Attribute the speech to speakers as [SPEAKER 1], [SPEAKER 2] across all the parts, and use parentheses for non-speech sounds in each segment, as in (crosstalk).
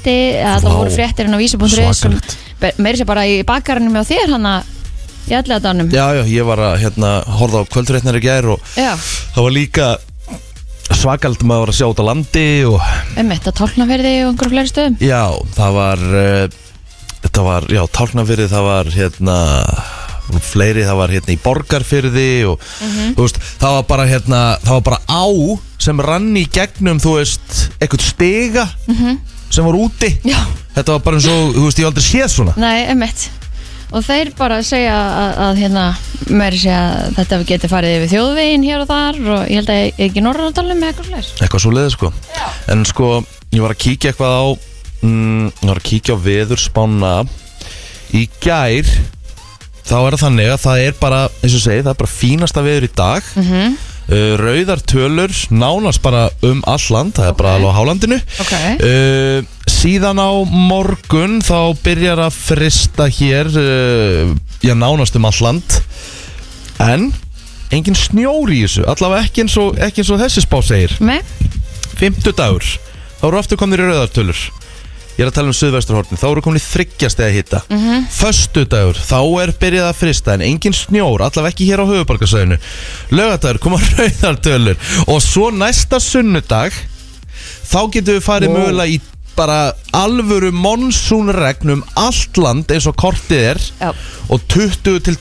[SPEAKER 1] frétti eða það
[SPEAKER 2] Vá.
[SPEAKER 1] voru fréttir inn á vísi.is sem-
[SPEAKER 2] Svakalegt.
[SPEAKER 1] um be- meira sér bara í bakarinu með þér hann að í alladánum
[SPEAKER 2] Já, já, ég var að hérna, horfa á kvöldrétnar í gær og
[SPEAKER 1] Já.
[SPEAKER 2] það var líka svakald maður var að sjá út á landi og
[SPEAKER 1] einmitt að tálknaferði og einhverjum fleiri stöðum
[SPEAKER 2] já, það var uh, þetta var, já, tálknafyrði það var hérna fleiri, það var hérna í borgarfyrði og þú veist, það var bara hérna það var bara á sem rann í gegnum, þú veist, eitthvað stiga sem var úti
[SPEAKER 1] Já,
[SPEAKER 2] þetta var bara eins og, þú veist, ég hef aldrei séð svona
[SPEAKER 1] nei, einmitt og þeir bara segja að, að hérna meira sér að þetta geti farið yfir þjóðvegin hér og þar og ég held að ég ekki norðanadalum með eitthvað fleiri
[SPEAKER 2] eitthvað svo leiði sko en sko, ég var að kíkja eitthvað á mm, ég var að kíkja á veðurspána í gær þá er það þannig að það er bara eins og ég segi, það er bara fínasta veður í dag
[SPEAKER 1] Mhm.
[SPEAKER 2] uh, rauðar tölur nánast bara um alland það er bara
[SPEAKER 1] Ok.
[SPEAKER 2] alveg á hálandinu
[SPEAKER 1] Ok.
[SPEAKER 2] uh, síðan á morgun þá byrjar að frista hér uh, já nánast um alland en engin snjór í þessu allavega ekki eins og, ekki eins og þessi spá segir
[SPEAKER 1] Nei,
[SPEAKER 2] Fymtudagur Þá eru aftur komnir í rauðartölur Ég er að tala um suðvesturhorni Þá eru komnir þryggjast eða hitta mm -hmm. Föstudagur, þá er byrjað að frista En engin snjór, allavega ekki hér á höfubarkasöðinu Laugadagur, koma (laughs) rauðartölur Og svo næsta sunnudag Þá getum við farið mögulega í bara alvöru monsúnregn um allt land eins og kortið er
[SPEAKER 1] Já.
[SPEAKER 2] og 20 til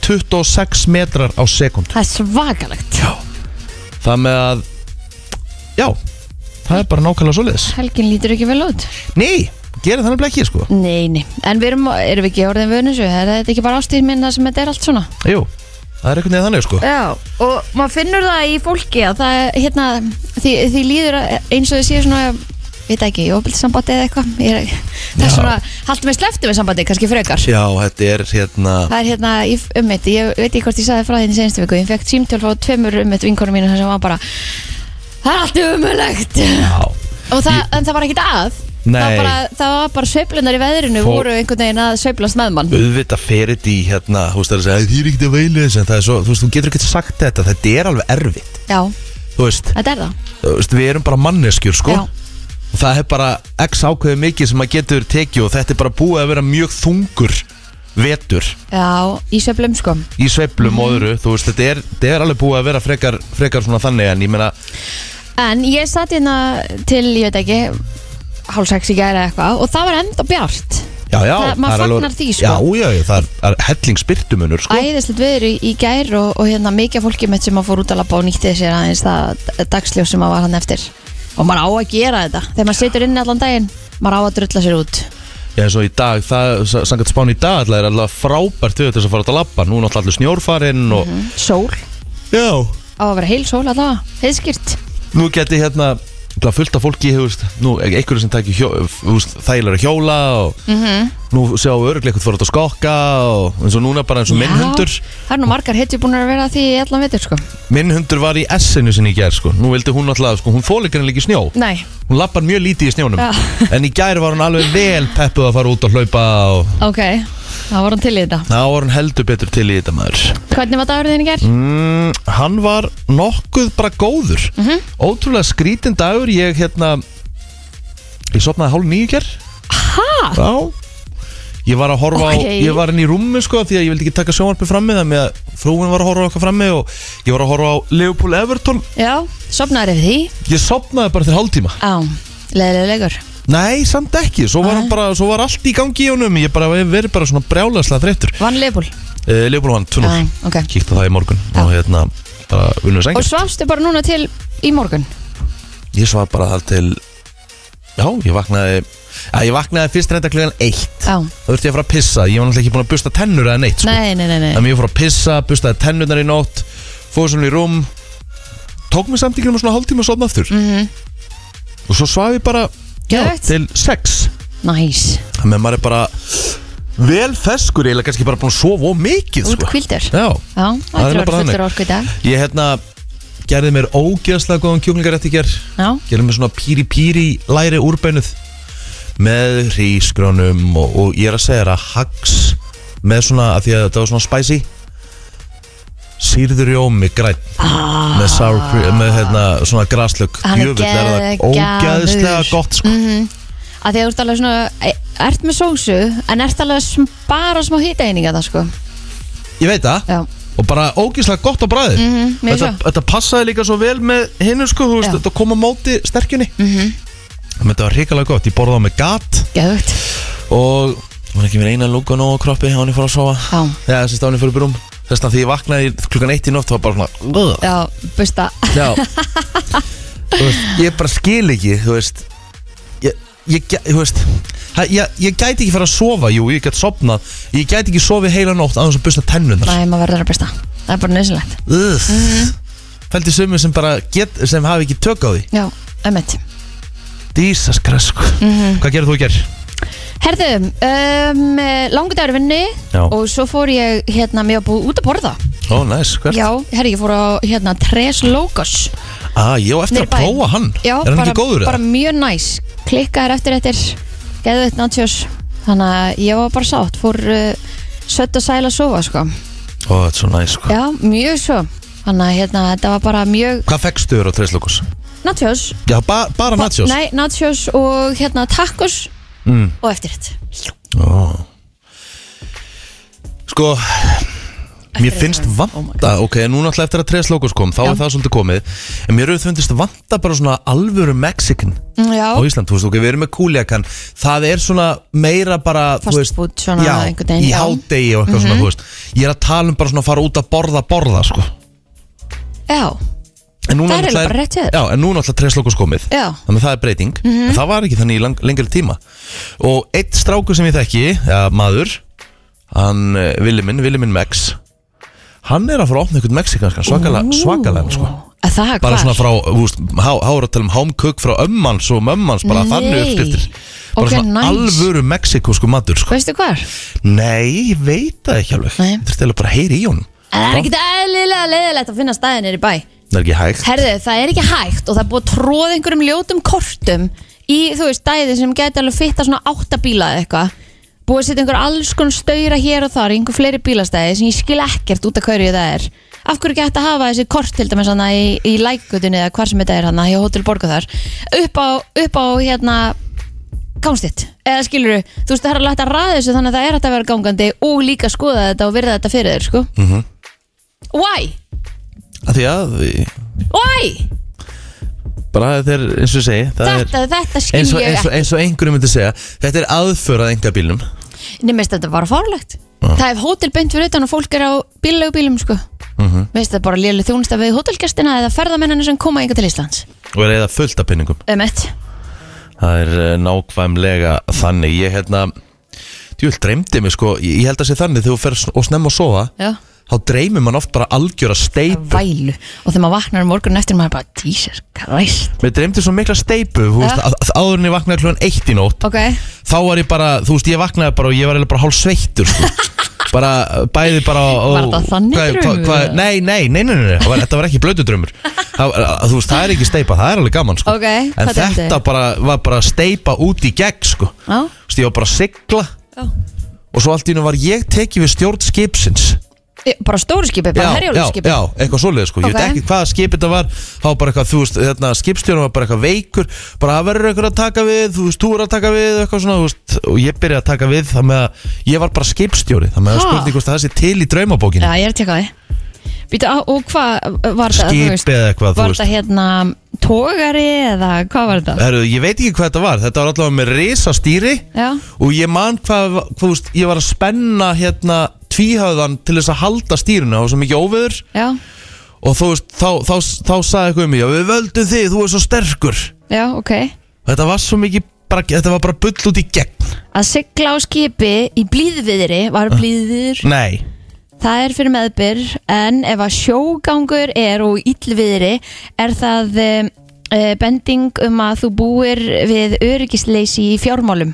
[SPEAKER 2] 26 metrar á sekund
[SPEAKER 1] það er svakalegt
[SPEAKER 2] Já Það með að Já Það er bara nákvæmlega svoleiðis
[SPEAKER 1] Helgin lítur ekki vel út
[SPEAKER 2] Nei, gera það nefnilega ekki sko
[SPEAKER 1] Nei, nei, en við erum, erum við ekki orðin vönusu, er þetta ekki bara ástíð minn það sem þetta er allt svona?
[SPEAKER 2] Jú, það er eitthvað neðan þannig sko
[SPEAKER 1] Já, og maður finnur það í fólki að það, er, hérna, því, því líður að- eins og þið séu svona, ég veit ekki, óbildssambandi eða eitthvað, ég er, það er
[SPEAKER 2] Já.
[SPEAKER 1] svona, haldur mig sleftu við sambandi, kannski frekar.
[SPEAKER 2] Já, þetta er hérna
[SPEAKER 1] Það er hérna, ég ummitt, ég veit ekki hvort ég sagði frá því í senstu viku, ég fekk símtöl frá tveimur ummitt vinkonum mínu þar sem var bara, það er allt umulegt.
[SPEAKER 2] Já
[SPEAKER 1] Og það, en það var ekkit að. Það
[SPEAKER 2] Nei.
[SPEAKER 1] var bara, það var bara sveiflunar í veðrinu
[SPEAKER 2] Fó-
[SPEAKER 1] voru einhvern veginn að sveiflast með mann.
[SPEAKER 2] Auðvitað fer þetta í hérna Þú veist það er að segja Það er ekkert að veila þess En það er svo Þú veist, þú getur ekkert sagt þetta Þetta er alveg erfitt
[SPEAKER 1] Já,
[SPEAKER 2] Þú veist,
[SPEAKER 1] þetta er það.
[SPEAKER 2] þú veist Við erum bara manneskjur sko
[SPEAKER 1] Já.
[SPEAKER 2] Og það er bara X ákveðu mikið sem maður getur tekið Og þetta er bara búið að vera mjög þungur Vetur
[SPEAKER 1] Já, í sveiflum sko.
[SPEAKER 2] í sveiflum og öðru þú veist, þetta er, þetta er alveg búið að vera frekar, frekar svona þannig en ég meina,
[SPEAKER 1] En ég satt hérna til, ég veit ekki hálf sex í gæri eða eitthvað og það var enda bjart
[SPEAKER 2] já, já
[SPEAKER 1] Það- maður
[SPEAKER 2] er
[SPEAKER 1] fagnar því, sko.
[SPEAKER 2] já, já, já, það er, er hellingsbyrtumunur sko.
[SPEAKER 1] Æðislegt viður í, í gær og, og hérna mikið af fólki mitt sem að fór út að labba og nýtti sér aðeins það dagsljós sem að var hann eftir og maður á að gera þetta þegar maður situr inn allan daginn maður á að drulla sér út
[SPEAKER 2] já, eins og í dag, það, s- samkvæmt spán í dag alltaf er alltaf frábært við þess að fara út að labba nú er náttúrulega allur snjórfarinn
[SPEAKER 1] Mhm.
[SPEAKER 2] og
[SPEAKER 1] Mm. Sól,
[SPEAKER 2] já,
[SPEAKER 1] á að vera heil sól allavega heiðskýrt
[SPEAKER 2] nú geti hérna alltaf fullt af fólki, þú veist, nú einhverju sem tækir hjó, þú veist, þægilega hjóla og
[SPEAKER 1] Mhm.
[SPEAKER 2] nú sjáum við örgleikult fara út að skokka og eins og núna bara eins og minn hundur
[SPEAKER 1] Já, Það er nú margar hetjur búin að vera að því í allan vitur sko
[SPEAKER 2] minn hundur var í essinu sinni í gær sko. nú vildi hún alltaf, sko, hún fólikar en líki snjó
[SPEAKER 1] Nei,
[SPEAKER 2] hún lappar mjög lítið í snjónum
[SPEAKER 1] Já.
[SPEAKER 2] en í gær var hún alveg vel peppuð að fara út og hlaupa og
[SPEAKER 1] ok, það var hann til í þetta
[SPEAKER 2] þá var hún heldur betur til í þetta maður
[SPEAKER 1] Hvernig var dagurðin í gær?
[SPEAKER 2] mm, hann var nokkuð bara góður
[SPEAKER 1] Mhm.
[SPEAKER 2] ótrúlega skrítin dagur ég hérna ég sopnaði hálf níu í gær
[SPEAKER 1] Ha?
[SPEAKER 2] já ég var að horfa á,
[SPEAKER 1] Ókei.
[SPEAKER 2] ég var inn í rúmi sko því að ég vildi ekki taka sjónvarpi frammi það með að frúin var að horfa á okkar frammi og ég var að horfa á Leopold Everton
[SPEAKER 1] Já, sopnaður yfir því
[SPEAKER 2] ég sopnaði bara til hálftíma
[SPEAKER 1] Á, leðilegur
[SPEAKER 2] Nei, samt ekki, svo var, hann bara, svo var allt í gangi í honum Ég bara hef verið bara svona brjálæslega þreyttur
[SPEAKER 1] Vann leifbúl
[SPEAKER 2] uh, Leopold vann 2-0
[SPEAKER 1] ok.
[SPEAKER 2] Kíkti á það í morgun
[SPEAKER 1] Já.
[SPEAKER 2] og hérna bara unnum
[SPEAKER 1] Og
[SPEAKER 2] sængjast
[SPEAKER 1] svafstu bara núna til í morgun
[SPEAKER 2] Ég svaf bara það til Já, ég vaknaði Já, ég vaknaði fyrst reynda klukkan 1
[SPEAKER 1] Já,
[SPEAKER 2] Það þurfti ég að fara að pissa, ég var náttúrulega ekki búin að busta tennur eða neitt sko.
[SPEAKER 1] nei, nei, nei, nei.
[SPEAKER 2] Þannig að ég fór að pissa, bustaði tennurnar í nótt Fóðu svona í rúm Tók mig samt ykkur um svona hálftíma og sofna aftur -hmm.
[SPEAKER 1] Mhm.
[SPEAKER 2] Og svo svaf ég bara já,
[SPEAKER 1] Geðveikt.
[SPEAKER 2] til 6
[SPEAKER 1] Næs,
[SPEAKER 2] Þannig að maður er bara vel feskur eiginlega kannski bara búin að sofa of mikið
[SPEAKER 1] út
[SPEAKER 2] sko.
[SPEAKER 1] kvildur Já,
[SPEAKER 2] Já,
[SPEAKER 1] það
[SPEAKER 2] er
[SPEAKER 1] er
[SPEAKER 2] bara
[SPEAKER 1] bara
[SPEAKER 2] þannig.
[SPEAKER 1] fullur orku í dag
[SPEAKER 2] ég hérna gerði mér ógeðslega góðan kjúklingarétt í ger
[SPEAKER 1] Já,
[SPEAKER 2] gerði mér svona píri píri læri úrbeinuð með hrísgrjónum og, og ég er að segja þér að hags með svona, að því að þetta var svona spicy sýrður rjómi græn ah, með, sour cream- með hérna, svona graslög
[SPEAKER 1] Hann er
[SPEAKER 2] djöfull er það
[SPEAKER 1] geggjaður.
[SPEAKER 2] ógeðslega gott sko.
[SPEAKER 1] mhm að því að þú ert alveg svona e, ert með sósu en ert alveg sm- bara smá hýtaeininga það sko
[SPEAKER 2] Ég veit það
[SPEAKER 1] já,
[SPEAKER 2] Og bara ógíslega gott á bræði
[SPEAKER 1] Mhm, mér
[SPEAKER 2] þetta,
[SPEAKER 1] svo.
[SPEAKER 2] þetta passaði líka svo vel með hinu sko þú veist,
[SPEAKER 1] Já. Mhm.
[SPEAKER 2] Þetta kom á móti sterkjunni mm Þetta var hrikalega gott Ég borðaði með gat
[SPEAKER 1] geðvögt
[SPEAKER 2] Og hún er ekki mér eina lunga nóg á kroppi Hún er fór að sofa
[SPEAKER 1] já,
[SPEAKER 2] Þegar þessi stafni fyrir brum Þess vegna því ég vaknaði klukkan eitt í nótt Það var bara svona "Ugh."
[SPEAKER 1] já, busta
[SPEAKER 2] Já Þú veist, ég bara skil ekki Þú veist Ég, ég, gæ- þú veist það- ég, ég gæti ekki fara að sofa, jú, ég gæti sofnað Ég gæti ekki sofið heila nótt aðeins að busta tennunar
[SPEAKER 1] næ, maður verður að busta það er bara nöðsynlegt Mhm.
[SPEAKER 2] Fældi sumir sem bara get, sem hafi ekki tök á því
[SPEAKER 1] já, ömmit
[SPEAKER 2] Jesus Christ sko.
[SPEAKER 1] Mhm.
[SPEAKER 2] Hvað gerir þú að gera?
[SPEAKER 1] herðu, um, langur dagur í vinnu
[SPEAKER 2] Já.
[SPEAKER 1] og svo fór ég hérna mér að búið út að borða
[SPEAKER 2] Ó, næs, hvert?
[SPEAKER 1] já, herri, ég fór á hérna Tres Logos
[SPEAKER 2] Ah, ég á eftir
[SPEAKER 1] Niður í
[SPEAKER 2] að
[SPEAKER 1] bæinn.
[SPEAKER 2] prófa hann
[SPEAKER 1] Já,
[SPEAKER 2] Er hann
[SPEAKER 1] bara,
[SPEAKER 2] ekki góður? Bara...
[SPEAKER 1] bara mjög næs klikkaður eftir eftir geðveitt nachos þannig að ég var bara sátt fór uh, sött að sæla að sofa sko.
[SPEAKER 2] Ó, þetta er svo næs sko.
[SPEAKER 1] já, mjög svo þannig að hérna, þetta var bara mjög
[SPEAKER 2] Hvað fekkstu þér á Treislokos?
[SPEAKER 1] nachos
[SPEAKER 2] Já, ba bara nachos
[SPEAKER 1] nei, nachos og hérna tacos
[SPEAKER 2] Mm.
[SPEAKER 1] og eftir þetta
[SPEAKER 2] Ó. Sko Mér finnst vanta, ok, núna alltaf eftir að Tres Logos kom, þá
[SPEAKER 1] Oh Já.
[SPEAKER 2] er það svolítið komið En mér hefur fundist vanta bara svona alvöru Mexican
[SPEAKER 1] já,
[SPEAKER 2] á Ísland, þú veist, ok, við erum með kúliakan Það er svona meira bara,
[SPEAKER 1] Fast
[SPEAKER 2] þú veist
[SPEAKER 1] food svona
[SPEAKER 2] Já,
[SPEAKER 1] einhvern veginn,
[SPEAKER 2] í
[SPEAKER 1] já. Mhm.
[SPEAKER 2] hádegi og eitthvað svona, þú veist Ég er að tala um bara svona að fara út að borða, borða, sko
[SPEAKER 1] já,
[SPEAKER 2] En núna
[SPEAKER 1] Það er
[SPEAKER 2] náttúrulega
[SPEAKER 1] eiginlega bara rétt hjá þér.
[SPEAKER 2] Já, en núna alltaf Tres Logos komið
[SPEAKER 1] Já. Mhm.
[SPEAKER 2] Þannig að það er breyting En það var ekki þannig í lang, lengri tíma Og eitt stráku sem ég þekki, ja, maður Hann, eh, Willi minn, Willi minn Mex Hann er að fara að opna einhvern mexikanskan Svakalega, svakalega, sko
[SPEAKER 1] að það
[SPEAKER 2] bara
[SPEAKER 1] hvar?
[SPEAKER 2] svona frá, þú veist, há, há er að tala um hámkök frá ömmans og mömmans, bara
[SPEAKER 1] Nei.
[SPEAKER 2] þannig uppskriftir bara
[SPEAKER 1] Ok,
[SPEAKER 2] svona
[SPEAKER 1] nice.
[SPEAKER 2] alvöru mexikosku matur, sko
[SPEAKER 1] veistu hvar?
[SPEAKER 2] nei, ég veit það ekki alveg
[SPEAKER 1] Nei.
[SPEAKER 2] þú þurfti eiginlega bara að heyri í honum
[SPEAKER 1] það er ekkit eðlilega leðilegt að finna staðinir í bæ
[SPEAKER 2] það er ekki hægt
[SPEAKER 1] Herðu, það er ekki hægt og það er búið að tróða einhverjum ljótum kortum í, þú veist, dæði sem geti alveg fitta svona átta bíla eða eitthvað búið að setja einhver alls konar stöyra hér og þar í einhver fleiri bílastæði sem ég skil ekkert út af hverju það er af hverju ekki hægt að hafa þessi kort til dæmis hana í, í lækutunni eða hvar sem þetta er hana hjá Hotel Borga þar upp á, upp á hérna gangstitt, eða skilur þú veist það er alveg hægt að ræða þessu þannig að það er hægt að vera gangandi og líka skoða þetta og virða þetta fyrir þér sko Why?
[SPEAKER 2] Af því að, því-
[SPEAKER 1] Why?
[SPEAKER 2] bara þetta er eins og ég segi það er
[SPEAKER 1] Þetta, þetta skil
[SPEAKER 2] eins og,
[SPEAKER 1] ég ekki
[SPEAKER 2] eins, og, eins og einhverjum myndi segja þetta er aðför að enga bílnum
[SPEAKER 1] Nei, mér finnst þetta bara fárlegt Það er hótel beint fyrir utan og fólk er á bíllegu bílum sko. mm
[SPEAKER 2] Mhm.
[SPEAKER 1] -hmm. Mér finnst þetta bara lélu þjónust við hótelgestina eða ferðamennina sem koma enga til Íslands
[SPEAKER 2] og er eða fullt af pinningum
[SPEAKER 1] Um eitt
[SPEAKER 2] það er eh, nákvæmlega þannig ég hérna, djúl, dreymdi mig sko ég ég held að sé þannig þegar þú fer og snemma að sofa
[SPEAKER 1] Já.
[SPEAKER 2] þá dreymir mann oft bara algjör að steipu
[SPEAKER 1] Vælu Og þegar maður vaknar morgun eftir maður bara Jesus Christ
[SPEAKER 2] Mér dreymdi svo mikla steipu, þú veist,
[SPEAKER 1] Ja.
[SPEAKER 2] að, að áður en ég vaknaði klúan eitt í nótt
[SPEAKER 1] Ok
[SPEAKER 2] Þá var ég bara, þú veist, ég vaknaði bara og ég var eiginlega bara hálf sveittur,
[SPEAKER 1] (laughs)
[SPEAKER 2] sko Bara, bæði bara á,
[SPEAKER 1] Var þetta þannig draumur, eða?
[SPEAKER 2] Nei, nei, nei, nei, nei, nei. það var, þetta var ekki blödu draumur það, var- Þú veist, það er ekki steipa, það er alveg gaman, sko
[SPEAKER 1] Ok,
[SPEAKER 2] En
[SPEAKER 1] hvað dreymdi
[SPEAKER 2] þetta
[SPEAKER 1] þig?
[SPEAKER 2] bara, var bara steipa út í gegn, sko Þú
[SPEAKER 1] Já
[SPEAKER 2] veist, ég var bara að sigla
[SPEAKER 1] Já.
[SPEAKER 2] Og svo allt í hennu var ég tekið við stjórn skipsins
[SPEAKER 1] Ég- Bara stóru skipi,
[SPEAKER 2] já,
[SPEAKER 1] bara herjólu skipi
[SPEAKER 2] já, eitthvað svoleið sko Ég
[SPEAKER 1] Ok.
[SPEAKER 2] veit ekki hvaða skip þetta var Það var bara eitthvað, þú veist, hérna, skipstjónum var bara eitthvað veikur Bara það verður einhver að taka við, þú veist, þú er að taka við Eitthvað svona, þú veist, og ég byrjaði að taka við Það með að, ég var bara skipstjóri Það með að
[SPEAKER 1] Ha?
[SPEAKER 2] spurning hvort það sé til í draumabókinu
[SPEAKER 1] ég er að tjekka því Býtu, á- og hvað var það?
[SPEAKER 2] Skipi
[SPEAKER 1] þú veist?
[SPEAKER 2] eða eitthvað, þú
[SPEAKER 1] Var
[SPEAKER 2] veist.
[SPEAKER 1] það hérna tógari eða hvað var það?
[SPEAKER 2] Herru, ég veit ekki hvað þetta var Þetta var allavega með risastýri
[SPEAKER 1] Já
[SPEAKER 2] Og ég man hvað, hvað, þú veist, ég var að spenna hérna tvíhöðan til þess að halda stýrinu Það var svo mikið óveður
[SPEAKER 1] Já
[SPEAKER 2] Og þú veist, þá, þá, þá, þá sagði eitthvað um mig "Já, Við völdum þig, þú er svo sterkur
[SPEAKER 1] Já, ok
[SPEAKER 2] Þetta var svo mikið bara, þetta var bara bull út í gegn
[SPEAKER 1] Að sigla á skipi í blíðviðri
[SPEAKER 2] Ah.
[SPEAKER 1] var blíðviður
[SPEAKER 2] Nei
[SPEAKER 1] Það er fyrir meðbyr en ef að sjógangur er og illviðri er það uh, bending um að þú búir við öryggisleysi í fjármálum.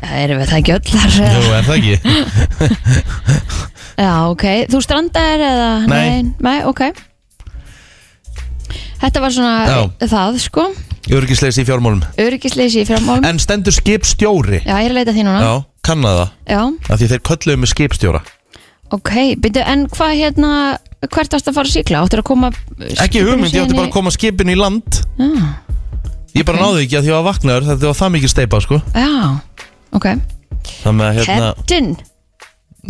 [SPEAKER 1] Það erum við það ekki öll þar.
[SPEAKER 2] Jú, er það (laughs) ekki?
[SPEAKER 1] Já, ok. Þú strandaðir eða?
[SPEAKER 2] Nei.
[SPEAKER 1] Nei, nei ok. Þetta var svona það, sko.
[SPEAKER 2] Örgisleis í fjármálum
[SPEAKER 1] Öryggisleysi í fjármálum.
[SPEAKER 2] En stendur skipstjóri
[SPEAKER 1] Já, ég er að leita að því núna.
[SPEAKER 2] Já, kannada
[SPEAKER 1] Já.
[SPEAKER 2] Af því þeir kölluðu með skipstjóra
[SPEAKER 1] Ok, byrju, en hvað hérna, hvert varst að fara að síkla? Áttur að koma... uh,
[SPEAKER 2] Ekki hugmynd, ég átti bara að koma skipinu í land
[SPEAKER 1] Já.
[SPEAKER 2] Ég bara náði ekki að því að ég var vaknaður þetta var það mikið steipa sko
[SPEAKER 1] Já, ok
[SPEAKER 2] Þannig að hérna
[SPEAKER 1] Captain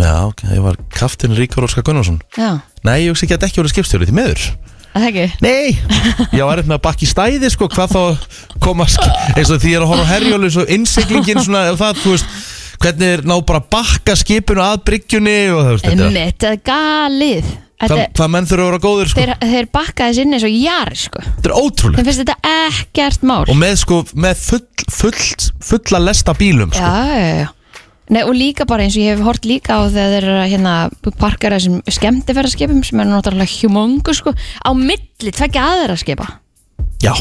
[SPEAKER 2] Já, ok, ég var kaftin Ríkar Óskar Gunnarsson
[SPEAKER 1] Já,
[SPEAKER 2] Nei, ég hugsa ekki að þetta ekki voru skipstjóri til miður
[SPEAKER 1] að það ekki
[SPEAKER 2] Nei Ég var eftir með að bakki stæði sko Hvað þá koma sk- eins og því ég er að horfa á herjólu eins og innsiglingin svona og það, þú veist Hvernig er ná bara að bakka skipinu að bryggjunni og það veist þetta
[SPEAKER 1] Einmitt, það er galið
[SPEAKER 2] Hvað,
[SPEAKER 1] Þetta,
[SPEAKER 2] hvað menn þurfa að vera góður sko
[SPEAKER 1] þeir, þeir bakka þessi inn eins og jar sko.
[SPEAKER 2] Þetta er ótrúlegt
[SPEAKER 1] Þeim finnst þetta ekkert mál
[SPEAKER 2] Og með sko, með full, full, fulla lesta bílum sko.
[SPEAKER 1] Já, já, já Nei, og líka bara eins og ég hef hort líka á þegar þeir eru að, hérna parkar þessum skemmtifæraskipum sem er náttúrulega humongu sko á milli tvekja aðra skipa
[SPEAKER 2] Já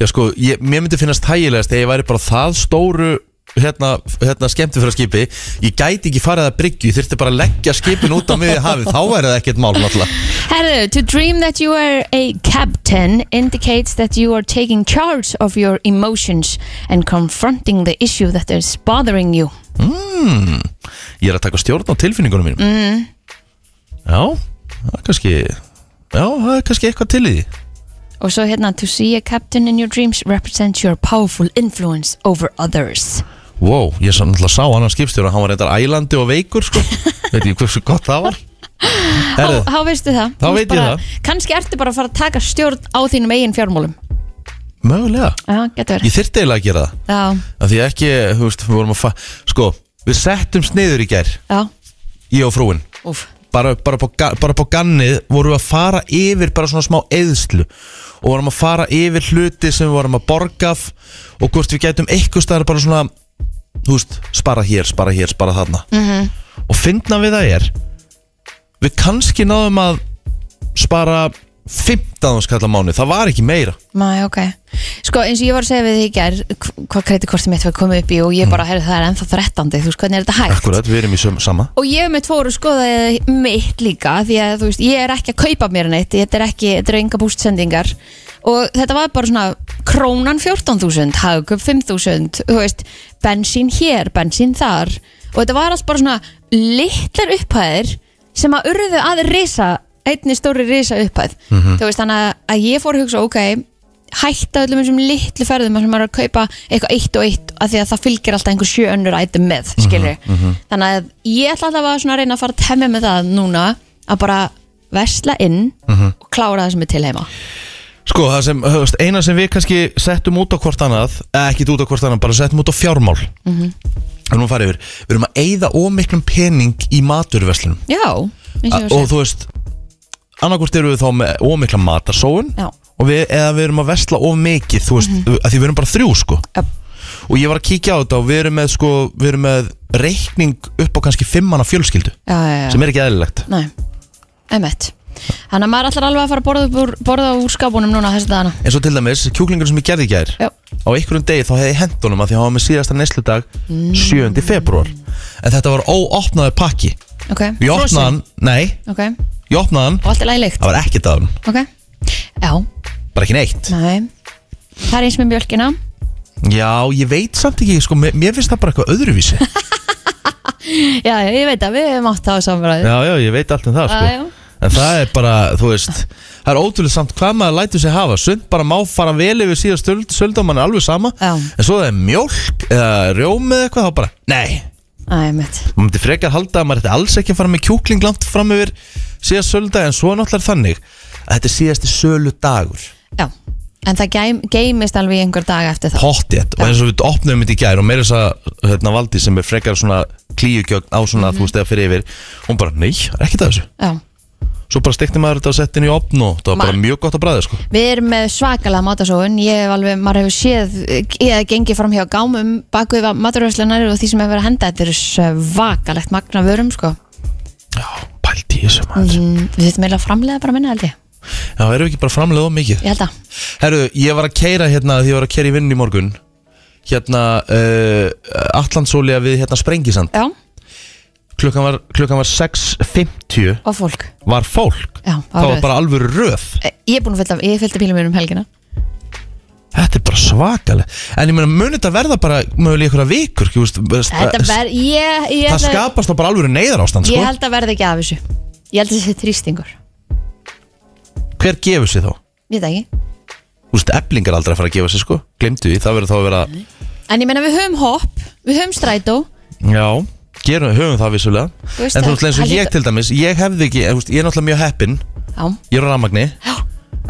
[SPEAKER 2] Já sko, ég, mér myndi finnast hægilegast þegar ég væri bara það stóru hérna, hérna skemmti fyrir skipi ég gæti ekki farið að bryggju, ég þurfti bara að leggja skipin út á miðið hafið, þá væri það ekkert mál náttúrulega
[SPEAKER 1] Herðu, to dream that you are a captain indicates that you are taking charge of your emotions and confronting the issue that is bothering you
[SPEAKER 2] Ég er að taka stjórn á tilfinningunum mínum mm. Já, það er kannski Já, það er kannski eitthvað til í því
[SPEAKER 1] Og svo hérna, to see a captain in your dreams represents your powerful influence over others.
[SPEAKER 2] Wow, ég sann alltaf sá annan skipstjóra hann var reyndar ælandi og veikur sko veit ég hversu gott það var Herðu,
[SPEAKER 1] Há veistu það?
[SPEAKER 2] Þá
[SPEAKER 1] Þú
[SPEAKER 2] veit ég
[SPEAKER 1] bara-
[SPEAKER 2] það.
[SPEAKER 1] Kannski ertu bara að fara að taka stjórn á þínum eigin fjármálum.
[SPEAKER 2] mögulega
[SPEAKER 1] Já, getur verið.
[SPEAKER 2] Ég þyrfti eiginlega að gera það
[SPEAKER 1] Já,
[SPEAKER 2] að því ekki, þú veist, við vorum að fa sko, við settum sniður í gær
[SPEAKER 1] já,
[SPEAKER 2] ég og frúin,
[SPEAKER 1] úf.
[SPEAKER 2] bara, bara, på, ga- bara på gannið vorum við að fara yfir bara svona smá eðslu og vorum að fara yfir hluti sem við vorum að borga af og hvort við gætum eitthvað staðar bara svona, þú veist spara hér, spara hér, spara þarna -hmm. og fyndna við það er við kannski náðum að spara 15 skallar mánu, það var ekki meira
[SPEAKER 1] Mæ, ok. Sko, eins og ég var að segja við því í gær, hv- hvað kreditkortið mitt var komið upp í og ég bara, herru, það er ennþá 13. Þú veist, hvernig er þetta hægt?
[SPEAKER 2] Mm. Akkurat, við erum í söm- sama
[SPEAKER 1] Og ég hef með tvoru skoðaði mitt líka því að þú veist, ég er ekki að kaupa mér neitt þetta er ekki, þetta eru enga bústsendingar og þetta var bara svona krónan 14.000, hagkup 5.000 þú veist, bensín hér, bensín þar og þetta var allt bara svona litlar upphæðir sem að urðu að risa einni stóri risa upphæð þú veist, þannig að- að ég fór að hugsa, ok hætta öllum þessum litlu ferðum þar sem maður er að kaupa eitthvað eitt og eitt af því að það fylgir alltaf einhver sjö önnur ætum með
[SPEAKER 2] Mhm,
[SPEAKER 1] skilur, þannig að ég ætla alltaf að svona reyna að fara að temja með það núna að bara vesla inn
[SPEAKER 2] Mhm.
[SPEAKER 1] og klára það sem er til heima
[SPEAKER 2] Sko, það sem, höfst, eina sem við kannski settum út á hvort annað, eða ekkit út á hvort annað, bara settum út á fjármál mm
[SPEAKER 1] Mhm.
[SPEAKER 2] -hmm. að fara yfir, við erum að eyða ómiklum pening í maturverslunum
[SPEAKER 1] já, eins
[SPEAKER 2] Ah, og
[SPEAKER 1] og ég var að segja.
[SPEAKER 2] þú veist annarkvort eru við þá með ómikla matarsóun
[SPEAKER 1] Já. Mhm.
[SPEAKER 2] og við, eða við erum að vesla of mikið, þú veist, mm að því við erum bara þrjú sko
[SPEAKER 1] Jöp.
[SPEAKER 2] og ég var að kíkja á þetta og við erum með sko, við erum með reikning upp á kannski fimmana fjölskyldu
[SPEAKER 1] já, já, já,
[SPEAKER 2] sem er ekki eðlilegt
[SPEAKER 1] næ, emmett þannig að maður ætlar alveg að fara að borða, upp úr, borða úr skápunum núna þessi dagana
[SPEAKER 2] eins og til dæmis, kjúklingur sem ég gerði í gær
[SPEAKER 1] já,
[SPEAKER 2] á einhverjum degi þá hefði hendunum að því að hafa með síðasta neysludag 7. februar en þetta var óopnaður pakki
[SPEAKER 1] ok,
[SPEAKER 2] ég opnaði
[SPEAKER 1] Frosin.
[SPEAKER 2] hann, nei,
[SPEAKER 1] ok,
[SPEAKER 2] ég opnaði hann
[SPEAKER 1] og allt er lægilegt
[SPEAKER 2] það var ekkert af hann,
[SPEAKER 1] ok, já,
[SPEAKER 2] bara ekki neitt
[SPEAKER 1] næ það er eins með mjölkina
[SPEAKER 2] já, ég veit samt ekki, sko, mér, mér finnst það bara eitthvað öðruvísi já,
[SPEAKER 1] já, já, ég veit að við hefum átt það á samræðu
[SPEAKER 2] (laughs) já, ég veit allt um það,
[SPEAKER 1] Já, já.
[SPEAKER 2] sko en það er bara, þú veist það er ótrúlega samt hvað maður lætur sig hafa sund bara má fara vel yfir síðast söldamann alveg sama,
[SPEAKER 1] Já.
[SPEAKER 2] en svo það er mjólk eða rjómið eitthvað, þá bara, nei
[SPEAKER 1] Æ, mitt.
[SPEAKER 2] maður myndi frekar halda að maður ætti alls ekki að fara með kjúkling langt fram yfir síðast söldag en svo er náttúrulega þannig að þetta er síðasti sölu dagur
[SPEAKER 1] Já, en það geim, geimist alveg í einhver dag eftir það.
[SPEAKER 2] pottjett og eins og við opnum þetta í gær og meira þess að hérna, valdi sem er frekar svona klíugjögn á svona þú veist eða fyrir yfir hún bara nei, það er ekkert að þessu
[SPEAKER 1] Já.
[SPEAKER 2] svo bara stekti maður þetta og setti inn í opn og það var bara
[SPEAKER 1] Ma-
[SPEAKER 2] mjög gott að bræða sko
[SPEAKER 1] Við erum með svakalega matasóun, ég hef alveg, maður hefur séð, ég hef gengið fram hjá gámum bakvið maturvæslunar og því sem hefur verið að henda, þetta er svakalegt magna vörum, sko.
[SPEAKER 2] já, pælt í þessu maður
[SPEAKER 1] Mm, við þurfum eiginlega að framlega bara minna, held ég.
[SPEAKER 2] já, erum við ekki bara framlega of mikið
[SPEAKER 1] Ég held að.
[SPEAKER 2] Herru, ég var að keira hérna því ég var að keira í vinn í morgun hérna uh, Atlantsólia við hérna Sprengisand
[SPEAKER 1] Já,
[SPEAKER 2] klukkan var, klukkan var 6.50
[SPEAKER 1] og fólk.
[SPEAKER 2] var fólk
[SPEAKER 1] Já,
[SPEAKER 2] það var
[SPEAKER 1] röð.
[SPEAKER 2] bara alveg röð
[SPEAKER 1] Eh, Ég er búin að fylta, ég fylta bílum mér um helgina.
[SPEAKER 2] þetta er bara svakaleg en ég meina mun þetta verða bara mögulega ykkur að vikur ekki, veist, veist,
[SPEAKER 1] Þetta
[SPEAKER 2] það,
[SPEAKER 1] verð, ég, ég,
[SPEAKER 2] Eh, það
[SPEAKER 1] held að-
[SPEAKER 2] skapast þá bara alveg neyðar ástand sko.
[SPEAKER 1] ég held að verð ekki af þessu. Ég held að þetta sé þrýstingur.
[SPEAKER 2] hver gefur sér þá
[SPEAKER 1] Ég veit það ekki.
[SPEAKER 2] Þú veist, eblingar aldrei að fara að gefa sig sko Glemdu því, það verður þá að vera
[SPEAKER 1] En ég meina við höfum hopp, við höfum strætó
[SPEAKER 2] Já, gerum, höfum það vissulega
[SPEAKER 1] Þú veist
[SPEAKER 2] En þú
[SPEAKER 1] það-
[SPEAKER 2] veist, eins og
[SPEAKER 1] það
[SPEAKER 2] ég
[SPEAKER 1] lítur-
[SPEAKER 2] til dæmis Ég hefði ekki, þú veist, ég er náttúrulega mjög heppinn
[SPEAKER 1] Já,
[SPEAKER 2] Ég er á rafmagni
[SPEAKER 1] já,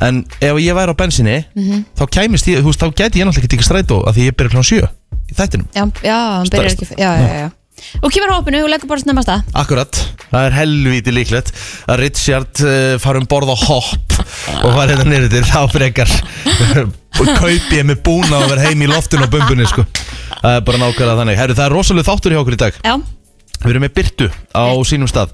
[SPEAKER 2] En ef ég væri á bensinni
[SPEAKER 1] Mhm.
[SPEAKER 2] Þá kæmist ég, þú veist, þá gæti ég náttúrulega ekki ekki strætó af Því ég byrja klán 7 í þættinum
[SPEAKER 1] já, já, hann byrjar
[SPEAKER 2] Stærst-
[SPEAKER 1] ekki Já, já, já, já Og kemur hoppinu og leggur bara snemma af stað
[SPEAKER 2] Akkurat, það er helvíti líklegt að Richard uh, fara um borð á hopp og fara hérna niður til þá frekar og kaupi ég með búna og vera heim í loftinu og bumbunni sko. það er bara nákvæmlega þannig Herru, það er rosalega þáttur hjá okkur í dag
[SPEAKER 1] Já,
[SPEAKER 2] Við erum með Byrtu á sínum stað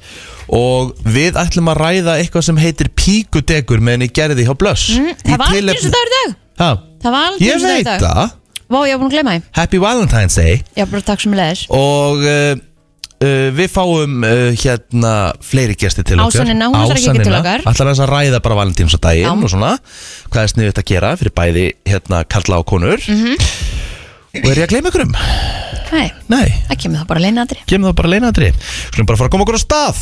[SPEAKER 2] og við ætlum að ræða eitthvað sem heitir píkudegur með henni gerði hjá Blöss
[SPEAKER 1] mm, það var aldrei eins og dagur í dag
[SPEAKER 2] það
[SPEAKER 1] Það var aldrei
[SPEAKER 2] Ég
[SPEAKER 1] eins og
[SPEAKER 2] veit
[SPEAKER 1] dagur í dag
[SPEAKER 2] það
[SPEAKER 1] Vá, ég var búin að gleyma því
[SPEAKER 2] Happy Valentine's Day
[SPEAKER 1] Já, bara takk sem leðis
[SPEAKER 2] og uh, uh, við fáum uh, hérna fleiri gesti til okkar
[SPEAKER 1] Ásannina, hún ætlar ekki ekki til okkar.
[SPEAKER 2] Ætlar aðeins að ræða bara valentins og daginn
[SPEAKER 1] Já.
[SPEAKER 2] og svona hvað er sniðið að gera fyrir bæði hérna karla og konur
[SPEAKER 1] Mhm.
[SPEAKER 2] og er ég að gleyma ykkur um?
[SPEAKER 1] Nei,
[SPEAKER 2] Nei
[SPEAKER 1] það kemur það bara leina aðri
[SPEAKER 2] kemur það bara leinadri Skulum bara fara að koma okkur á stað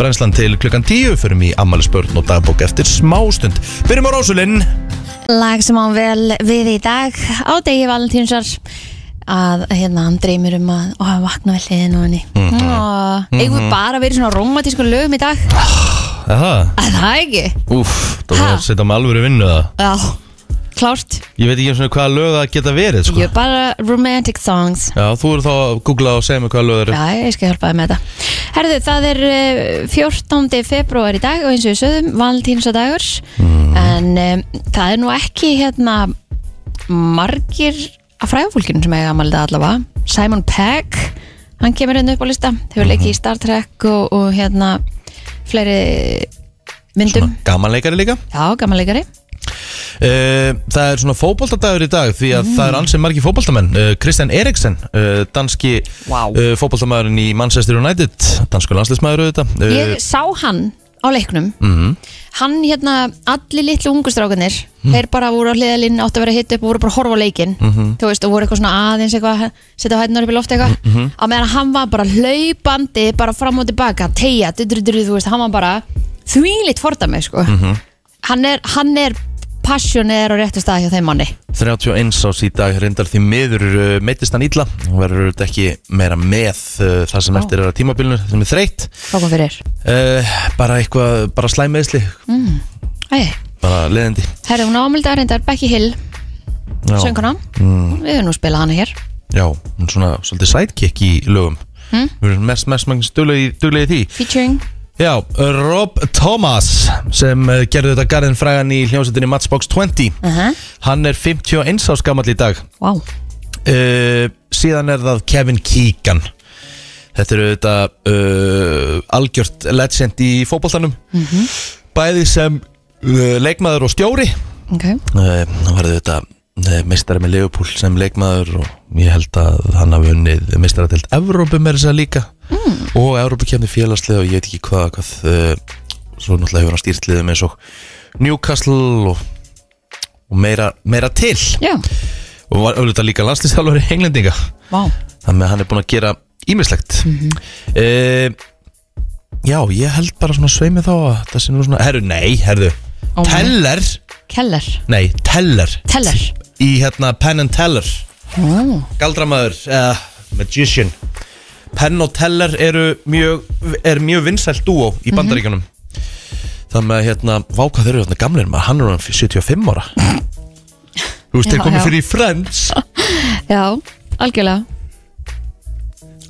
[SPEAKER 2] Brennslan til klukkan 10 Förum í ammælisbörn og dagbók eftir smástund Byrjum á Rásulinn
[SPEAKER 1] Lag sem án vel við í dag á degi valentínsar að hérna hann dreymir um að og að vakna við hliðin og henni mm
[SPEAKER 2] Mhm.
[SPEAKER 1] eigum við bara að vera í svona romantísku lögum í dag
[SPEAKER 2] Aha,
[SPEAKER 1] að það ekki
[SPEAKER 2] úf, það
[SPEAKER 1] Ha?
[SPEAKER 2] var að setja með alvöru vinnu það
[SPEAKER 1] já, klárt,
[SPEAKER 2] Ég veit ekki eins og hvaða lög það geta verið sko.
[SPEAKER 1] ég er bara romantic songs
[SPEAKER 2] Já, þú eru þá að googla og segja mig hvaða lög það eru
[SPEAKER 1] já, ég skal hjálpa þið með þetta herðu, það er eh, 14. februar í dag og eins og við sögðum, valentínsadagur en um, það er nú ekki hérna margir af fræðafólkinu sem eiga amalita allavega Simon Pegg, hann kemur hérna upp á lista hefur leikið í Star Trek og, og hérna fleiri myndum,
[SPEAKER 2] Svona gamanleikari líka
[SPEAKER 1] já, gamanleikari
[SPEAKER 2] uh, Það er svona fótboltadagur í dag Því að það er ansið margi fótboltamenn uh, Kristjan Eriksen, uh, danski
[SPEAKER 1] Vá.
[SPEAKER 2] uh, fótboltamæðurinn í Manchester United Dansku landslismæður auðvitað uh,
[SPEAKER 1] ég sá hann á leiknum hann hérna, allir litlu ungustrákanir þeir bara voru á hliðalinn, áttu að vera hitt upp og voru bara að horfa á leikinn, þú veist, og voru eitthvað svona aðeins eitthvað, setja hætnar upp í loft eitthvað á meðan hann var bara hlaupandi bara fram og tilbaka, tegja, dudrudru þú veist, hann var bara þvílitt fordæmi sko, hann er hann er passioner og réttu stað hjá þeim manni
[SPEAKER 2] 31 ás í dag reyndar því miður uh, meittist hann illa og verður auðvitað ekki meira með uh, það sem eftir er að tímabilinu sem er þreytt
[SPEAKER 1] hvað kom fyrir?
[SPEAKER 2] uh, bara eitthvað, bara slæmiðisli
[SPEAKER 1] Hm? Æ,
[SPEAKER 2] bara leðandi
[SPEAKER 1] herri, hún ámelda reyndar Becky Hill, sönguna við höfum nú spilað hana hér
[SPEAKER 2] Já, hún er svona svolítið sidekick í lögum
[SPEAKER 1] Mm.
[SPEAKER 2] Við erum mest, mest, mest duglega í- duglega í því
[SPEAKER 1] featuring
[SPEAKER 2] Já, Rob Thomas sem eh, gerði þetta garðin frægan í hljómsveitinni Matchbox 20
[SPEAKER 1] uh
[SPEAKER 2] Hann er 51 ás gamall í dag
[SPEAKER 1] wow.
[SPEAKER 2] uh, Síðan er það Kevin Keegan Þetta eru þetta uh, algjört legend í fótboltanum Bæði sem uh, leikmaður og stjóri
[SPEAKER 1] okay.
[SPEAKER 2] Eh, Hann var auðvitað eh, meistari með Leopold sem leikmaður og ég held að hann hafi unnið meistaratelt Evrópu með þess að segja líka
[SPEAKER 1] Mm.
[SPEAKER 2] og Evrópu kemni félagslið og ég veit ekki hvað, hvað uh, svo náttúrulega hefur hann stýrt liðum eins og Newcastle og, og meira, meira til
[SPEAKER 1] Já,
[SPEAKER 2] og var auðvitað líka landslýstjálfur í Englendinga
[SPEAKER 1] vá
[SPEAKER 2] þannig að hann er búinn að gera ímislegt mm
[SPEAKER 1] Mhm.
[SPEAKER 2] Já, ég held bara svona sveimi þá að það sé nú svona, herru, nei, herru
[SPEAKER 1] Ó, nei.
[SPEAKER 2] Teller,
[SPEAKER 1] Keller,
[SPEAKER 2] nei, Teller
[SPEAKER 1] Teller
[SPEAKER 2] í hérna Penn and Teller
[SPEAKER 1] oh.
[SPEAKER 2] Galdramæður, uh, Magician Penn og Teller eru mjög, er mjög vinsælt dúo
[SPEAKER 1] Mhm.
[SPEAKER 2] í bandaríkanum Þannig að hérna, váka þeir eru hérna gamlir maður, hann er hann 75 ára Þú veist, þeir
[SPEAKER 1] Já,
[SPEAKER 2] komið
[SPEAKER 1] já.
[SPEAKER 2] fyrir í Friends
[SPEAKER 1] Já, algjörlega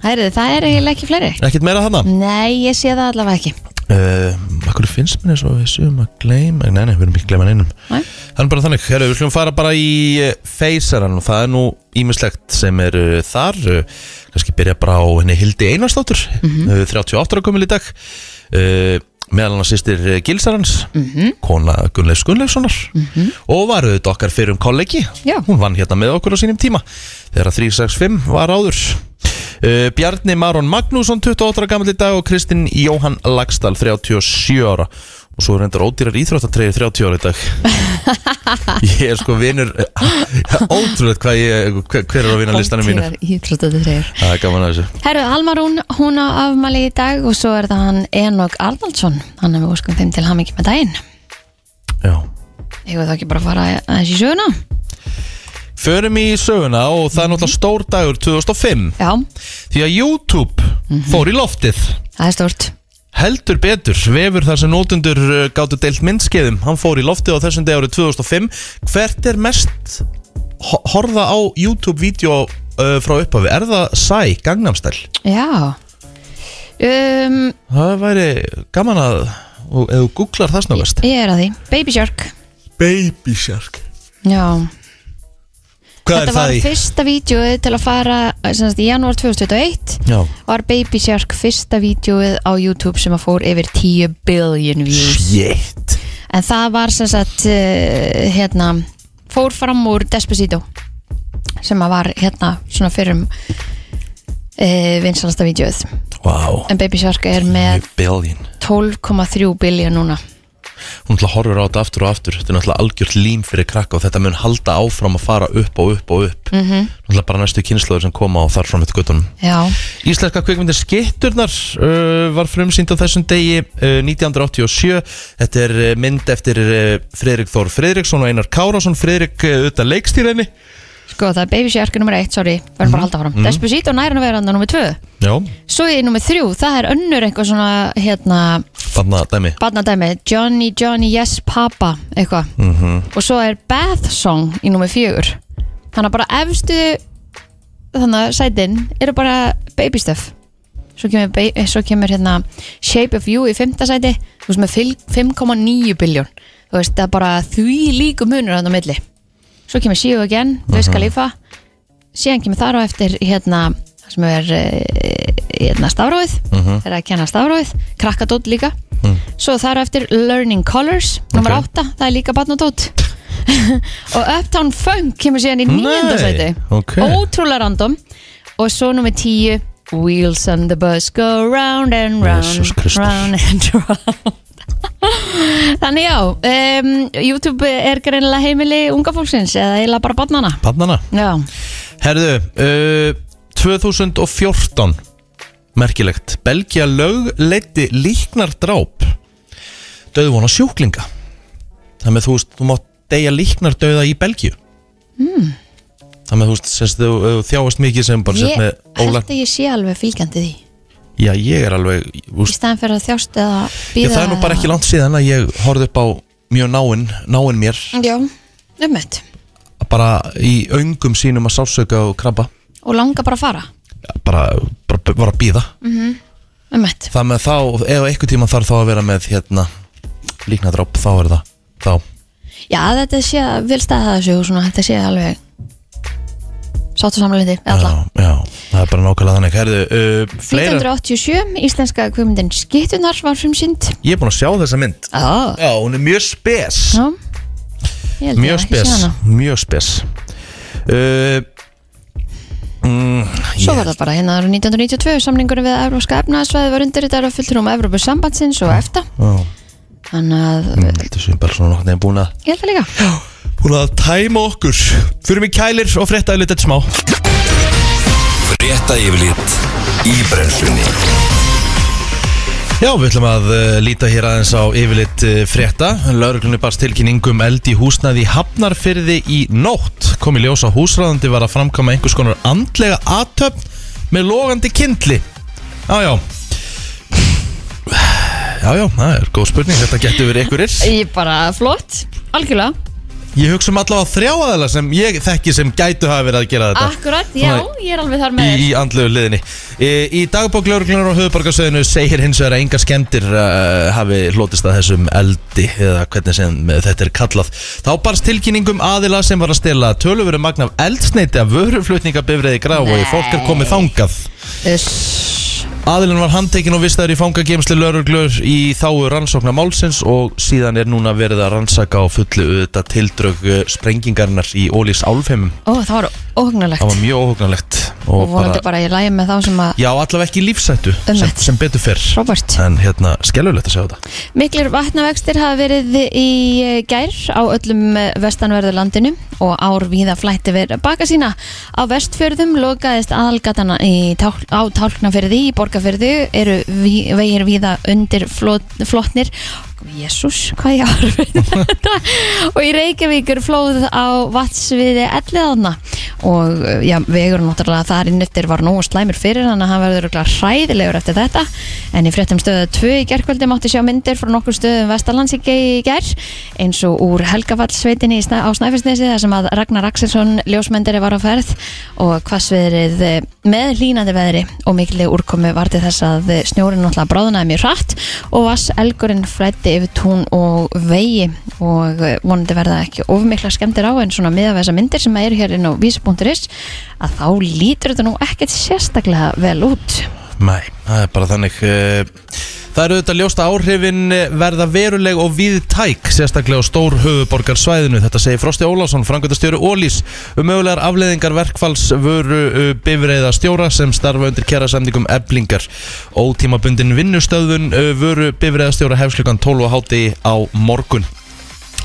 [SPEAKER 1] Herðu, það er eiginlega ekki fleiri
[SPEAKER 2] Ekkert meira þarna
[SPEAKER 1] Mm. Nei, ég sé það allavega ekki
[SPEAKER 2] uh, Akkur finnst mér eins og við séum að gleyma Nei, nei, við erum ekki að gleyma neinum
[SPEAKER 1] Nei.
[SPEAKER 2] Það er bara þannig, herru, við slum fara bara í eh, feysaran og það er nú ímislegt sem er uh, þar uh, kannski byrja bara á henni Hildi Einarsdóttur mm 38 ára komil í dag uh, meðal hann sýstir Gilsarans kona Gunnleifs Gunnleifssonar og var auðvitað okkar fyrir um kollegi
[SPEAKER 1] Já.
[SPEAKER 2] hún vann hérna með okkur á sínum tíma þegar að 365 var áður uh, Bjarni Maron Magnússon 28 ára gammal í dag og Kristinn Jóhann Lagstall 37 ára og svo er reyndar ódýrar íþróttatreyjur 30 ára í dag Ég er sko vinur (laughs) Ótrúlega hvað ég hver- Hver er á vinarlistanum mínu
[SPEAKER 1] Íþróttatreyjur
[SPEAKER 2] Það er gaman að þessu
[SPEAKER 1] Herru, Almarún, hún á afmæli í dag og svo er það hann Enok Arnaldsson hann er við óskum þeim til hamingi með daginn
[SPEAKER 2] Já
[SPEAKER 1] Ég veit ekki bara að fara aðeins í söguna
[SPEAKER 2] Förum í söguna og það er náttúrulega stór dagur 2005
[SPEAKER 1] Já,
[SPEAKER 2] Því að YouTube fór í loftið
[SPEAKER 1] það er stort
[SPEAKER 2] Heldur betur, vefur þar sem nótundur gáttu deilt myndskeiðum Hann fór í loftið á þessum dag árið 2005 Hvert er mest ho- horfa á YouTube-vídeó uh, frá upphafi? Er það Sæ, Gangnamstæl?
[SPEAKER 1] Já um,
[SPEAKER 2] Það væri gaman að, og- ef þú googlar það snöggast
[SPEAKER 1] Ég er að því, Baby Shark
[SPEAKER 2] Baby Shark
[SPEAKER 1] Já,
[SPEAKER 2] Hvað
[SPEAKER 1] þetta
[SPEAKER 2] er það
[SPEAKER 1] var
[SPEAKER 2] í?
[SPEAKER 1] fyrsta vídjóið til að fara eh, sem sagt, í janúar 2021
[SPEAKER 2] Já,
[SPEAKER 1] var Baby Shark fyrsta vídjóið á YouTube sem að fór yfir 10 billion views
[SPEAKER 2] shit
[SPEAKER 1] en það var sem sagt uh, hérna, fór fram úr Despacito sem að var hérna svona fyrrum uh, vinsalasta vídjóið
[SPEAKER 2] Wow,
[SPEAKER 1] en Baby Shark er með
[SPEAKER 2] billion
[SPEAKER 1] 12,3 billion núna
[SPEAKER 2] Hún náttúrulega horfir á þetta aftur og aftur Þetta er náttúrulega algjört lím fyrir krakka og þetta mun halda áfram að fara upp og upp og upp mm
[SPEAKER 1] Mhm.
[SPEAKER 2] -hmm. Náttúrulega bara næstu kynnslóður sem koma og þar fram eftir göttunum
[SPEAKER 1] já,
[SPEAKER 2] Íslenska kvikmyndir Skitturnar uh, var frumsýnd á þessum degi uh, 1987. Þetta er uh, mynd eftir uh, Fredrik Þór Fredriksson og Einar Kárásson. Fredrik uh, auðvitað leikstýrðinni.
[SPEAKER 1] sko það er Baby Shark nummer 1, sorry, verðum bara að halda fram
[SPEAKER 2] Mhm.
[SPEAKER 1] Despacito næra að vera hann nummer 2
[SPEAKER 2] Já.
[SPEAKER 1] svo í nummer 3, það er önnur einhver svona hérna
[SPEAKER 2] Þarna dæmi.
[SPEAKER 1] barnadæmi, Johnny, Johnny, yes, papa eitthvað,
[SPEAKER 2] Mhm,
[SPEAKER 1] og svo er Bath Song í nummer fjögur þannig að bara efstu þannig að sætin eru bara baby stuff svo kemur, ba- eh, svo kemur hérna Shape of You í fymta sæti þú veist með fil- 5,9 biljón þú veist það er bara því líku munur hann á milli, svo kemur See You Again uh -huh. Luis Khalifa síðan kemur þar á eftir hérna það sem er eh, hérna stafróið
[SPEAKER 2] mhm,
[SPEAKER 1] þegar að kenna stafróið, krakkadótt líka svo þar á eftir Learning Colors nummer
[SPEAKER 2] Ok.
[SPEAKER 1] 8, það er líka barnadótt (laughs) og Uptown Funk kemur síðan í nýjönda
[SPEAKER 2] Nei,
[SPEAKER 1] sæti
[SPEAKER 2] ok.
[SPEAKER 1] ótrúlega random og svo nummer 10 Wheels on the bus go round and round
[SPEAKER 2] Jesus Kristur.
[SPEAKER 1] round and round (laughs) Þannig já, um, YouTube er greinilega heimili unga fólksins eða eiginlega bara barnana
[SPEAKER 2] Pannana.
[SPEAKER 1] Já,
[SPEAKER 2] Herðu, uh, 2014. Merkilegt. Belgia lögleiti líknar dráp. Döðvona sjúklinga. Þannig að þú veist, þú mátt deyja líknar döða í Belgíu. Mm.
[SPEAKER 1] Hmm.
[SPEAKER 2] Þannig að þú veist, sérst, þú, þú þjáast mikið sem bara
[SPEAKER 1] ég
[SPEAKER 2] sérst með
[SPEAKER 1] held
[SPEAKER 2] ólækn
[SPEAKER 1] að ég sé alveg fylgjandi því
[SPEAKER 2] Já, ég er alveg
[SPEAKER 1] í
[SPEAKER 2] úst,
[SPEAKER 1] staðan fyrir að þjást eða
[SPEAKER 2] ég,
[SPEAKER 1] býða
[SPEAKER 2] Það er nú bara ekki langt síðan að ég horfði upp á mjög náinn, náinn mér
[SPEAKER 1] Já, um ummitt
[SPEAKER 2] bara í öngum sínum að sálsöka og krabba
[SPEAKER 1] og langa bara að fara
[SPEAKER 2] bara, bara var að býða
[SPEAKER 1] ummitt
[SPEAKER 2] Það með þá, ef eitthvað tíma þarf þá að vera með hérna, líknadróp, þá er það þá,
[SPEAKER 1] Já, þetta sé vel staða þessu og svona, þetta sé alveg sáttu samleiti
[SPEAKER 2] já,
[SPEAKER 1] alla
[SPEAKER 2] já, það er bara nákvæmlega þannig Herðu, uh, fleira,
[SPEAKER 1] 1987, íslenska kvimundin Skittunar var frumsýnd
[SPEAKER 2] ég er búin að sjá þessa mynd
[SPEAKER 1] Já,
[SPEAKER 2] Já, hún er mjög spes
[SPEAKER 1] já Ég held ég
[SPEAKER 2] Mjög
[SPEAKER 1] hafi séð
[SPEAKER 2] spes,
[SPEAKER 1] hana.
[SPEAKER 2] mjög spes uh, mm,
[SPEAKER 1] Svo
[SPEAKER 2] ég-
[SPEAKER 1] var það bara hérna árið 1992 samningur við Evrópska efnaðsvæði var undir þetta fulltrúm Evrópu sambandsins og efta
[SPEAKER 2] Já.
[SPEAKER 1] Þannig að,
[SPEAKER 2] Ég held að sem bara svona nokkuð nefn búin að
[SPEAKER 1] ég held það líka
[SPEAKER 2] Búin að tæma okkur Fyrir mig kælir og frétta yfir þetta smá
[SPEAKER 3] Frétta yfirlit í brennslunni
[SPEAKER 2] Já, við ætlum að uh, líta hér aðeins á yfirleitt uh, frétta Lauruglunni barst tilkynning um eld í húsnaði í Hafnarfyrði í nótt Kom í ljós að húsræðandi var að framkama einhvers konar andlega aðtöfn með logandi kindli Já, já Já, já, það er góð spurning Þetta getur verið einhverjir
[SPEAKER 1] Ég bara flott, algjörlega
[SPEAKER 2] Ég hugsa um allavega þrjáaðala sem ég þekki sem gætu hafa verið að gera þetta
[SPEAKER 1] Akkurat, já, ég er alveg þar með
[SPEAKER 2] í,
[SPEAKER 1] þér
[SPEAKER 2] í andlegu liðinni e, Í dagbók lauruglunar á höfubarkasöðinu segir hins vegar að enga skemmtir uh, hafi hlotist að þessum eldi eða hvernig sem þetta er kallað Þá barst tilkynningum aðila sem var að stela töluveru magn af eldsneiti af vöruflutningabifriði gráfói
[SPEAKER 1] Nei.
[SPEAKER 2] Fólk er komið þangað
[SPEAKER 1] Uss.
[SPEAKER 2] Aðilinn var handtekinn og vistaður í fangagemsli lauruglur í þáu rannsóknar málsins og síðan er núna verið að rannsaka á fullu auðvitað tildrög eh, sprengingarinnar í Ólís álfheimum.
[SPEAKER 1] Ó, það var óhugnulegt
[SPEAKER 2] Það var mjög óhugnalegt
[SPEAKER 1] Og vonandi Um bara ég lægi með þá sem að
[SPEAKER 2] Já, allavega ekki í lífsættu sem,
[SPEAKER 1] Einmitt.
[SPEAKER 2] sem betur fyrr
[SPEAKER 1] Robert
[SPEAKER 2] En hérna, skelulegt að segja þetta
[SPEAKER 1] Miklir vatnavextir hafa verið í eh, gær á öllum eh, vestanverðu landinu og ár víða flætti verið baka sína. Á vestfjörðum lokaðist aðalgatana í tál, á tálknafjörði í borgarfjörðu eru ví, vegir víða undir flot, flotnir Jésús, hvað ég har verið
[SPEAKER 2] (laughs)
[SPEAKER 1] þetta og í Reykjavík er flóð á vatnsviði elliðaðna og eh, já, vegur náttúrulega þar inn eftir var nógu slæmur fyrir hann að hann verður örugglega hræðilegur eftir þetta en í fréttum stöða 2 í gerkvöldi mátti sjá myndir frá nokkur stöðum Vestalands í ge- í ger eins og úr Helgafallsveitinni í Snæ- á Snæfellsnesi þar sem að Ragnar Axelsson ljósmyndari var á ferð og hvassviðrið eh, með hlínandi veðri og mikli úrkomi var til þess að eh, snjórinn náttúrulega bráðnaði mjög hratt og vass elgurinn flætti yfir tún og vegi og eh, vonandi verða ekki ofmikla skemmtir á en svona miða við þessa myndir sem eru hér inn á vísi.is að þá lítur þetta nú ekkert sérstaklega vel út
[SPEAKER 2] Nei, það er bara þannig eh, Það eru auðvitað ljóst að áhrifin eh, verða veruleg og viðtæk sérstaklega á stór höfuborgarsvæðinu þetta segir Frosti Ólásson, frangöndastjóri Ólís um mögulegar afleðingar verkfalls vöru bifreiða stjóra sem starfa undir kjæra samningum eblingar ótímabundin vinnustöðun eh, vöru bifreiða stjóra hefsklukan 12 og háti á morgun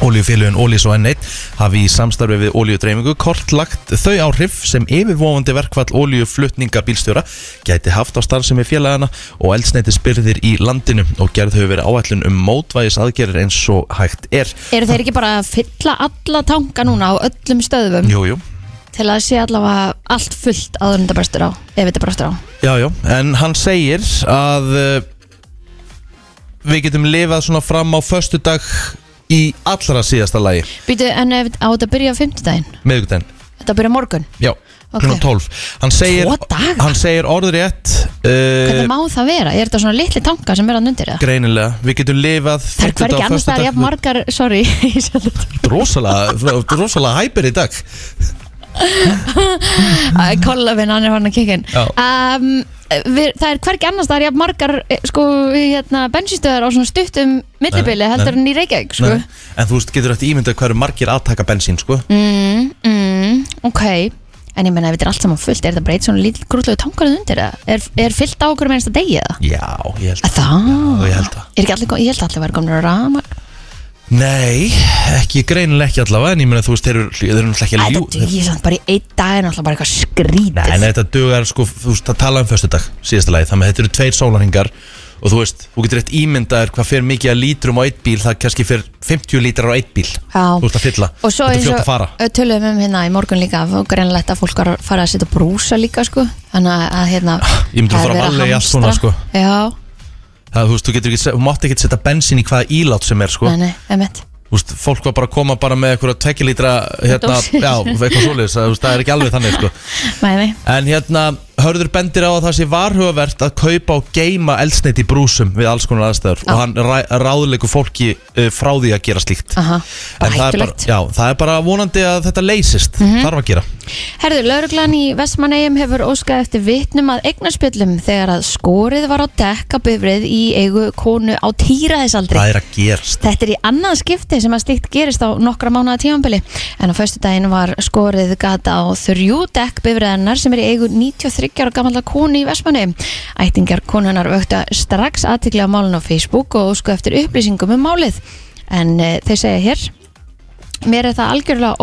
[SPEAKER 2] Ólíufélugin Ólís og N1 hafi í samstarfi við ólíudreifingu kortlagt þau áhrif sem yfirvofandi verkfall ólíuflutninga bílstjóra gæti haft á starfsemi félagana og eldsneitisbyrðir í landinu og gerð hefur verið áætlun um mótvæðis aðgerir eins og hægt er.
[SPEAKER 1] Eru þeir ekki bara að fylla alla tanka núna á öllum stöðum
[SPEAKER 2] Jú, jú.
[SPEAKER 1] til að sé allavega allt fullt áður en þetta brestur á ef þetta brestur á
[SPEAKER 2] Já, já, en hann segir að uh, við getum lifað svona fram á föstudag í allra síðasta lagi,
[SPEAKER 1] Býtu, en ef, á þetta byrja á fimmtudaginn
[SPEAKER 2] meðugdæn.
[SPEAKER 1] Þetta byrja á morgun
[SPEAKER 2] Já,
[SPEAKER 1] Ok.
[SPEAKER 2] klukkan 12 Hann segir,
[SPEAKER 1] Tvo daga?
[SPEAKER 2] hann segir orðrétt
[SPEAKER 1] Hvernig
[SPEAKER 2] uh,
[SPEAKER 1] má það vera? Er þetta svona litli tanka sem er að nundir það?
[SPEAKER 2] Greinilega, við getum lifað
[SPEAKER 1] Það er hvergi annars það er jafn margar, sorry (laughs) ég sé þetta. (laughs)
[SPEAKER 2] Rósalega, rosalega hæpir í dag
[SPEAKER 1] Æ, Kollafinn, hann er hann að kikkin
[SPEAKER 2] Já.
[SPEAKER 1] um, við, Það er hvergi annars það er jafn margar eh, sko, hérna, bensinstöðar á svona stuttum millibili
[SPEAKER 2] Nei,
[SPEAKER 1] heldur
[SPEAKER 2] nei.
[SPEAKER 1] hann í Reykjavík sko.
[SPEAKER 2] Nei, En þú veist, getur þetta ímyndað hverju margir að taka bensín, sko
[SPEAKER 1] mm, mm, Ok En ég meina ef þetta er allt saman fullt, er þetta bara eitt svona lítil grútlegu tankar að undir það? Er, er fyllt á okkur með einsta degi eða?
[SPEAKER 2] Já, ég held
[SPEAKER 1] Að Það?
[SPEAKER 2] Já, ég held það.
[SPEAKER 1] Er ekki allir, kom- ég held allir verið komin að rama
[SPEAKER 2] Nei, ekki greinilega ekki allavega En ég meina, þú veist, þeir eru þeir eru náttúrulega ekki
[SPEAKER 1] Æ,
[SPEAKER 2] að
[SPEAKER 1] Þetta
[SPEAKER 2] ljú
[SPEAKER 1] dugir samt bara í einn dag en alltaf bara eitthvað
[SPEAKER 2] Nei,
[SPEAKER 1] skrítið
[SPEAKER 2] nei, þetta dugar, sko, þú veist, það tala um föstudag Síðasta lagi, þannig að þetta eru tveir sólarhingar Og þú veist, þú getur rétt ímyndaðir hvað fer mikið að lítrum á eitt bíl Það kannski fer 50 lítrar á eitt bíl
[SPEAKER 1] Já.
[SPEAKER 2] Þú ert að fylla,
[SPEAKER 1] Og svo
[SPEAKER 2] þetta er
[SPEAKER 1] eins
[SPEAKER 2] fljótt
[SPEAKER 1] og
[SPEAKER 2] að fara
[SPEAKER 1] ö, töluðum um hérna í morgun líka og greinlegt að fólk var að fara að setja brúsa líka sko. þannig að- að hérna
[SPEAKER 2] Ah, Ég myndi að
[SPEAKER 1] það er
[SPEAKER 2] fara
[SPEAKER 1] verið
[SPEAKER 2] varlega í allt
[SPEAKER 1] hamstra.
[SPEAKER 2] svona, sko.
[SPEAKER 1] Já,
[SPEAKER 2] Það, þú veist, þú getur ekki, þú mátt ekki setja bensín í hvaða ílát sem er, sko.
[SPEAKER 1] nei, nei, emitt
[SPEAKER 2] Þú veist, fólk var bara að koma bara með eitthvað tvekilítra, hérna,
[SPEAKER 1] Dósir.
[SPEAKER 2] já, eitthvað svoleiðis, það, þú veist, það er ekki alveg þannig, sko.
[SPEAKER 1] Nei, nei,
[SPEAKER 2] En hérna, hörður bendir á að það sé varhugavert að kaupa og geima eldsneiti í brúsum við alls konar aðstæður og hann ræ, ráðleikur fólki uh, frá því að gera slíkt.
[SPEAKER 1] aha,
[SPEAKER 2] En
[SPEAKER 1] bara
[SPEAKER 2] það er bara,
[SPEAKER 1] hættulegt
[SPEAKER 2] já, það er bara vonandi að þetta leysist,
[SPEAKER 1] Mhm.
[SPEAKER 2] þarf að gera.
[SPEAKER 1] Herðu, lauruglan í Vestmannegjum hefur óskað eftir vitnum að eignarspjöllum þegar að skorið var á dekka bifrið í eigu konu á týraðisaldri
[SPEAKER 2] Það er að gerast.
[SPEAKER 1] Þetta er í annað skipti sem að slíkt gerist á nokkra mánuða tímanbili en á föstudaginn var skorið gata á þrjú dekk bifræðanar sem er í eigu 93 ára gamalla konu í Vestmanni. Ættingar konunar vökta strax aðtikli á málun á Facebook og ósku eftir upplýsingum um málið en e, þeir segja hér Mér er það algjörlega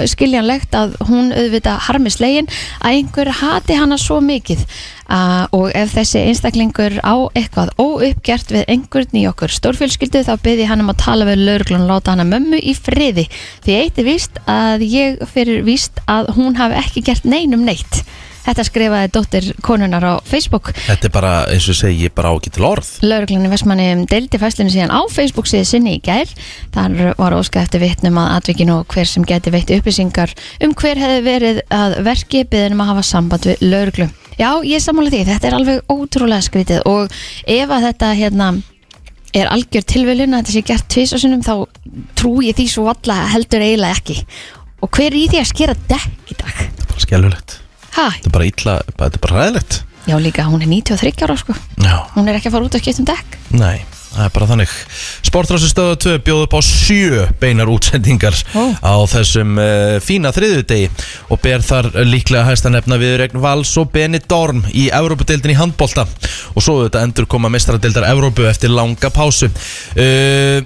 [SPEAKER 1] óskiljanlegt að hún auðvita harmi slegin að einhver hati hana svo mikið uh, og ef þessi einstaklingur á eitthvað óuppgert við einhvern í okkur stórfjölskyldu þá byrði hann um að tala við lauruglun og láta hana mömmu í friði því eitt er víst að ég fyrir víst að hún hafi ekki gert neinum neitt. Þetta skrifaði dóttir konunar á Facebook
[SPEAKER 2] Þetta er bara, eins og ég segi, ég bara á ekki til orð.
[SPEAKER 1] Lauruglan í Vestmanni deildi fæslinu síðan á Facebook síðu sinni í gær. Þar var óskað eftir vitnum að atvikinu og hver sem geti veitt upplýsingar um hver hefði verið að verki byðinum að hafa samband við lauruglu. Já, ég sammála því, þetta er alveg ótrúlega skrítið og ef að þetta hérna er algjör tilviljun að þetta sé gert tvisasunum þá trúi ég því svo alla heldur eiginlega ekki. Og hver er í því að skera dekk í dag?
[SPEAKER 2] Þetta er bara skelvilegt.
[SPEAKER 1] Hæ?
[SPEAKER 2] Þetta er bara illa, bara- þetta er bara ræðilegt.
[SPEAKER 1] Já, líka, hún er 93 ára sko.
[SPEAKER 2] Já.
[SPEAKER 1] Hún er ekki að fara út og skipta um dekk.
[SPEAKER 2] Nei, það er bara þannig Sportrásustöðu 2 bjóð upp á sjö beinar útsendingar
[SPEAKER 1] Ó.
[SPEAKER 2] á þessum uh, fína þriðudegi og ber þar líklega hæsta nefna við Regn Vals og Benidorm í Evrópudeildin í handbolta og svo þetta endur koma mestradeildar Evrópu eftir langa pásu uh,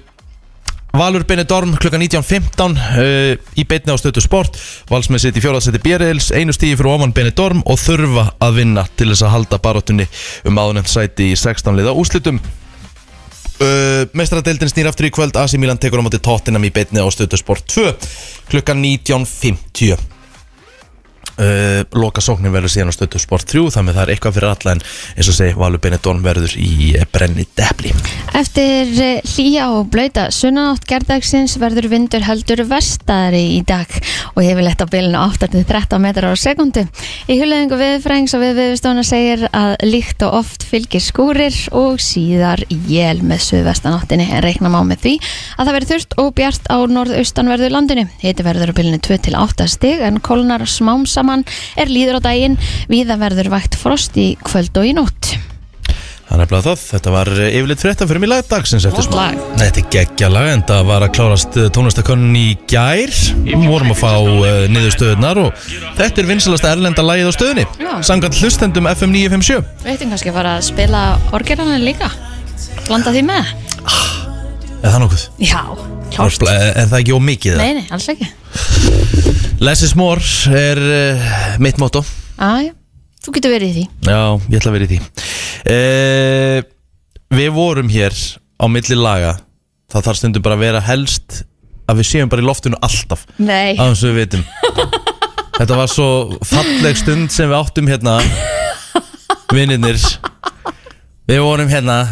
[SPEAKER 2] Valur Benidorm klukkan 19.15 uh, í beitni á stötu sport Valsmenn sitt í fjóðarsæti Bjerils einu stíði fyrir ofan Benidorm og þurfa að vinna til þess að halda baróttunni um áðunend sæti í 16 liða úslitum Uh, Mestradeldin snýr aftur í kvöld AC Milan tekur á móti tóttinam í beinni á stöðusport 2 klukkan 19.50 uh, Loka sóknin Uh, verður síðan á stöðusport 3 þannig að það er eitthvað fyrir alla en eins og segi Valur Benidorm verður í eh, brenni depli
[SPEAKER 1] Eftir eh, hlýja og blöyta sunnanátt gerðdagsins verður vindur heldur vestari í dag og yfirleitt á bilinu 8-13 metrar á sekundu. Í hulöðingu viðfrængs og viðviðstofna segir að líkt og oft fylgir skúrir og síðar jél með suðvestanáttinni en reikna má með því að það verður þurft og bjart á norðaustanverðu landinu. Hiti verður á bilinu 2-8 stig en kólnar smám saman er líður á daginn viða verður vægt frost í kvöld og í nótt.
[SPEAKER 2] Það er nefnilega það, þetta var eh, yfirleitt frétta fyrir mig lagdagsins eftir
[SPEAKER 1] Gott
[SPEAKER 2] smá.
[SPEAKER 1] lag.
[SPEAKER 2] Þetta er geggja lag en það var að klárast tónlistakönnun í gær Við vorum að fá uh, niður stöðunar og þetta er vinsalasta erlenda lagið á stöðunni
[SPEAKER 1] Já.
[SPEAKER 2] Sangat hlustendum FM 957
[SPEAKER 1] Við ættum kannski að fara að spila orgelana líka Blanda því með
[SPEAKER 2] Er það nokkuð?
[SPEAKER 1] Já,
[SPEAKER 2] Er,
[SPEAKER 1] klárt
[SPEAKER 2] er það ekki ómikið?
[SPEAKER 1] Nei, nei, alls ekki
[SPEAKER 2] Less is more er uh, mitt motto
[SPEAKER 1] Æ, þú getur verið í því
[SPEAKER 2] Já, ég ætla að vera í því uh, Við vorum hér á milli laga Það þarf stundum bara að vera helst að við séum bara í loftinu alltaf
[SPEAKER 1] Nei
[SPEAKER 2] aðeins við vitum Þetta var svo falleg stund sem við áttum hérna Vinninir Við vorum hérna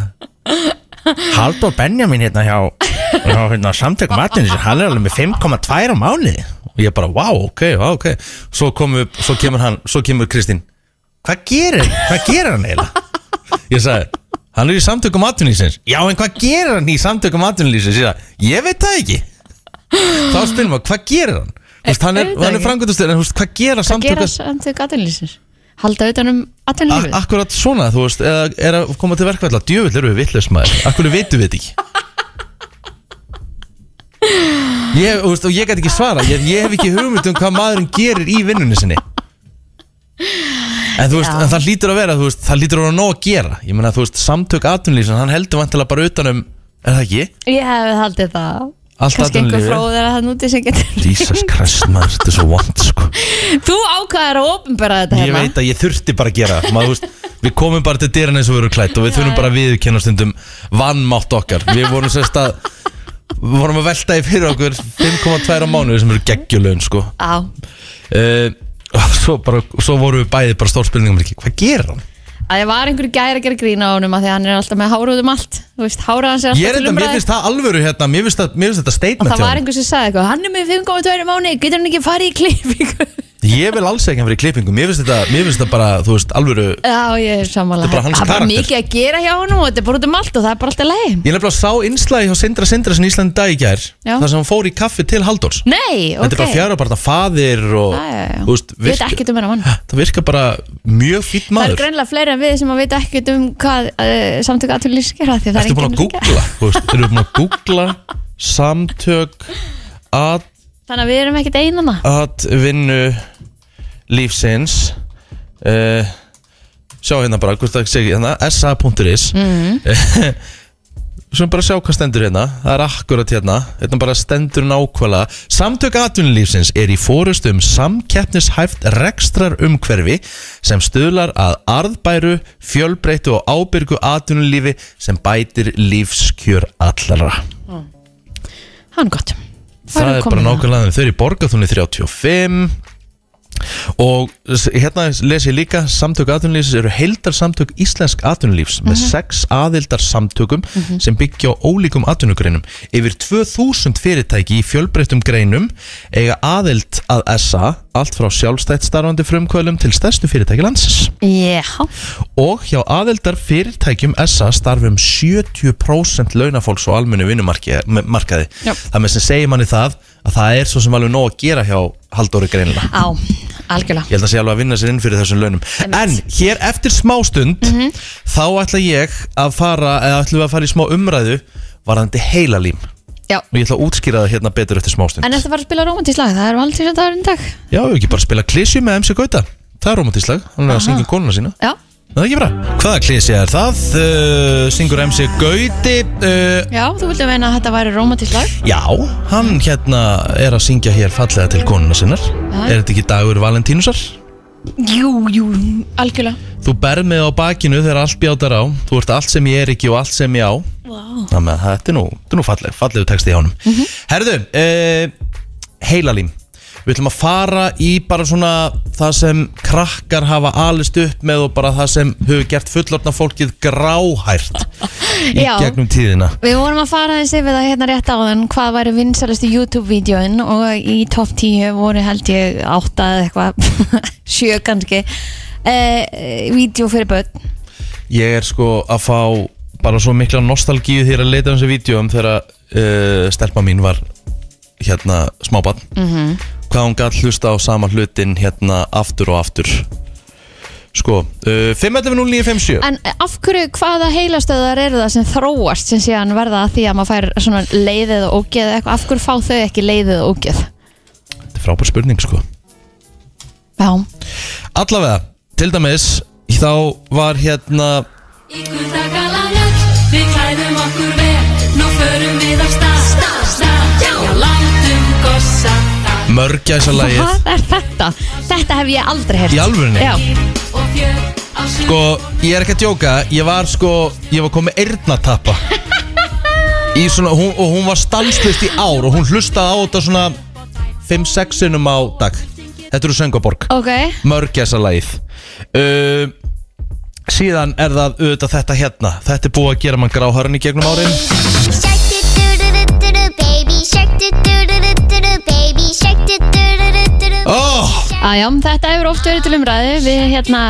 [SPEAKER 2] Haldur Benjamin hérna hjá, hjá hérna, samtökum atvinnins Hann er alveg með 5,2 á mánuði Og ég bara, wow, ok, wow, ok Svo, komu, svo kemur hann, svo kemur Kristín Hvað gerir, hvað gerir hann eiginlega? Ég sagði, hann er í samtökum atvinnlýsins Já, en hvað gerir hann í samtökum atvinnlýsins? Ég sagði, ég veit það ekki Þá spyrir maður, hvað gerir hann? Þú veist, hann er,
[SPEAKER 1] Auðvitað
[SPEAKER 2] hann er
[SPEAKER 1] ekki.
[SPEAKER 2] frangöndastur En þú veist, hvað gera
[SPEAKER 1] Það gera
[SPEAKER 2] samtökum
[SPEAKER 1] samt þau gatunlýsir Halda utan um atvinnlífið
[SPEAKER 2] Akkurat svona, þú veist, eða er að koma til verkvælla Djöfull eru við vitlaus maður, akkur veitum við þetta (laughs) ekki Ég, þú veist, og ég gæti ekki svara ég, ég hef ekki hugmynd um hvað maðurinn gerir í vinnunni sinni En þú veist,
[SPEAKER 1] Já.
[SPEAKER 2] en það lítur að vera, þú veist, það lítur að vera nóg að gera Ég meina, þú veist, samtök atvinnlýsin, hann heldur vantilega bara utan um, er það ekki?
[SPEAKER 1] Ég hef haldið það
[SPEAKER 2] Allt
[SPEAKER 1] Kannski einhver
[SPEAKER 2] atvinnulífið.
[SPEAKER 1] fróðar að það núti sem getur
[SPEAKER 2] Jesus Christ, maður, þetta er svo vant, sko
[SPEAKER 1] (laughs) Þú ákvaðar að opinbera þetta
[SPEAKER 2] Ég
[SPEAKER 1] hérna
[SPEAKER 2] veit að ég þurfti bara að gera það. maður, þú veist, Við komum bara til dyrun eins og við erum klætt Og við þurfum bara að viðurkenna stundum Vannmátt okkar Við vorum sérst að Við vorum að velta í fyrir okkur 5,2 á mánuði sem eru geggjulögn sko.
[SPEAKER 1] Á,
[SPEAKER 2] uh, svo, bara, svo vorum við bæði bara stórspilningum Hvað gerir hann?
[SPEAKER 1] að ég var einhver gæri að gera grína á honum að því að hann er alltaf með hára út um allt Þú veist, hára hans er
[SPEAKER 2] Ég er
[SPEAKER 1] alltaf til
[SPEAKER 2] þetta, mér
[SPEAKER 1] umræði
[SPEAKER 2] finnst það alvöru hérna Mér finnst, það, mér finnst þetta
[SPEAKER 1] og
[SPEAKER 2] statement
[SPEAKER 1] það
[SPEAKER 2] hjá
[SPEAKER 1] var
[SPEAKER 2] honum.
[SPEAKER 1] einhver sem sagði eitthvað Hann er með 5,2 mánu, getur hann ekki farið í klippingu
[SPEAKER 2] Ég vil alls ekki hann fyrir klippingu Mér finnst þetta, mér finnst þetta bara, þú veist, alvöru
[SPEAKER 1] Já, ég er sammála
[SPEAKER 2] Þetta er bara hans
[SPEAKER 1] Það er bara
[SPEAKER 2] karakter.
[SPEAKER 1] mikið að gera hjá honum og þetta er bara út um allt og það er bara alltaf leið
[SPEAKER 2] Ég nefnilega sá innslagi hjá Sindra Sindra sem Íslandi dag í gær
[SPEAKER 1] Já.
[SPEAKER 2] þar sem hann fór í kaffi til Halldórs
[SPEAKER 1] Nei, ok
[SPEAKER 2] Þetta er bara fjara bara fadir og
[SPEAKER 1] Já, já, já.
[SPEAKER 2] þú veist,
[SPEAKER 1] Við veit ekkert um hennar mann
[SPEAKER 2] (laughs) Það virkar bara mjög fýtt
[SPEAKER 1] Það er
[SPEAKER 2] maður
[SPEAKER 1] greinlega fleiri en við sem að veit ekkert um hvað uh, samtök aðtölu skera því að það er
[SPEAKER 2] Ertu búin að
[SPEAKER 1] enginn sem gera.
[SPEAKER 2] googla? Þú veist, Þeir eru búin að googla
[SPEAKER 1] (laughs)
[SPEAKER 2] samtök at,
[SPEAKER 1] Þannig að við erum ekkert einana
[SPEAKER 2] at vinnu lífsins uh, Sjá hérna bara, hvort það segi hérna sa.is mm. Svo bara sjá hvað stendur hérna Það er akkurat hérna Hérna bara stendur nákvæmlega Samtök atvinnulífsins er í fórust um samkeppnishæft rekstrar umhverfi sem stuðlar að arðbæru, fjölbreytu og ábyrgu atvinnulífi sem bætir lífskjör allara
[SPEAKER 1] Það er nú gott
[SPEAKER 2] Það er bara nákvæmlega þau eru í borgathunni 35 og s- hérna les ég líka samtök atvinnulífs eru heildarsamtök íslensk atvinnulífs með sex aðildar samtökum sem byggja á ólíkum atvinnugreinum yfir 2000 fyrirtæki í fjölbreyttum greinum eiga aðild að SA allt frá sjálfstætt starfandi frumkvölum til stærstu fyrirtæki landsins
[SPEAKER 1] Já,
[SPEAKER 2] og hjá aðeldar fyrirtækjum SA starfum 70% um launafólks og almennu vinnumarkaði
[SPEAKER 1] Já.
[SPEAKER 2] það með sem segir manni það að það er svo sem alveg nóg að gera hjá Halldóri greinilega
[SPEAKER 1] á, algjörlega
[SPEAKER 2] ég held að sé alveg að vinna sér inn fyrir þessum launum en hér eftir smástund
[SPEAKER 1] Mhm.
[SPEAKER 2] þá ætla ég að fara eða ætlum við að fara í smá umræðu varðandi heilalím
[SPEAKER 1] Já,
[SPEAKER 2] og ég ætla að útskýra það hérna betur eftir smástund
[SPEAKER 1] en þetta var að spila romantísk lag Það er valentins að í dag
[SPEAKER 2] já, við ekki bara spila klísju með MC Gauta það er romantíslag, hann er að syngja um konuna sína
[SPEAKER 1] Já,
[SPEAKER 2] Það er ekki bra Hvaða klísi er það? Uh, syngur MC Gauti uh,
[SPEAKER 1] já þú vildi meina að þetta væri romantísk lag
[SPEAKER 2] Já, hann hérna er að syngja hér fallega til konuna sinnar
[SPEAKER 1] Já.
[SPEAKER 2] Er þetta ekki dagur Valentínusar?
[SPEAKER 1] Jú, jú, algjörlega
[SPEAKER 2] Þú berð mig á bakinu þegar allt bjátar á Þú ert allt sem ég er ekki og allt sem ég á
[SPEAKER 1] wow.
[SPEAKER 2] Þannig að þetta er nú, þetta er nú falleg, fallegu texti hjá honum Herðu, uh, heilalím Við ætlum að fara í bara svona það sem krakkar hafa alist upp með og bara það sem hefur gert fullorna fólkið gráhært í
[SPEAKER 1] Já.
[SPEAKER 2] gegnum tíðina
[SPEAKER 1] Við vorum að fara aðeins yfir það hérna rétt áðan hvað væri vinsalistu YouTube-vídeóin og í top 10 voru held ég átta eða eitthvað, (laughs) sjö kannski uh, vídeó fyrir börn
[SPEAKER 2] Ég er sko að fá bara svo mikla nostalgíu þegar að leita um þessi vídjóum þegar uh, stelpa mín var hérna smábann -hmm. hvað hún gætt hlusta á sama hlutin hérna aftur og aftur sko, uh, 5.11.09.57
[SPEAKER 1] En af hverju, hvaða heilastöðar eru það sem þróast sem síðan verða að því að maður fær svona leiðið og ógeð eða eitthvað, af hverju fá þau ekki leiðið og ógeð?
[SPEAKER 2] Þetta er frábær spurning sko
[SPEAKER 1] Já,
[SPEAKER 2] Allavega, til dæmis þá var hérna
[SPEAKER 4] Í gulldagalagjöld, við klæðum okkur vel, nú förum við af stað, stað, stað, já, látum gossa dag.
[SPEAKER 2] mörgæsalagið
[SPEAKER 1] hvað er þetta? Þetta hef ég aldrei hert
[SPEAKER 2] Í alvörunni?
[SPEAKER 1] Já,
[SPEAKER 4] Og fjör á sjö,
[SPEAKER 2] Sko, ég er ekki að djóka, ég var sko, ég var komið eyrnatappa Í svona, hún, og hún var stanslist í ár og hún hlustaði á þetta svona 5-6 sinnum á dag Þetta eru Söngaborg,
[SPEAKER 1] ok
[SPEAKER 2] mörgjæsalæð uh, Síðan er það auðvitað þetta hérna, þetta er búið að gera mann gráharinn í gegnum árin
[SPEAKER 5] Shark do do do do do do baby shark do do do do do do baby shark do do do do do do
[SPEAKER 2] oh,
[SPEAKER 1] Æjá, þetta hefur oft verið til umræði Við hérna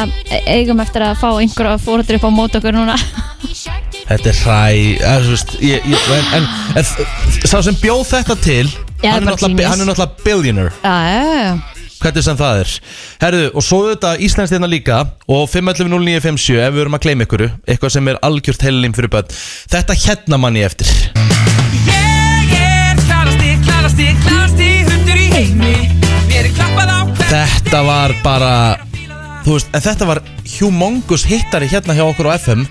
[SPEAKER 1] eigum eftir að fá einhverja fóröldur upp á mót okkur núna
[SPEAKER 2] Þetta er hræ, eða, þú veist, ég, ég, en, en, en sá sem bjóð þetta til,
[SPEAKER 1] Já,
[SPEAKER 2] hann, er
[SPEAKER 1] bara
[SPEAKER 2] náttúrulega-
[SPEAKER 1] genius.
[SPEAKER 2] hann er náttúrulega billionaire
[SPEAKER 1] Æjá,
[SPEAKER 2] hvernig sem það er Herðu, og svo þetta Íslands hérna líka og 5.11.09.57 ef við erum að gleyma ykkur eitthvað sem er algjört heilalím fyrir börn þetta hérna mann ég eftir
[SPEAKER 6] Ég er klarasti, klarasti, klarasti hundur í heimi Mér er klappað á hvern
[SPEAKER 2] þetta var bara þú veist, en þetta var humongous hittari hérna hjá okkur á FM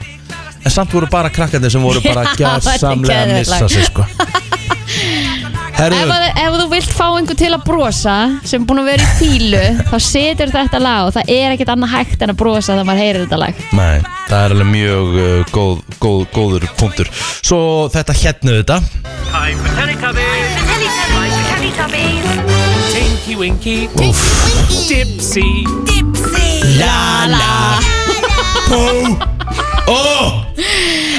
[SPEAKER 2] en samt voru bara krakkandi sem voru bara
[SPEAKER 1] (laughs) Já, þetta er
[SPEAKER 2] gjörsamlega að
[SPEAKER 1] geðveikt
[SPEAKER 2] missa
[SPEAKER 1] lag.
[SPEAKER 2] sig sko
[SPEAKER 1] ef,
[SPEAKER 2] Herðu,
[SPEAKER 1] að, ef þú vilt fá einhver til að brosa sem er búin að vera í fílu þá setur þetta lag og það er ekkert annað hægt en að brosa þegar maður heyrir þetta lag
[SPEAKER 2] Nei, það er alveg mjög uh, góð, góð, góður punktur Svo þetta hérna þetta
[SPEAKER 6] Tinky Winky Dipsy
[SPEAKER 2] La la Pó Ó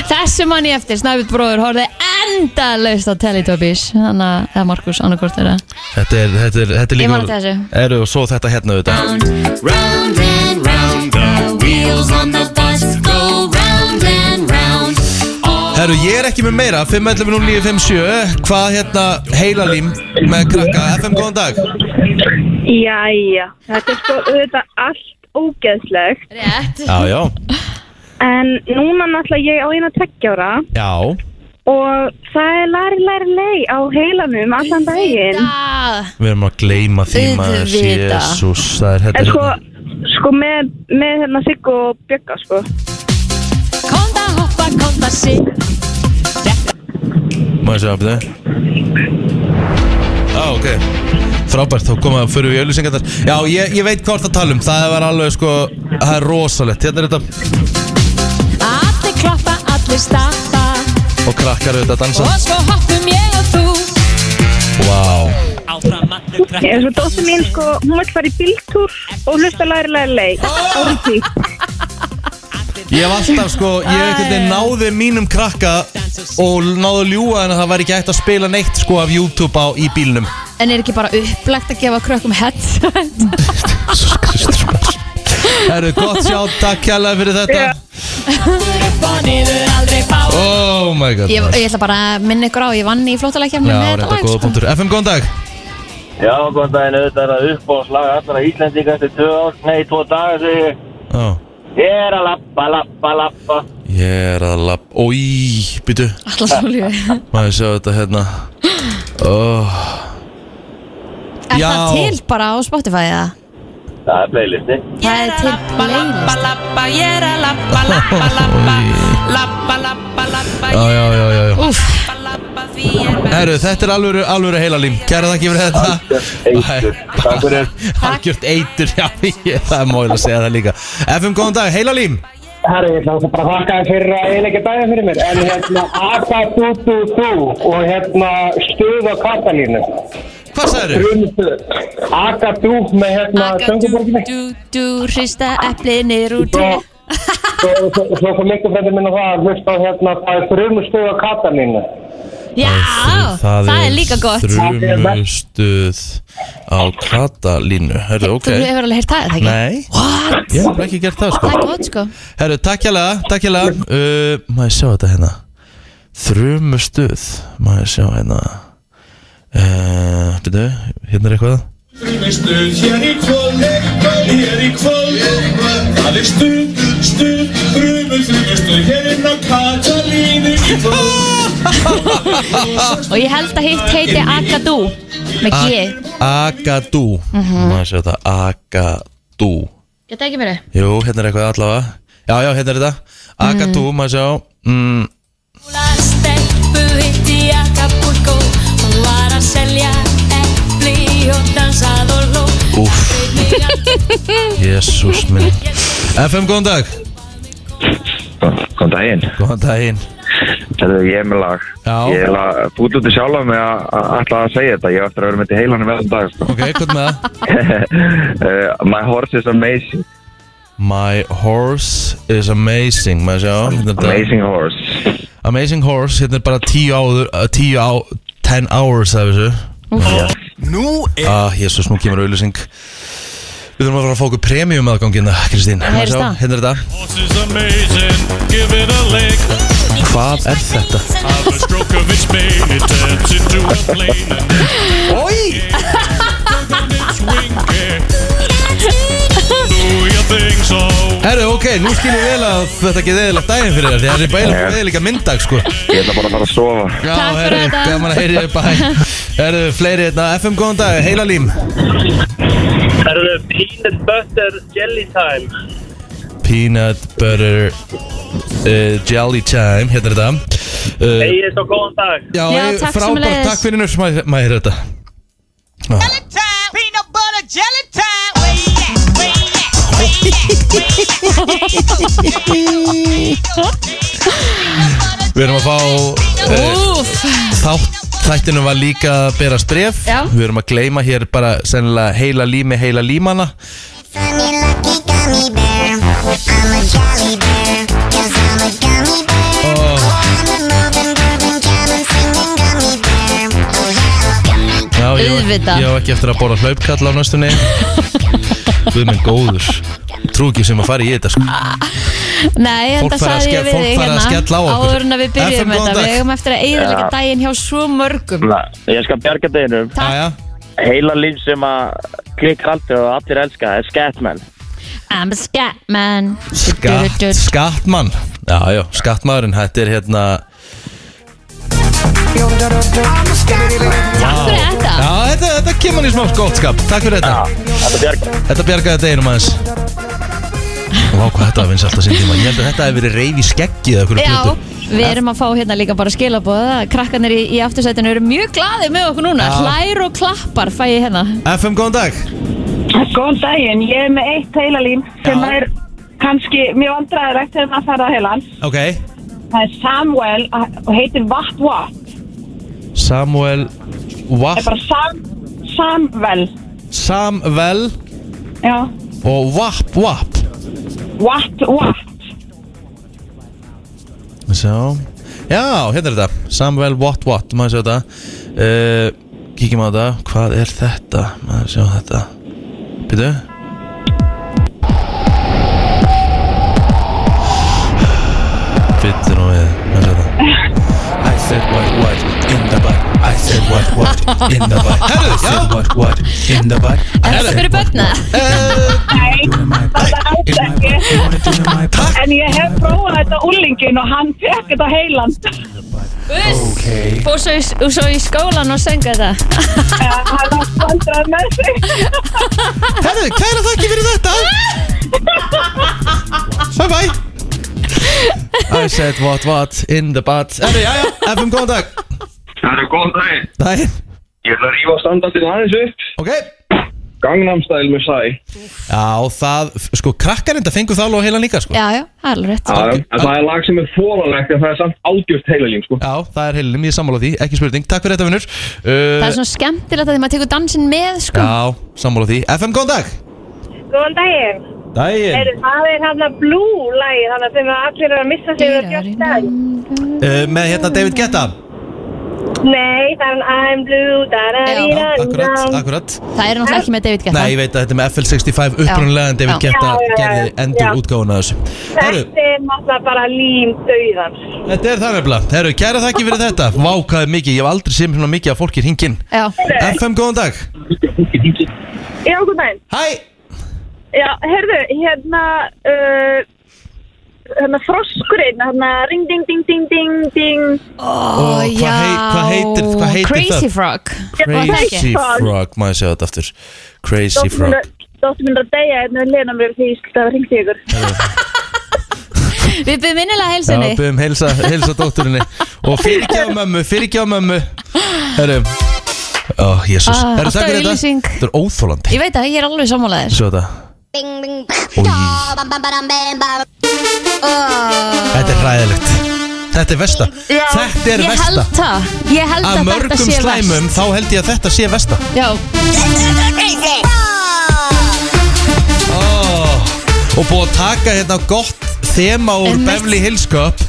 [SPEAKER 1] Þessu manni eftir, Snæbjörn bróður horfði endalaust á Teletubbies Þannig að, eða Markus, annarkort þeirra
[SPEAKER 2] Þetta er, þetta er, þetta er líka
[SPEAKER 1] Ég man eftir þessu.
[SPEAKER 2] Eru og svo þetta hérna auðvitað
[SPEAKER 4] round and round, the wheels on the bus go round and round.
[SPEAKER 2] Herru, ég er ekki með meira 5.11.09.57 Hvað hérna heilalím með krakka FM, góðan dag
[SPEAKER 7] Jæja, þetta er sko auðvitað allt ógeðslegt
[SPEAKER 1] Rétt
[SPEAKER 2] Já, já
[SPEAKER 7] en núna náttúrulega ég á eina tveggjára
[SPEAKER 2] Já,
[SPEAKER 7] og það er lari lari lei á heilanum allan daginn
[SPEAKER 1] Þetta
[SPEAKER 2] við erum að gleyma því maður
[SPEAKER 1] Auðvitað.
[SPEAKER 2] Jésús, það er
[SPEAKER 7] en
[SPEAKER 2] hérna
[SPEAKER 7] sko, sko með, með hérna Sigg og Bjögga sko
[SPEAKER 1] Konda hoppa, konda sig
[SPEAKER 2] Má ég segja að byrja Já, Ah, ok Frábært, þá koma að fyrir við auðlýsingar Já, ég, ég veit hvort að tala um Það var alveg sko, það er rosalegt Hérna er þetta,
[SPEAKER 1] Allir klappa, allir stappa
[SPEAKER 2] og krakkar auðvitað að dansa
[SPEAKER 1] Og svo hoppum ég og þú
[SPEAKER 2] Vá wow.
[SPEAKER 6] Áfram allir krakk
[SPEAKER 7] eins og dóttir mín sko, hún vil fara í bíltúr og hlusta lari lari lei á ríki
[SPEAKER 2] Ég hef alltaf sko, ég hef eitthvað náði mínum krakka og náði að ljúa en það væri ekki hægt að spila neitt sko af YouTube á í bílnum
[SPEAKER 1] En er ekki bara upplagt að gefa krökkum headset?
[SPEAKER 2] Það eru gott sjá, takk hérlega fyrir þetta Oh my god
[SPEAKER 1] Ég,
[SPEAKER 2] maður.
[SPEAKER 1] ég ætla bara að minna ykkur á, ég vann í flóttalækjafnum
[SPEAKER 2] Já,
[SPEAKER 1] með sko.
[SPEAKER 2] reynda góða punktur FM, góðan dag
[SPEAKER 8] Já, góðan daginn, auðvitað er að upp og slaga allra Íslendinga eftir tvö ár, nei, tvo daga segi ég.
[SPEAKER 2] Ó,
[SPEAKER 8] Ég er að lappa, lappa, lappa.
[SPEAKER 2] Ég er að lapp, ói, býtu
[SPEAKER 1] Alla svo lífið
[SPEAKER 2] Maður sjá þetta hérna oh.
[SPEAKER 1] Er
[SPEAKER 2] Já.
[SPEAKER 1] það til bara á Spotify eða?
[SPEAKER 8] Það er playlisti.
[SPEAKER 1] Það er til playlist
[SPEAKER 6] lappa, ég er að
[SPEAKER 2] (laughs)
[SPEAKER 6] lappa, lappa, lappa Lappa, lappa, lappa,
[SPEAKER 2] Já, já, já, já, já
[SPEAKER 1] Úf,
[SPEAKER 6] lappa, lappa
[SPEAKER 2] Herru, þetta er alvöru, alvöru heilalím Kæra þakki fyrir þetta
[SPEAKER 8] eitur. Takk fyrir.
[SPEAKER 2] Algjört eitur, já, (laughs) ég, það er móil að segja það líka FM, góðan dag, heilalím
[SPEAKER 9] Herri, ég ætla bara að þakka þér fyrir að eiginlega dæða fyrir mér En hérna, aka þú, þú, þú Og hérna, stuð á katalínu
[SPEAKER 2] Hvað sagður þau?
[SPEAKER 9] Brunustuð Aka þú með hérna,
[SPEAKER 1] Aga
[SPEAKER 9] sönguborginni
[SPEAKER 1] dú dú hrista eplið niður úr tré
[SPEAKER 9] Svo svo- svo- svo kom miklu frændi minn á það að hlusta á hérna Það er brunstuð á katalínu
[SPEAKER 1] Já, það, er líka gott
[SPEAKER 2] Þrumustuð á katalínu Herru, ok
[SPEAKER 1] Þú hefur alveg heyrt það, er það ekki?
[SPEAKER 2] Nei,
[SPEAKER 1] What?
[SPEAKER 2] ég hef ekki gert það,
[SPEAKER 1] Það
[SPEAKER 2] sko
[SPEAKER 1] er gott sko
[SPEAKER 2] Herru, takk hérlega, takk hérlega uh, Maður sjá þetta hérna Þrumustuð Maður sjá hérna uh, Býtu, hérna er eitthvað
[SPEAKER 10] Stuð hér í kvöld, hér í kvöld Það er stuð, stuð, brumur Þrjumur stuð hér inn á Katalínu í kvöld
[SPEAKER 1] Og ég held að hitt heiti Aga dú Með G
[SPEAKER 2] Agadú Maður sjá þetta, Agadú
[SPEAKER 1] Geta ekki verið?
[SPEAKER 2] Jú, hérna er eitthvað allavega Já, já, hérna er þetta Agadú, maður sjá mm,
[SPEAKER 4] Stelpu hitt í Acapulco Hún var að selja epli og dansað og ló
[SPEAKER 2] Úff, jésús minn FM, góðan dag
[SPEAKER 8] Góðan daginn.
[SPEAKER 2] Góðan daginn
[SPEAKER 8] Þetta er ég er með lag.
[SPEAKER 2] Já.
[SPEAKER 8] Ég er að búið út í sjálf með að að- ætla að segja þetta. Ég á eftir að vera með til heilanum með þetta dag. Sko. (laughs)
[SPEAKER 2] Ok, hvað með það?
[SPEAKER 8] Eh, My horse is amazing.
[SPEAKER 2] My horse is amazing Maður sjá hérna er þetta.
[SPEAKER 8] Amazing horse.
[SPEAKER 2] amazing horse, hérna er bara tíu áður uh, Tíu á, ten hours af þessu
[SPEAKER 3] Nú er
[SPEAKER 2] Ah, jésús, nú kemur auðlýsing Við þurfum að fara að fá okkur premium aðgangina, Kristín Maður
[SPEAKER 1] heyrist
[SPEAKER 2] sjá,
[SPEAKER 1] það.
[SPEAKER 2] Hérna er þetta
[SPEAKER 10] Horse is amazing, give it a lick
[SPEAKER 2] Hvað er þetta?
[SPEAKER 10] Have a stroke of its mane, it turns into a plane And then
[SPEAKER 2] Oi!
[SPEAKER 10] it's winking Do your thing so
[SPEAKER 2] Herru, ok, nú skilum við vel að þetta getið eðilegt daginn fyrir þér Því það er bæðilega yeah. eðilega mynddag, sko
[SPEAKER 8] Ég ætla bara að fara að sofa.
[SPEAKER 2] Já,
[SPEAKER 1] Takk fyrir
[SPEAKER 2] herru,
[SPEAKER 1] þetta.
[SPEAKER 2] gaman að heyri þér bæ Herru, fleiri hérna, FM góðan dag, heila lím
[SPEAKER 9] Það eru peanut butter jelly time
[SPEAKER 2] Peanut butter uh, jelly time, hérna er þetta uh,
[SPEAKER 9] Ég er svo góðan dag
[SPEAKER 2] Já,
[SPEAKER 1] Já,
[SPEAKER 2] eh,
[SPEAKER 1] takk
[SPEAKER 2] frábært,
[SPEAKER 1] sömuleiðis.
[SPEAKER 2] takk fyrir nurs, maður maður heyrir þetta
[SPEAKER 6] Peanut butter jelly time
[SPEAKER 2] Við erum að fá uh,
[SPEAKER 1] Úf
[SPEAKER 2] þátt Þættinum var líka að berast bref
[SPEAKER 1] Já.
[SPEAKER 2] Við erum að gleyma hér bara sennilega heila lími, heila límana
[SPEAKER 5] Funny lucky gummy bear. I'm a jolly bear. Cause I'm a gummy bear.
[SPEAKER 2] oh,
[SPEAKER 5] I'm a moving, grooving, jamming, singing gummy bear. Oh yeah, oh, gummy
[SPEAKER 2] Já, ég á-
[SPEAKER 1] Auðvitað.
[SPEAKER 2] Ég á ekki eftir að bóra hlaupkall á
[SPEAKER 1] (laughs)
[SPEAKER 2] næstunni Guð minn góður Trú ekki sem að fara í þetta sko
[SPEAKER 1] Nei, en
[SPEAKER 2] Fólk
[SPEAKER 1] það
[SPEAKER 2] fara að
[SPEAKER 1] sagði ég
[SPEAKER 2] ske-
[SPEAKER 1] við
[SPEAKER 2] fólk
[SPEAKER 1] þig
[SPEAKER 2] fara að skella á
[SPEAKER 1] hérna
[SPEAKER 2] okkur.
[SPEAKER 1] Áður en að við byrjum
[SPEAKER 2] FM,
[SPEAKER 1] með
[SPEAKER 2] góðan
[SPEAKER 1] þetta
[SPEAKER 2] dag.
[SPEAKER 1] Við eigum eftir að eiginlega daginn hjá svo mörgum
[SPEAKER 8] Na, ég skal bjarga deginum.
[SPEAKER 1] Takk.
[SPEAKER 2] Jæja.
[SPEAKER 8] Heila líf sem að klikkar aldrei og allir elska. Það er Scatman.
[SPEAKER 1] I'm a scat man
[SPEAKER 2] Skatt, skattmann Já, já, skattmaðurinn, þetta er hérna
[SPEAKER 1] Takk fyrir þetta
[SPEAKER 2] Já, þetta, þetta kemur hann í smá skótskap Takk fyrir þetta,
[SPEAKER 8] Þetta bjarga.
[SPEAKER 2] þetta bjargaði deginum aðeins Vá, hvað þetta finnst alltaf sín tíma Ég held að þetta hefði verið reyf í skeggið eða einhverju
[SPEAKER 1] Já,
[SPEAKER 2] plötu.
[SPEAKER 1] við erum að fá hérna líka bara skilaboð að Krakkarnir í, í aftursætinu eru mjög glaðið með okkur núna
[SPEAKER 2] Já.
[SPEAKER 1] Hlær og klappar fæ ég hérna
[SPEAKER 2] FM, góðan dag
[SPEAKER 7] (laughs) Góðan daginn, ég er með eitt heilalím sem
[SPEAKER 2] Já.
[SPEAKER 7] er kannski mjög vandræðilegt þegar maður færða heilan.
[SPEAKER 2] Ok,
[SPEAKER 7] Það er Samuel og heitir Watt Watt.
[SPEAKER 2] Samuel
[SPEAKER 7] Það er
[SPEAKER 2] Wapp
[SPEAKER 7] bara Sam, Samvel.
[SPEAKER 2] Samvel
[SPEAKER 7] Já,
[SPEAKER 2] og Wapp Wapp
[SPEAKER 7] Watt Watt.
[SPEAKER 2] Sjá Já, hérna er þetta Samuel Watt Watt, maður sjá þetta uh, Kíkjum á þetta, hvað er þetta? Maður sjá þetta Býtu Býtu nú við, maður sjá þetta
[SPEAKER 3] I said what what in the butt I said what what in the butt I said what what in the butt
[SPEAKER 1] Er þetta fyrir börna?
[SPEAKER 7] Nei, það
[SPEAKER 2] Eh.
[SPEAKER 7] er alls ekki.
[SPEAKER 3] Takk
[SPEAKER 7] En ég hef prófað þetta úlingin og hann fekk þetta heilan.
[SPEAKER 1] Uss, fór svo, í- svo í skólan og söngu
[SPEAKER 7] Eh,
[SPEAKER 1] þetta
[SPEAKER 7] Hann var vandræð með sig.
[SPEAKER 2] Herðu, kæra þakki fyrir þetta Bye bye I said what what in the butt Herðu, já, já, FM, góðan dag
[SPEAKER 11] Það er góðan daginn.
[SPEAKER 2] Daginn.
[SPEAKER 11] Ég ætla að rífa standartinn aðeins upp.
[SPEAKER 2] Ok.
[SPEAKER 11] Gangnam Style með Sæ.
[SPEAKER 2] Já, það, sko, krakkar enda fengu þá og heila líka, sko.
[SPEAKER 1] Já, já, það er alveg rétt
[SPEAKER 11] Já, já. En það er lag sem er fólalegt en það er samt algjört heilalím, sko.
[SPEAKER 2] Já, það er heilin, ég er sammála því, ekki spurning. Takk fyrir þetta, vinnur. Uh,
[SPEAKER 1] Það er svona skemmtilegt að því maður tekur dansinn með sko.
[SPEAKER 2] Já, sammála því. FM, góðan dag.
[SPEAKER 7] Góðan daginn.
[SPEAKER 2] Daginn.
[SPEAKER 7] Heyrðu, Það er hann að blú-lægi, þannig að þeim að allir eru að missa sig við Björn Dag.
[SPEAKER 2] Uh, með hérna David Guetta.
[SPEAKER 7] Nei, það er hann I'm blue, da da di da da
[SPEAKER 2] Akkurat, akkurat.
[SPEAKER 1] Það er náttúrulega ekki með David Guetta
[SPEAKER 2] Nei, ég veit að þetta er með FL65 upprunnulega en David
[SPEAKER 7] Já. Já,
[SPEAKER 2] Guetta
[SPEAKER 7] já, já.
[SPEAKER 2] gerði endur
[SPEAKER 7] Já.
[SPEAKER 2] útgáfuna þessu.
[SPEAKER 7] Þetta er náttúrulega bara lím dauðans.
[SPEAKER 2] Þetta er það nefnilega. Herru, kæra þakki fyrir þetta. Vá, hvað er mikið. Ég hef aldrei séð mér svona mikið að fólki hringin.
[SPEAKER 1] Já.
[SPEAKER 2] FM, góðan dag.
[SPEAKER 7] Já, góðan daginn.
[SPEAKER 2] Hæ!
[SPEAKER 7] Já, heyrðu, hérna, uh, hérna froskurinn, hérna ring ding ding ding ding ding.
[SPEAKER 2] Ó, hvað já. hei- hvað heitir- hvað heitir Crazy það? Frog. Crazy Frog, maður segja þetta aftur. Crazy Frog.
[SPEAKER 7] Dóttir minn er að deyja hérna við lena mér því ég skilta að ringti ykkur.
[SPEAKER 1] Við byrjum
[SPEAKER 2] Já,
[SPEAKER 1] innilega heilsinni
[SPEAKER 2] byrjum heilsa, heilsa dótturinni og fyrirgjá mömmu, fyrirgjá mömmu Herru Ó, jésus
[SPEAKER 1] Ah,
[SPEAKER 2] Herru, takk
[SPEAKER 1] alltaf
[SPEAKER 2] fyrir þetta
[SPEAKER 1] auglýsing.
[SPEAKER 2] Þetta er óþólandi
[SPEAKER 1] Ég veit að ég er alveg sammálaðir
[SPEAKER 2] Svo þetta Þetta er hræðilegt Þetta er versta Þetta er
[SPEAKER 1] ég
[SPEAKER 2] versta
[SPEAKER 1] held það Ég
[SPEAKER 2] Af
[SPEAKER 1] held að þetta
[SPEAKER 2] mörgum
[SPEAKER 1] sé
[SPEAKER 2] slæmum þá held ég að þetta sé versta
[SPEAKER 1] verst Já
[SPEAKER 2] Ó, Og búið að taka hérna gott þema úr
[SPEAKER 1] Einmitt.
[SPEAKER 2] Beverly Hills Cup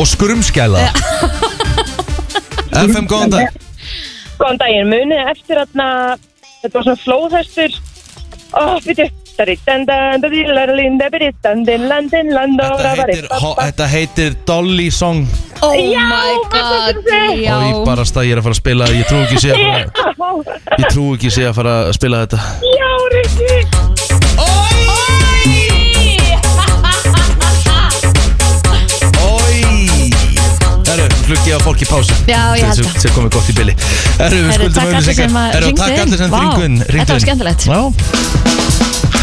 [SPEAKER 2] og skrumskæla FM, góðan dag
[SPEAKER 7] Góðan daginn, munið eftir hérna, þetta var svona flóðhestur. Ó, byrju.
[SPEAKER 2] Þetta heitir,
[SPEAKER 7] Þetta
[SPEAKER 2] ho, þetta heitir Dolly Song
[SPEAKER 1] Oh my god Já
[SPEAKER 2] Og ég bara stað, ég er að fara að spila Ég trú ekki sé að fara Ég trú ekki sé að fara að spila þetta
[SPEAKER 7] Já, Rikki
[SPEAKER 2] Herru, fluggi á fólki pásu
[SPEAKER 1] Já, ég held það.
[SPEAKER 2] Sér komið gott í billi Herru, við
[SPEAKER 1] Herru,
[SPEAKER 2] skuldum
[SPEAKER 1] takk allir sem að
[SPEAKER 2] Herru,
[SPEAKER 1] hringdu
[SPEAKER 2] takk
[SPEAKER 1] inn.
[SPEAKER 2] allir sem
[SPEAKER 1] Vá,
[SPEAKER 2] hringdu inn hringdu
[SPEAKER 1] þetta var
[SPEAKER 2] inn.
[SPEAKER 1] skemmtilegt.
[SPEAKER 2] Já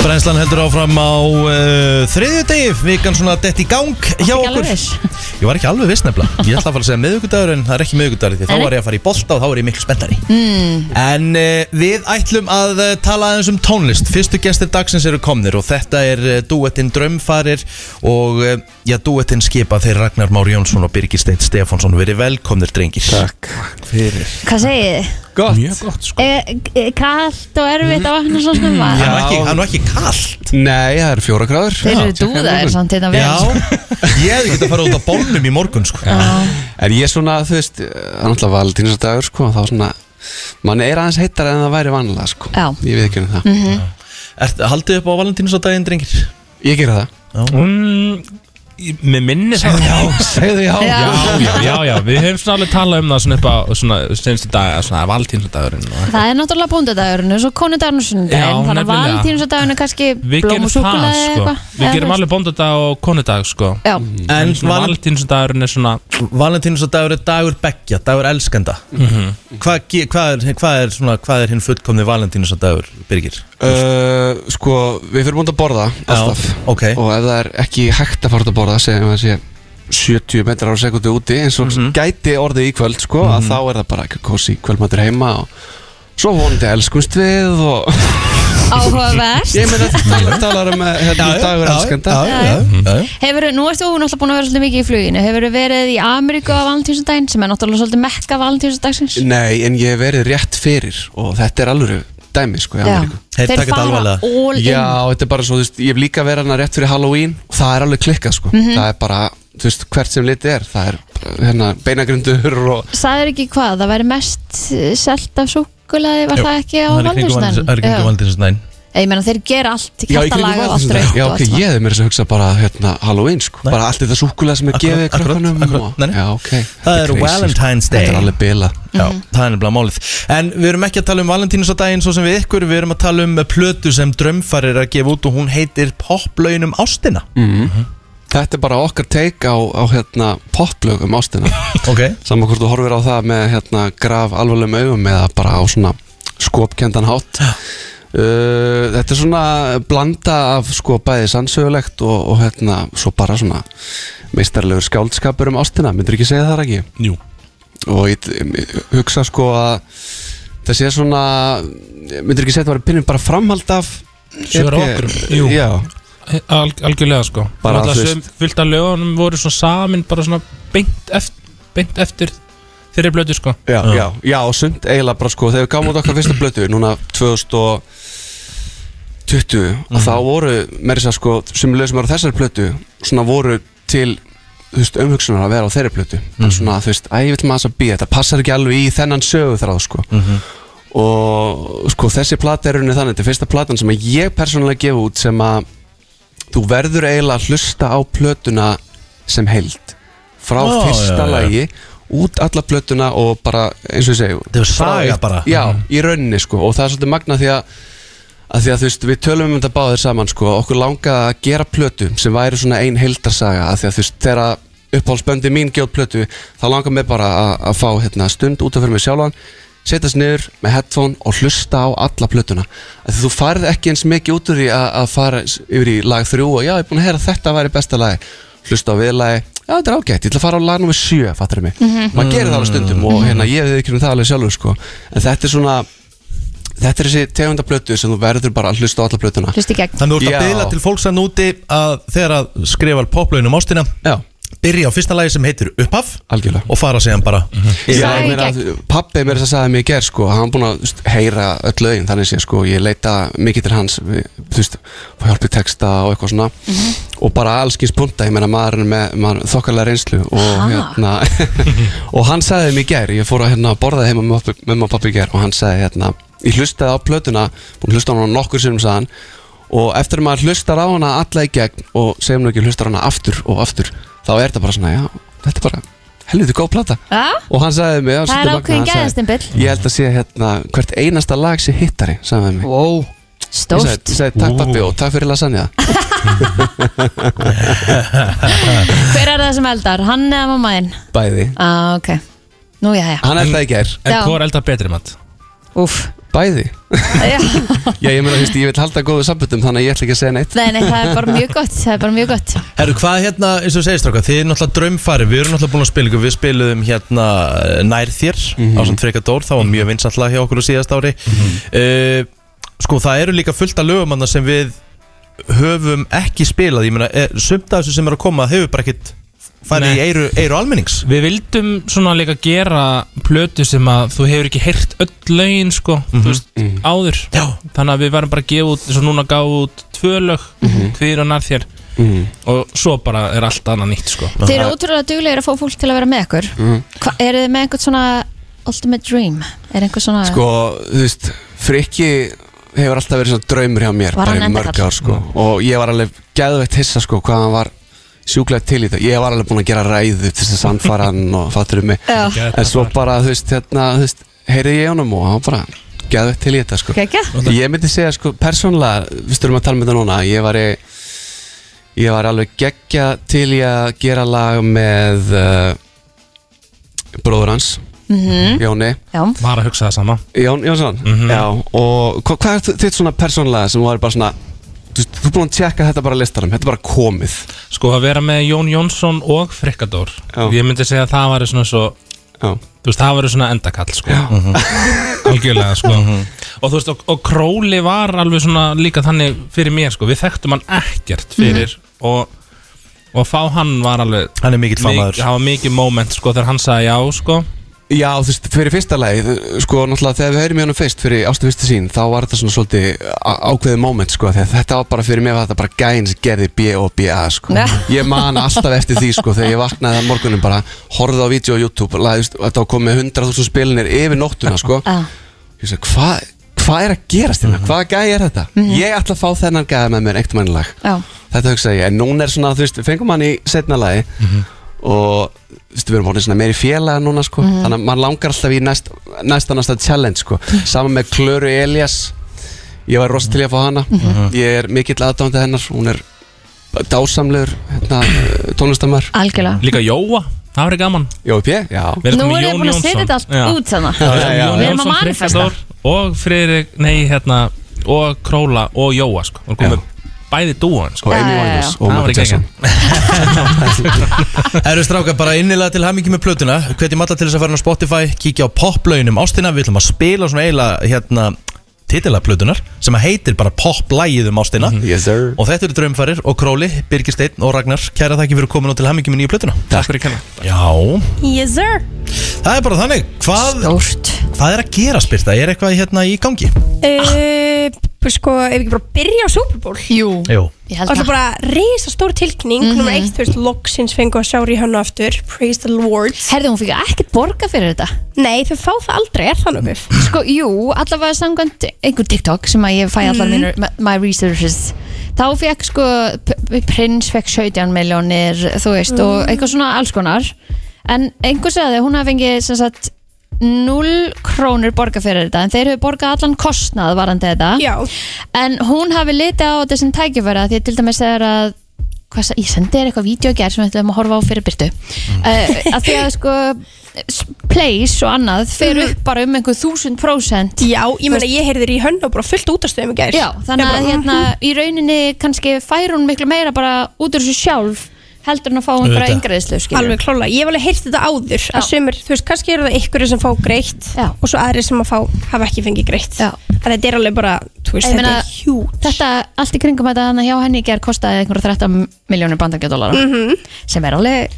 [SPEAKER 2] Brænslan heldur áfram á uh, þriðju degi Vikan svona dett í gang hjá
[SPEAKER 1] ekki
[SPEAKER 2] okkur
[SPEAKER 1] alveg viss.
[SPEAKER 2] Ég var ekki alveg viss nefnilega Ég ætla að fara að segja miðugudagur en það er ekki miðugudagur Því þá
[SPEAKER 1] Nei, nei.
[SPEAKER 2] var ég að fara í bolta og þá var ég miklu spenntari
[SPEAKER 1] mm.
[SPEAKER 2] En uh, við ætlum að uh, tala aðeins um tónlist Fyrstu gestir dagsins eru komnir og þetta er uh, duettinn Drömfarir og uh, já, duettinn skipa þeir Ragnar Már Jónsson og Birgir Steint Stefánsson verið velkomnir drengir Takk fyrir
[SPEAKER 1] Hvað segið þið?
[SPEAKER 2] Gott Mjög gott
[SPEAKER 12] sko.
[SPEAKER 1] Eh, eh, Kalt og erfitt að vakna svona snemma
[SPEAKER 13] Já.
[SPEAKER 2] Það er nú ekki kallt
[SPEAKER 13] Nei, það er fjóra gráður
[SPEAKER 1] Þeir eru dúðaðir samt hérna vel sko.
[SPEAKER 2] ég hefði getað að fara út á bólnum í morgun sko.
[SPEAKER 13] En ég svona, þú veist, eh, það er alltaf valentínsdagur sko, þá svona, mann er aðeins heitar en það væri vanlega sko
[SPEAKER 1] Já.
[SPEAKER 13] Ég veit ekki um það
[SPEAKER 1] Mhm.
[SPEAKER 2] Ert, Haldið upp á Valentínus á daginn drengir?
[SPEAKER 13] Ég gera það
[SPEAKER 12] Mm, ég- Mér minni það Já,
[SPEAKER 13] segðu já
[SPEAKER 12] Já, já, já, já Við höfum svona alveg talað um það svona upp á svona senstu daga, svona valdýnsdagurinn
[SPEAKER 1] Það er náttúrulega bóndadagurinn og svo konudagurinn og
[SPEAKER 12] Já,
[SPEAKER 1] sunnudaginn þannig að
[SPEAKER 12] nefnilega.
[SPEAKER 1] valentínsdagurinn er kannski
[SPEAKER 12] Við
[SPEAKER 1] blóm
[SPEAKER 12] gerum
[SPEAKER 1] og
[SPEAKER 12] það
[SPEAKER 1] súkulega
[SPEAKER 12] sko Við gerum alveg bóndadag og konudag sko
[SPEAKER 1] Já.
[SPEAKER 2] En
[SPEAKER 12] svona
[SPEAKER 2] val-
[SPEAKER 12] valdýnsdagurinn er svona
[SPEAKER 2] Valentínus á dagur er dagur beggja, dagur elskenda
[SPEAKER 12] Mhm.
[SPEAKER 2] Hvað ge- hvað er, hvað er, svona- hvað er hinn fullkomni Valentínus á dagur, Birgir?
[SPEAKER 13] Uh, sko, við fyrir búin að borða alltaf
[SPEAKER 2] okay.
[SPEAKER 13] og ef það er ekki hægt að fara út að borða segjum við að sé 70 metrar á sekundu úti eins og
[SPEAKER 2] Mhm.
[SPEAKER 13] gæti orðið í kvöld sko, að þá er það bara ekki kósi kvöldmatur heima og svo vonandi elskumst við og
[SPEAKER 1] Áhugavert
[SPEAKER 13] ég meina þetta talar, talar um eh, hérna, dagur elskenda
[SPEAKER 1] já, já, Hefurðu, nú ertu náttúrulega búin að vera svolítið mikið í fluginu Hefurðu verið í Ameríku á valentínsdaginn sem er náttúrulega svolítið mekka valentínsdagsins
[SPEAKER 13] Nei, en ég hef verið rétt fyrir og þetta er alveg dæmi sko í
[SPEAKER 1] Já.
[SPEAKER 13] Ameríku.
[SPEAKER 1] Þeir Þeir taka þetta fara alvarlega. all in.
[SPEAKER 13] Já, þetta er bara svo, þú veist, ég hef líka verið hana rétt fyrir Halloween og það er alveg klikkað sko
[SPEAKER 1] Mhm.
[SPEAKER 13] Það er bara, þú veist, hvert sem litið er, það er bara, hérna beinagryndur og
[SPEAKER 1] Sæður ekki hvað, það væri mest eh, selt af súkulega var
[SPEAKER 2] Jú,
[SPEAKER 1] það ekki á
[SPEAKER 2] það er í kringum Valentínus- það er í kringum
[SPEAKER 1] valentínsdaginn
[SPEAKER 2] Valentínusdaginn
[SPEAKER 1] Ég meina þeir gera allt,
[SPEAKER 13] Já, í kringum
[SPEAKER 1] kattalaga og allt raukt
[SPEAKER 13] Já,
[SPEAKER 1] og
[SPEAKER 13] ok,
[SPEAKER 1] allt
[SPEAKER 13] ég hef mér þess að hugsa bara hérna Halloween sko, bara allt þetta súkulega sem er
[SPEAKER 2] Akkurat,
[SPEAKER 13] gefið
[SPEAKER 2] akkurat,
[SPEAKER 13] krökkunum
[SPEAKER 2] akkurat,
[SPEAKER 13] og-
[SPEAKER 2] nei, nei.
[SPEAKER 13] Já, ok,
[SPEAKER 2] Það
[SPEAKER 13] þetta
[SPEAKER 2] er
[SPEAKER 13] crazy, sko.
[SPEAKER 2] Valentine's Day
[SPEAKER 13] Þetta er alveg bila
[SPEAKER 2] Já, það er nefnilega málið En við erum ekki að tala um Valentínus á daginn Svo sem við ykkur, við erum að tala um plötu sem drömfar er að gefa út Og hún heitir Poplaun um ástina
[SPEAKER 13] Mm-hmm. Þetta er bara okkar take á, á hérna, poplög um
[SPEAKER 2] (laughs)
[SPEAKER 13] ástina
[SPEAKER 2] okay.
[SPEAKER 13] Saman hvort þú horfir á það með hérna, graf alvarlegum augum eða bara á svona skopkendan hátt uh, Eh, Þetta er svona blanda af sko bæði sannsögulegt og, og hérna, svo bara svona meistarlegur skáldskapur um ástina, myndur ekki segja það ekki?
[SPEAKER 12] Jú
[SPEAKER 13] og ég, ég hugsa sko að það sé svona myndir ekki segja að það var pinnum bara framhald af
[SPEAKER 12] Sigur
[SPEAKER 13] EP?
[SPEAKER 12] okkur, jú.
[SPEAKER 13] já,
[SPEAKER 12] Al, algjörlega sko
[SPEAKER 13] Bara,
[SPEAKER 12] Náttúrulega
[SPEAKER 13] þú
[SPEAKER 12] sum- fullt af lögunum voru svona samin bara svona beint eftir, beint eftir þeirri blötu sko
[SPEAKER 13] já, já, já og sumt eiginlega bara sko þegar við gáum út okkar fyrsta blötu núna 2020 og þá voru meiri sér sko sem lög sem var á þessari blötu svona voru til þú veist, umhugsunar að vera á þeirri blötu mm. svona þú veist, æ, ég vil maður þess að býja þetta passar ekki alveg í þennan sögu þráð sko og sko þessi plata er rauninni þannig, þetta er fyrsta platan sem að ég persónulega gefa út sem að þú verður eiginlega að hlusta á plötuna sem heild frá
[SPEAKER 2] Ó,
[SPEAKER 13] fyrsta
[SPEAKER 2] já, já.
[SPEAKER 13] lagi út alla plötuna og bara eins og ég segi
[SPEAKER 2] Það er saga
[SPEAKER 13] frá-
[SPEAKER 2] bara. Mhm.
[SPEAKER 13] já, í rauninni sko og það er svolítið magna því að að því að þú veist, við tölum um þetta báðir saman sko, okkur langaði að gera plötu sem væri svona ein heildarsaga að því að þú veist, þegar uppáhaldsböndi mín gjóð plötu, þá langar mér bara að, að fá hérna, stund út af fyrir mig sjálfan setjast niður með headphone og hlusta á alla plötuna, að því þú farð ekki eins mikið út úr því að, að fara s- yfir í lag þrjú og já, ég er búin að heyra að þetta væri besta lagi, hlusta á viðlagi já, þetta er ágætt, ég ætla að fara á lag nummer sjö fattur mig,
[SPEAKER 2] Mhm.
[SPEAKER 13] maður gerir það alveg stundum og hérna, ég við ekki um það alveg sjálfur sko. en þetta er svona Þetta er þessi tegunda blötu sem þú verður bara að hlusta á alla blötuna
[SPEAKER 1] Hlusta í gegn.
[SPEAKER 2] Þannig þú ert að
[SPEAKER 13] Já.
[SPEAKER 2] byðla til fólks hann úti að þegar að skrifa poplaunum ástina
[SPEAKER 13] Já.
[SPEAKER 2] byrja á fyrsta lagi sem heitir Upphaf
[SPEAKER 13] Algjörlega.
[SPEAKER 2] og fara síðan bara
[SPEAKER 13] Já, ég meina að Pabbi mér þess að sagði mér í ger sko, hann búinn að þú veist, heyra öll lögin þannig sé sko, ég leita mikið til hans við, þú veist, fá hjálpi texta og eitthvað svona og bara allskins punta, ég meina maður er með maður, er þokkalega reynslu og,
[SPEAKER 2] Ha.
[SPEAKER 13] hérna, og hann sagði mér í ger ég fór að hérna, borða heima með pabbi- með maður pabbi í ger og hann sagði hérna, ég hlustaði á plötuna búinn að hlusta á hana nokkur sem sagðan og eftir að maður hlustar á hana alla í gegn og segjum nú ekki hlustar á hana aftur og aftur þá er þetta bara svona, já, þetta er bara helviti góð plata
[SPEAKER 1] Já.
[SPEAKER 13] og hann sagði mig
[SPEAKER 1] Ah, Það er ákveðin gæðastimpill.
[SPEAKER 13] ég held að sé hérna hvert einasta lag sé hittari sagði hann mig
[SPEAKER 1] wow.
[SPEAKER 13] Ég sagði, ég sagði takk pappi og takk fyrir lasagna
[SPEAKER 2] Ah.
[SPEAKER 1] Hver er það sem eldar? Hann eða mamma þinn?
[SPEAKER 13] Bæði
[SPEAKER 1] Ah, ok Nú, já, já
[SPEAKER 13] Hann eldaði í gær
[SPEAKER 1] En Já. hvor
[SPEAKER 13] eldaði betri mat?
[SPEAKER 1] Úff
[SPEAKER 13] Bæði (laughs) Já ég meina þú veist ég vil halda góðu sambundum þannig að ég ætla ekki að segja neitt
[SPEAKER 1] Nei, nei, það er bara mjög gott Það er bara mjög gott
[SPEAKER 2] Herru, hvað hérna, eins og þú segist ráka, þið er náttúrulega draumfari, við erum náttúrulega búin að spila ykkur, við spiluðum hérna eh, nær þér
[SPEAKER 12] Mhm.
[SPEAKER 2] á svona frekadór, það var mjög vinsætt lag hjá okkur á síðast ári. Eh, sko, það eru líka fullt af lögumanna sem við höfum ekki spilað, ég meina, eh, sumt af þessu sem er að koma hefur bara ekkit farið í eiru, eiru almennings.
[SPEAKER 12] Við vildum svona líka gera plötu sem að þú hefur ekki heyrt öll lögin sko, þú veist, áður
[SPEAKER 2] Já.
[SPEAKER 12] Þannig að við varum bara að gefa út, eins og núna gáðu út tvö lög, mm og nær þér
[SPEAKER 13] Mhm.
[SPEAKER 12] Og svo bara er allt annað nýtt sko
[SPEAKER 1] Þið eru ótrúlega duglegir að fá fólk til að vera með ykkur
[SPEAKER 13] Mhm.
[SPEAKER 1] Hva, Eru þið með einhvern svona Ultimate dream? Er einhver svona
[SPEAKER 13] Sko, þú veist, frikki hefur alltaf verið svona draumur hjá mér
[SPEAKER 1] Var
[SPEAKER 13] bara
[SPEAKER 1] hann
[SPEAKER 13] í
[SPEAKER 1] enda
[SPEAKER 13] mörg
[SPEAKER 1] kall?
[SPEAKER 13] ár sko og ég var alveg geðveitt hissa sko hvað hann var sjúklega til í þetta ég var alveg búinn að gera ræðu til þess að sannfara hann og fattur um mig
[SPEAKER 1] Já.
[SPEAKER 13] en svo bara þú veist hérna þú veist heyrði ég honum og hann bara geðveitt til í þetta sko
[SPEAKER 1] Gekkja?
[SPEAKER 13] ég myndi segja sko persónulega við styrum að tala um þetta núna ég var í Ég var alveg geggja til í að gera lag með uh, bróður hans,
[SPEAKER 12] Mhm.
[SPEAKER 13] Jóni.
[SPEAKER 1] Já.
[SPEAKER 12] Var að hugsa það sama
[SPEAKER 13] Jón Jónsson, já. Og hva, hvað er þi- þitt svona persónlega sem var bara svona, þú veist, þú er búin að tjekka þetta bara á listanum, þetta er bara komið.
[SPEAKER 12] Sko að vera með Jón Jónsson og Frikadór Ég myndi segja að það var svona svo
[SPEAKER 13] Já.
[SPEAKER 12] Þú veist, það var svona endakall sko
[SPEAKER 13] (laughs)
[SPEAKER 12] Algjörlega sko Og þú veist, og, og Króli var alveg svona líka þannig fyrir mér sko Við þekktum hann
[SPEAKER 13] Mhm.
[SPEAKER 12] ekkert fyrir Og og að fá hann var alveg
[SPEAKER 2] Hann er mikill fagmaður.
[SPEAKER 12] Það var mikið moment sko þegar hann sagði já sko
[SPEAKER 13] Já, þú veist, fyrir fyrsta lagi, þú- sko, náttúrulega þegar við heyrim í honum fyrst fyrir ástu fyrsta sín, þá var þetta svona svolítið á- ákveðið moment, sko, þegar þetta var bara fyrir mig var þetta bara gæn sem gerði B og B A, sko.
[SPEAKER 2] Ja.
[SPEAKER 13] Ég man alltaf eftir því, sko, þegar ég vaknaði að morgunum bara, horfði á vídeo á YouTube, laði, þú veist, þetta var komið 100.000 spilinir yfir nóttuna, sko.
[SPEAKER 1] Já.
[SPEAKER 13] Ég sagði, hvað hva er að gerast
[SPEAKER 14] Mhm.
[SPEAKER 13] hérna? Hvaða gæi er þetta? Ég ætla að fá þennan gæi með mér eitt mannilag.
[SPEAKER 1] Já
[SPEAKER 13] Þetta hugsaði ég, en núna er svona, þú veist, við fengum hann í setna lagi og þú veist, við erum orðin svona meiri félaga núna, sko
[SPEAKER 2] Mhm.
[SPEAKER 13] þannig að mann langar alltaf í næst, næsta næsta challenge, sko, saman með Klöru Elias ég var rosa til í að fá hana
[SPEAKER 1] Mhm.
[SPEAKER 13] ég er mikill aðdándi hennar hún er dásamlegur hérna, tónlistamar
[SPEAKER 1] Algjörlega
[SPEAKER 12] Líka Jóa, það var gaman
[SPEAKER 13] Jói P, já
[SPEAKER 12] Við erum
[SPEAKER 1] Nú
[SPEAKER 12] með
[SPEAKER 1] erum við
[SPEAKER 12] Jón
[SPEAKER 1] búin að setja
[SPEAKER 12] Jónsson.
[SPEAKER 1] þetta allt
[SPEAKER 12] Já.
[SPEAKER 1] út þarna.
[SPEAKER 12] Já, já, já.
[SPEAKER 1] Við erum að
[SPEAKER 12] Jón Jónsson,
[SPEAKER 1] manifesta.
[SPEAKER 12] Friðþór Og Friðrik, nei hérna Og Króla og Jóa sko Og komum bæði sko. dúan sko
[SPEAKER 13] Og Amy Já, já, já. Winehouse og Michael Jackson.
[SPEAKER 2] Eru stráka bara innilega til hamingi með plötuna Hvetjum alla til þess að fara inn á Spotify Kíkja á poplaunum ástina Við ætlum að spila svona eiginlega hérna, titila plötunar Sem að heitir bara poplægið um ástina yes, Og þetta eru draumfarir og Króli, Birgir Steinn og Ragnar Kæra þakki fyrir komin og til hamingi með nýju plötuna Takk fyrir kæra Já,
[SPEAKER 1] Yes sir
[SPEAKER 2] það er bara þannig Hvað, hvað er að gera spyrta? Er eitthvað hérna í gangi?
[SPEAKER 14] uh, Sko, ef við ekki bara byrja á Super Bowl Jú
[SPEAKER 2] Jú
[SPEAKER 1] Ég
[SPEAKER 14] Og það er bara reysa stór tilkning mm
[SPEAKER 1] Mhm.
[SPEAKER 14] -hmm. Númer eitt, þú veist, loksins fengu að sjá Rihanna aftur Praise the Lord
[SPEAKER 1] Herði, hún fikk ekkert borga fyrir þetta
[SPEAKER 14] Nei, þau fá það aldrei, er það nokkuð
[SPEAKER 1] Sko, jú, allavega samkvæmt einhver TikTok sem að ég fæ allar
[SPEAKER 14] Mhm.
[SPEAKER 1] mínur, my- my researches þá fekk sko, P- prins fekk 17 miljónir, þú veist og
[SPEAKER 14] Mm.
[SPEAKER 1] eitthvað svona alls konar en einhver sagði að hún hafi fengið sem sagt 0 krónur borga fyrir þetta en þeir hefur borgað allan kostnað varandi þetta
[SPEAKER 14] Já.
[SPEAKER 1] en hún hafi litið á þetta sem tækifæra því að til dæmis þegar að hvað, sa- ég sendi þér eitthvað vídeo að gera sem við ætlum að horfa á fyrir byrtu uh, að því að sko s- place og annað fer
[SPEAKER 14] Mhm.
[SPEAKER 1] upp bara um einhver þúsund prósent
[SPEAKER 14] Já, ég meina, ég heyrði í hönn og bara fullt útastöðum í gær
[SPEAKER 1] Já, þannig
[SPEAKER 14] Ég
[SPEAKER 1] að
[SPEAKER 14] bara, mhm.
[SPEAKER 1] hérna í rauninni kannski fær hún miklu meira bara út úr þessu sjálf heldur en að fá hún bara
[SPEAKER 14] Auðvitað.
[SPEAKER 1] yngreðislu
[SPEAKER 14] Alveg klála, ég hef alveg heyrt þetta áður að sömur, þú veist, kannski eru það ykkur sem fá greitt Já. og svo aðrir sem að fá hafa ekki fengið greitt Já. að þetta er alveg bara, þú veist,
[SPEAKER 1] Ég
[SPEAKER 14] þetta
[SPEAKER 1] meina,
[SPEAKER 14] er hjút
[SPEAKER 1] Þetta allt í kringum þetta þannig að hjá henni í gerð kostaði einhverja 13 miljónir bandarkjadólara
[SPEAKER 14] Mhm.
[SPEAKER 1] sem er alveg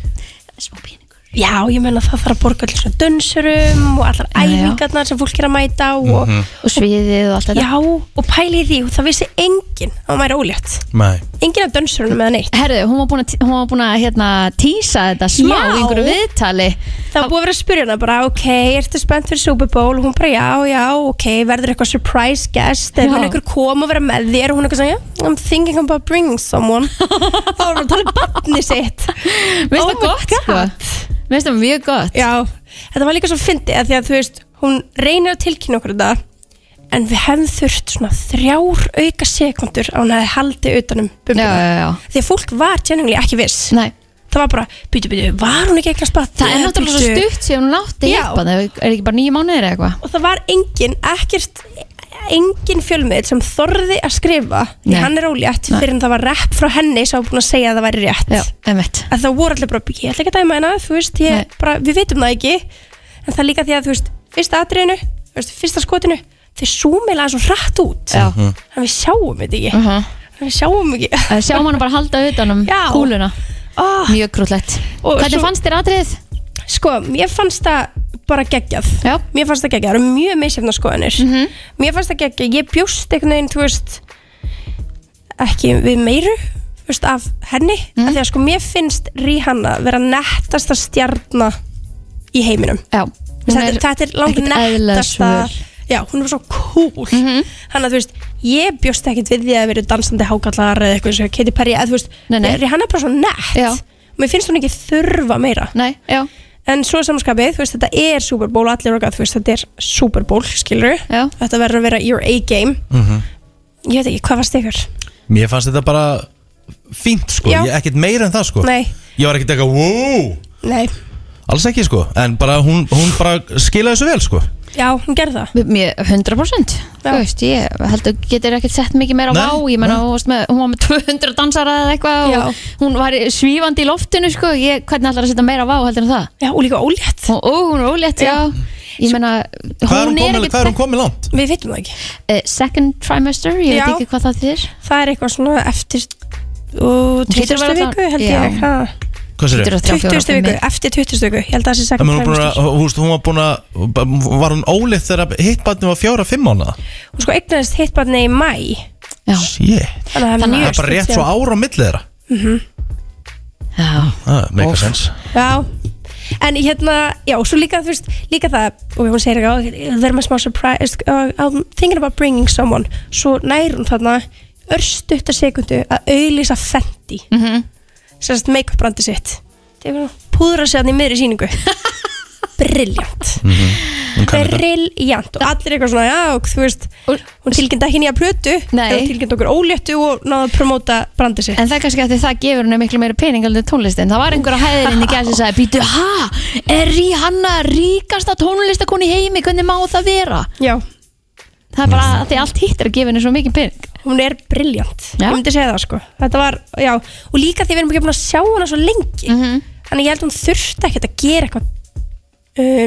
[SPEAKER 14] Já, ég meina það þarf að borga allir svona dönsurum og allar æfingarnar sem fólk er að mæta á og,
[SPEAKER 2] Mhm.
[SPEAKER 1] og sviðið og allt þetta
[SPEAKER 14] Já, og pæli í því og það vissi enginn að maður er ólétt
[SPEAKER 2] Nei
[SPEAKER 14] Enginn af dönsurunum eða neitt
[SPEAKER 1] Herðu, hún var búin að, hún var búin að hérna, tísa þetta smá í einhverju viðtali
[SPEAKER 14] Það var búið að vera að spyrja hana bara, ok, ertu spennt fyrir Super Bowl? Og hún bara, já, já, ok, verður eitthvað surprise guest? Er
[SPEAKER 1] Já.
[SPEAKER 14] hún einhver kom að vera með þér? Og hún eitthvað svona, yeah, I'm thinking about bringing someone Það var bara að tala um barnið sitt
[SPEAKER 1] Veist það gott, sko? Veist það mjög gott?
[SPEAKER 14] Oh Já, þetta var líka svo fyndið að því að þú veist, hún reynir að tilkynna okkur þetta En við hefum þurft svona þrjár auka sekundur að hún hefði haldið utanum bumbuna já, já, já. Því að fólk var genuinely ekki viss
[SPEAKER 1] Nei.
[SPEAKER 14] Það var bara, býtu, býtu, var hún ekki eitthvað spatt?
[SPEAKER 1] Það er náttúrulega svo stutt sem hún átti
[SPEAKER 14] Já.
[SPEAKER 1] hýpa, það er ekki bara nýju mánuðir eða eitthvað
[SPEAKER 14] og það var engin, ekkert engin fjölmiðl sem þorði að skrifa því
[SPEAKER 1] Nei.
[SPEAKER 14] hann er ólétt
[SPEAKER 1] Nei.
[SPEAKER 14] fyrir en það var rep frá henni sem var búin að segja að það væri rétt
[SPEAKER 1] Já, einmitt
[SPEAKER 14] að það voru allir bara, ég ætla ekki að dæma hennar þú veist, ég, bara, við vitum það ekki en það er líka því að þú veist, fyrsta atriðinu þú veist, fyrsta skotinu, þau súmilega svo hratt út
[SPEAKER 1] Já.
[SPEAKER 14] þannig að við sjáum þetta ekki
[SPEAKER 1] Mhm.
[SPEAKER 14] Þannig að við sjáum ekki
[SPEAKER 1] Það sjáum hann bara halda utanum
[SPEAKER 14] Já.
[SPEAKER 1] kúluna Mjög krúllett Hvernig fannst þér atrið?
[SPEAKER 14] Sko, mér fannst það bara geggjað Já. Mér fannst það geggjað, það eru mjög meðsefna skoðanir Mér fannst það geggjað, ég bjóst einhvern veginn, þú veist ekki við meiru þú veist, af henni, mm. af því að sko mér finnst Rihanna vera nettasta stjarna í heiminum
[SPEAKER 1] Já,
[SPEAKER 14] þetta, er, þetta er langt
[SPEAKER 1] ekkert eðlilega
[SPEAKER 14] nettasta
[SPEAKER 1] svör.
[SPEAKER 14] Já, hún er svo cool Þannig að þú veist, ég bjóst ekkert við því að vera dansandi hákallar eða eitthvað eins og Katy Perry eða þú veist,
[SPEAKER 1] Nei, nei.
[SPEAKER 14] Rihanna er bara svo nett já. Mér finnst hún ekki þurfa meira
[SPEAKER 1] Nei, já
[SPEAKER 14] En svo samanskapið, þú veist, þetta er Super Bowl og allir okkar, þú veist, þetta er Super Bowl, skilur
[SPEAKER 1] Já.
[SPEAKER 14] Þetta verður að vera your A-game Ég veit ekki, hvað varst ykkur?
[SPEAKER 2] Mér fannst þetta bara fínt sko,
[SPEAKER 14] Já.
[SPEAKER 2] ég, ekkert meira en það sko
[SPEAKER 14] Nei.
[SPEAKER 2] Ég var ekkert eitthvað, wow,
[SPEAKER 14] Nei,
[SPEAKER 2] alls ekki sko En bara hún, hún bara skilaði þessu vel sko
[SPEAKER 14] já, hún gerði
[SPEAKER 1] það Mér, 100% Þú veist, ég held að getur ekkert sett mikið meira á
[SPEAKER 14] Nei,
[SPEAKER 1] vá Ég menna,
[SPEAKER 14] nei.
[SPEAKER 1] hún, varst með- hún var með 200 dansara eða eitthvað og Hún var í- svífandi í loftinu, sko ég, Hvernig ætlar að setja meira á vá heldur en það?
[SPEAKER 14] Já, og líka ólétt
[SPEAKER 1] Ó, hún er ólétt, já, Ég menna,
[SPEAKER 2] Hvað er hún komin- hvað er hún
[SPEAKER 14] komin
[SPEAKER 2] langt?
[SPEAKER 14] Við vitum það ekki
[SPEAKER 1] eh, Second trimester, ég
[SPEAKER 14] Já.
[SPEAKER 1] veit ekki hvað það þýr
[SPEAKER 14] Það er eitthvað svona eftir og
[SPEAKER 1] Hún hlýtur að
[SPEAKER 14] 20.
[SPEAKER 1] vera
[SPEAKER 14] viku, held
[SPEAKER 1] já.
[SPEAKER 14] ég hvað?
[SPEAKER 2] Hvað segirðu? 23,
[SPEAKER 14] 20.
[SPEAKER 2] 24,
[SPEAKER 14] viku,
[SPEAKER 2] 25.
[SPEAKER 14] eftir 20. viku Ég held að það sé
[SPEAKER 2] En
[SPEAKER 14] sagt
[SPEAKER 2] Hún, var búin að- þú veist, hún var búin að, var hún óleitt þegar hitt batni var fjóra, fimm mánuða
[SPEAKER 14] Hún sko eignaðist hitt barni í mæ
[SPEAKER 2] Shit,
[SPEAKER 14] Þannig að það er
[SPEAKER 2] það
[SPEAKER 14] mjög
[SPEAKER 2] er bara
[SPEAKER 14] stutt
[SPEAKER 2] rétt
[SPEAKER 14] síðan.
[SPEAKER 2] svo ára á milli þeirra Ah,
[SPEAKER 14] Mhm.
[SPEAKER 2] Það meika sens
[SPEAKER 14] Já, en hérna, já, svo líka, þú veist, líka það, og hún segir ekki, það er maður smá surprise, uh, I'm thinking about bringing someone, svo nær hún þarna örstutta sekundu að auðlýsa Fenty, mm -hmm. sérst make-up brandi sitt, Tekur hún- púðra sig hann í miðri síningu, brilljant, brilljant, og allir eitthvað svona, já, og þú veist, hún tilkynnt ekki nýja plötu, hún tilkynnt okkur óléttu og náða að promóta brandi sitt.
[SPEAKER 1] En það er kannski að því það gefur henni miklu meira pening heldur en tónlistin. Það var einhver að hæðirinn í gæð sem sagði, býtu, ha, er Rihanna ríkasta tónlistakon í heimi, hvernig má það vera?
[SPEAKER 14] Já.
[SPEAKER 1] Það er bara að því allt hitt er að gefa henni svo mikið pening.
[SPEAKER 14] Mm. hún er briljant ég myndi segja það sko þetta var, já, og líka því við erum ekki búin að sjá hana svo lengi
[SPEAKER 1] Mhm.
[SPEAKER 14] þannig ég held að hún þurfti ekkert að gera eitthvað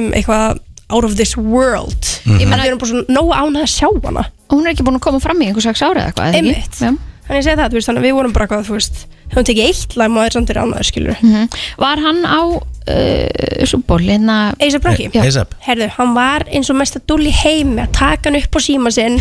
[SPEAKER 14] um, eitthvað out of this world
[SPEAKER 1] Mhm.
[SPEAKER 14] ég meina við erum bara svona nógu án að sjá hana
[SPEAKER 1] og hún er ekki búin að koma fram í einhvers ára eða eitthvað eða ekki?
[SPEAKER 14] einmitt þannig ég segi það, þú veist, þannig að við vorum bara eitthvað þú veist, hún tekið eitt lag maður samt er annaður skilur
[SPEAKER 1] Mhm. Var hann á uh, súból hérna
[SPEAKER 14] A$AP Rocky
[SPEAKER 1] Já. A$AP.
[SPEAKER 14] Herðu, hann var eins og mesta dull í heimi að taka hann upp á síma sinn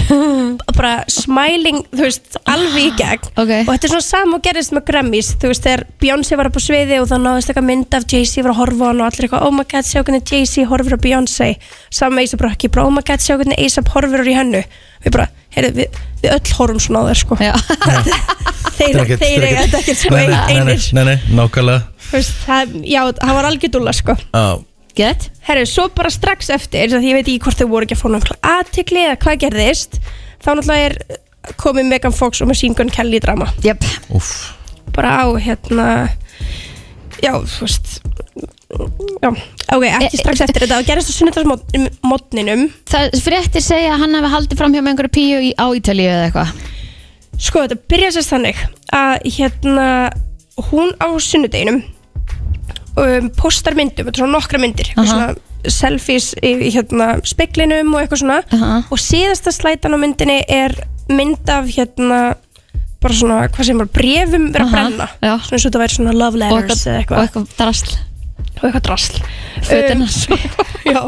[SPEAKER 14] bara smiling, þú veist, alveg í gegn okay. og þetta er svona sama og gerðist með Grammys þú veist, þegar Beyoncé var upp á sviði og þá náðist eitthvað mynd af Jay-Z var að horfa á hann og allir eitthvað, oh my god, sjá hvernig Jay-Z horfir á Beyoncé saman með A$AP Rocky, bara oh my god, sjá hvernig A$AP horfir á hennu við bara, heyrðu, við, við öll horfum svona á þeir sko
[SPEAKER 1] (laughs)
[SPEAKER 14] þeir,
[SPEAKER 2] Þetta er ekkert-
[SPEAKER 14] þeir eiga þetta ekkert sko
[SPEAKER 2] Nei, nei, nei,
[SPEAKER 14] einir
[SPEAKER 2] Nei, nei, nákvæmlega Ah,
[SPEAKER 14] Þú veist, það, já, hann var algjör dúlla sko
[SPEAKER 2] Já.
[SPEAKER 1] Gett
[SPEAKER 14] Herru, svo bara strax eftir því að ég veit ekki hvort þau voru ekki að fá náttúrulega aðtikli eða hvað gerðist þá náttúrulega er eh, komið Megan Fox og Machine Gun Kelly í drama
[SPEAKER 1] Jep
[SPEAKER 2] Úff.
[SPEAKER 14] Bara á hérna Já, þú veist Já, ok, ekki strax eftir þetta það gerðist á sunnudagsmotninum
[SPEAKER 1] Það fréttir segja að hann hefði haldið fram hjá með einhverju píu í, á Ítalíu eða eitthvað
[SPEAKER 14] Sko, þetta byrja sérst þannig að hérna hún á sunnudeginum um, postar myndum, þetta er svona nokkra myndir eitthvað
[SPEAKER 1] Aha.
[SPEAKER 14] svona selfies í í, hérna, speklinum og eitthvað svona og síðasta slætan á myndinni er mynd af hérna bara svona, hvað sem bara, brefum verið að
[SPEAKER 1] Aha,
[SPEAKER 14] brenna svona eins og þetta væri svona love
[SPEAKER 1] Og
[SPEAKER 14] letters eða eitthvað
[SPEAKER 1] og eitthvað drasl
[SPEAKER 14] og eitthvað drasl Um,
[SPEAKER 1] Fötin
[SPEAKER 14] já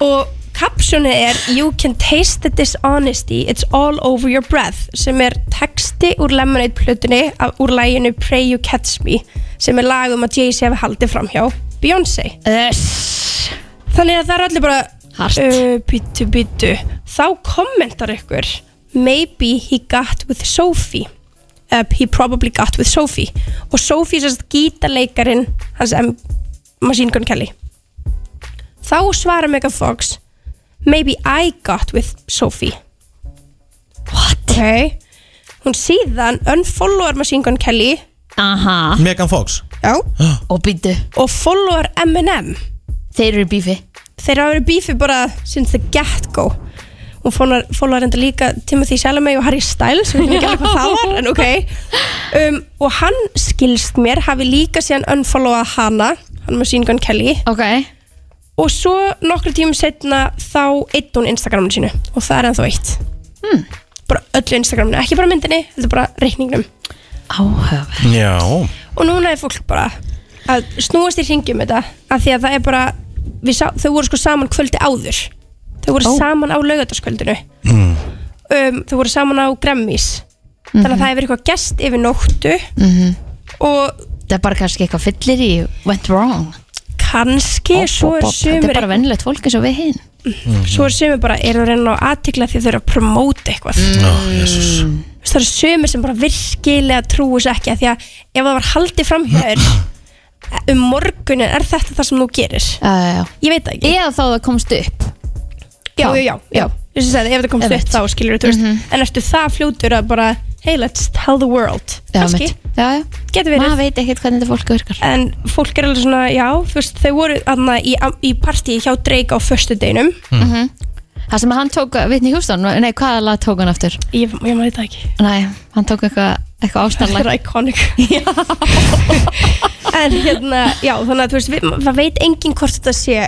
[SPEAKER 14] og kapsjónið er you can taste the dishonesty it's all over your breath sem er texti úr Lemonade plötunni af, úr læginu Pray You Catch Me sem er lag um að Jay-Z hefði haldið fram hjá Beyoncé
[SPEAKER 1] yes.
[SPEAKER 14] þannig að það er allir bara uh, býtu býtu þá kommentar ykkur maybe he got with Sophie uh, he probably got with Sophie og Sophie er sérst gítarleikarin hans M. Machine Gun Kelly þá svarar Megan Fox maybe I got with Sophie what? ok hún síðan unfollowar Machine Gun Kelly
[SPEAKER 1] aha
[SPEAKER 2] Megan Fox
[SPEAKER 14] já
[SPEAKER 1] og býtu
[SPEAKER 14] og followar M&M
[SPEAKER 1] þeir eru í bífi
[SPEAKER 14] þeir hafa verið í bífi bara since the get go hún fónar, fónar enda líka Timothy Chalamet og Harry Styles við veitum ekki alveg hvað það var en ok um, og hann skilst mér hafi líka síðan unfollowað hana hann með Gun Kelly
[SPEAKER 1] okay.
[SPEAKER 14] og svo nokkru tímum setna þá eitt hún Instagraminu sínu og það er ennþá eitt
[SPEAKER 1] Hmm.
[SPEAKER 14] bara öllu Instagraminu, ekki bara myndinni heldur bara reikningnum
[SPEAKER 1] áhöf
[SPEAKER 2] Já
[SPEAKER 14] og núna er fólk bara að snúast í ringjum þetta af því að það er bara við sá, þau voru sko saman kvöldi áður þau voru
[SPEAKER 1] Ó.
[SPEAKER 14] saman á laugardaskvöldinu
[SPEAKER 2] mm.
[SPEAKER 14] um, þau voru saman á Grammys þannig að það hefur eitthvað gest yfir nóttu og
[SPEAKER 1] það er bara kannski eitthvað fyllir í went wrong
[SPEAKER 14] kannski svo er
[SPEAKER 1] þetta
[SPEAKER 14] sumir
[SPEAKER 1] er bara vennilegt fólk eins og við hinn
[SPEAKER 14] svo er sumir bara eru að reyna á aðtikla því þau eru að promóta eitthvað
[SPEAKER 2] mm.
[SPEAKER 14] Þú veist, það eru sumir sem bara virkilega trúi sér ekki af því að ef það var haldið
[SPEAKER 1] (laughs)
[SPEAKER 14] framhjör um morgunin er þetta það sem þú gerir
[SPEAKER 1] uh,
[SPEAKER 14] ég veit það ekki
[SPEAKER 1] eða þá það komst upp
[SPEAKER 14] já,
[SPEAKER 1] Þá.
[SPEAKER 14] já, já, já. Ég sem sagði, ef það komst upp
[SPEAKER 1] Einmitt. Mhm.
[SPEAKER 14] þá skilur þú veist en ertu það fljótur að bara hey, let's tell the world
[SPEAKER 1] Já,
[SPEAKER 14] kannski,
[SPEAKER 1] mitt. já, já.
[SPEAKER 14] getur verið
[SPEAKER 1] maður veit ekkert hvernig þetta fólk virkar
[SPEAKER 14] en fólk er alveg svona, já, þú veist þau voru aðna í, í partíi hjá Drake á förstu deinum
[SPEAKER 1] Mhm. það sem að hann tók Whitney Houston, nei hvaða lag tók hann aftur
[SPEAKER 14] ég, ég maður þetta ekki
[SPEAKER 1] nei, hann tók eitthvað eitthvað ástæðanlag
[SPEAKER 14] Þetta er iconic en hérna, já, þannig að þú veist, við- maður veit enginn hvort þetta sé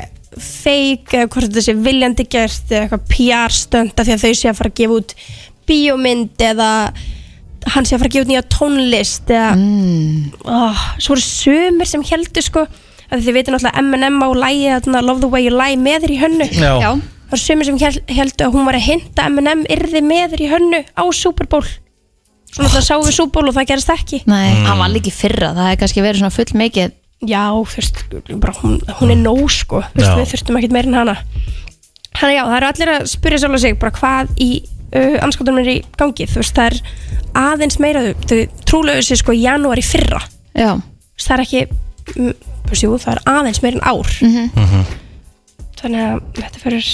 [SPEAKER 14] fake eða hvort þetta sé viljandi gert eða eitthvað PR stönda því að þau sé að fara að gefa út bíómynd eða hann sé að fara að gefa út nýja tónlist eða oh, svo voru sömur sem heldur sko að þið veitir náttúrulega M&M á lægi þarna Love the way you lie með þér í hönnu
[SPEAKER 1] Já. Já.
[SPEAKER 14] það voru sömur sem hel- heldur að hún var að hinta að M&M yrði með þér í hönnu á Super Bowl svo náttúrulega sáum við Super Bowl og það gerist ekki
[SPEAKER 1] nei, hann var líka í fyrra, það hefði kannski verið svona full mikið
[SPEAKER 14] já, fyrst, bara hún, hún er nóg sko fyrst,
[SPEAKER 1] Já.
[SPEAKER 14] við þurftum ekkert meira en hana hann já, það eru allir að spyrja sjálf sig bara hvað í uh, anskotunum er í gangi þú veist, það er aðeins meira þau, þau trúlegu sér sko í janúar í fyrra
[SPEAKER 1] já,
[SPEAKER 14] Þú veist, það er ekki mm, þú veist, jú, það er aðeins meira en ár
[SPEAKER 1] Mhm.
[SPEAKER 14] þannig að þetta fyrir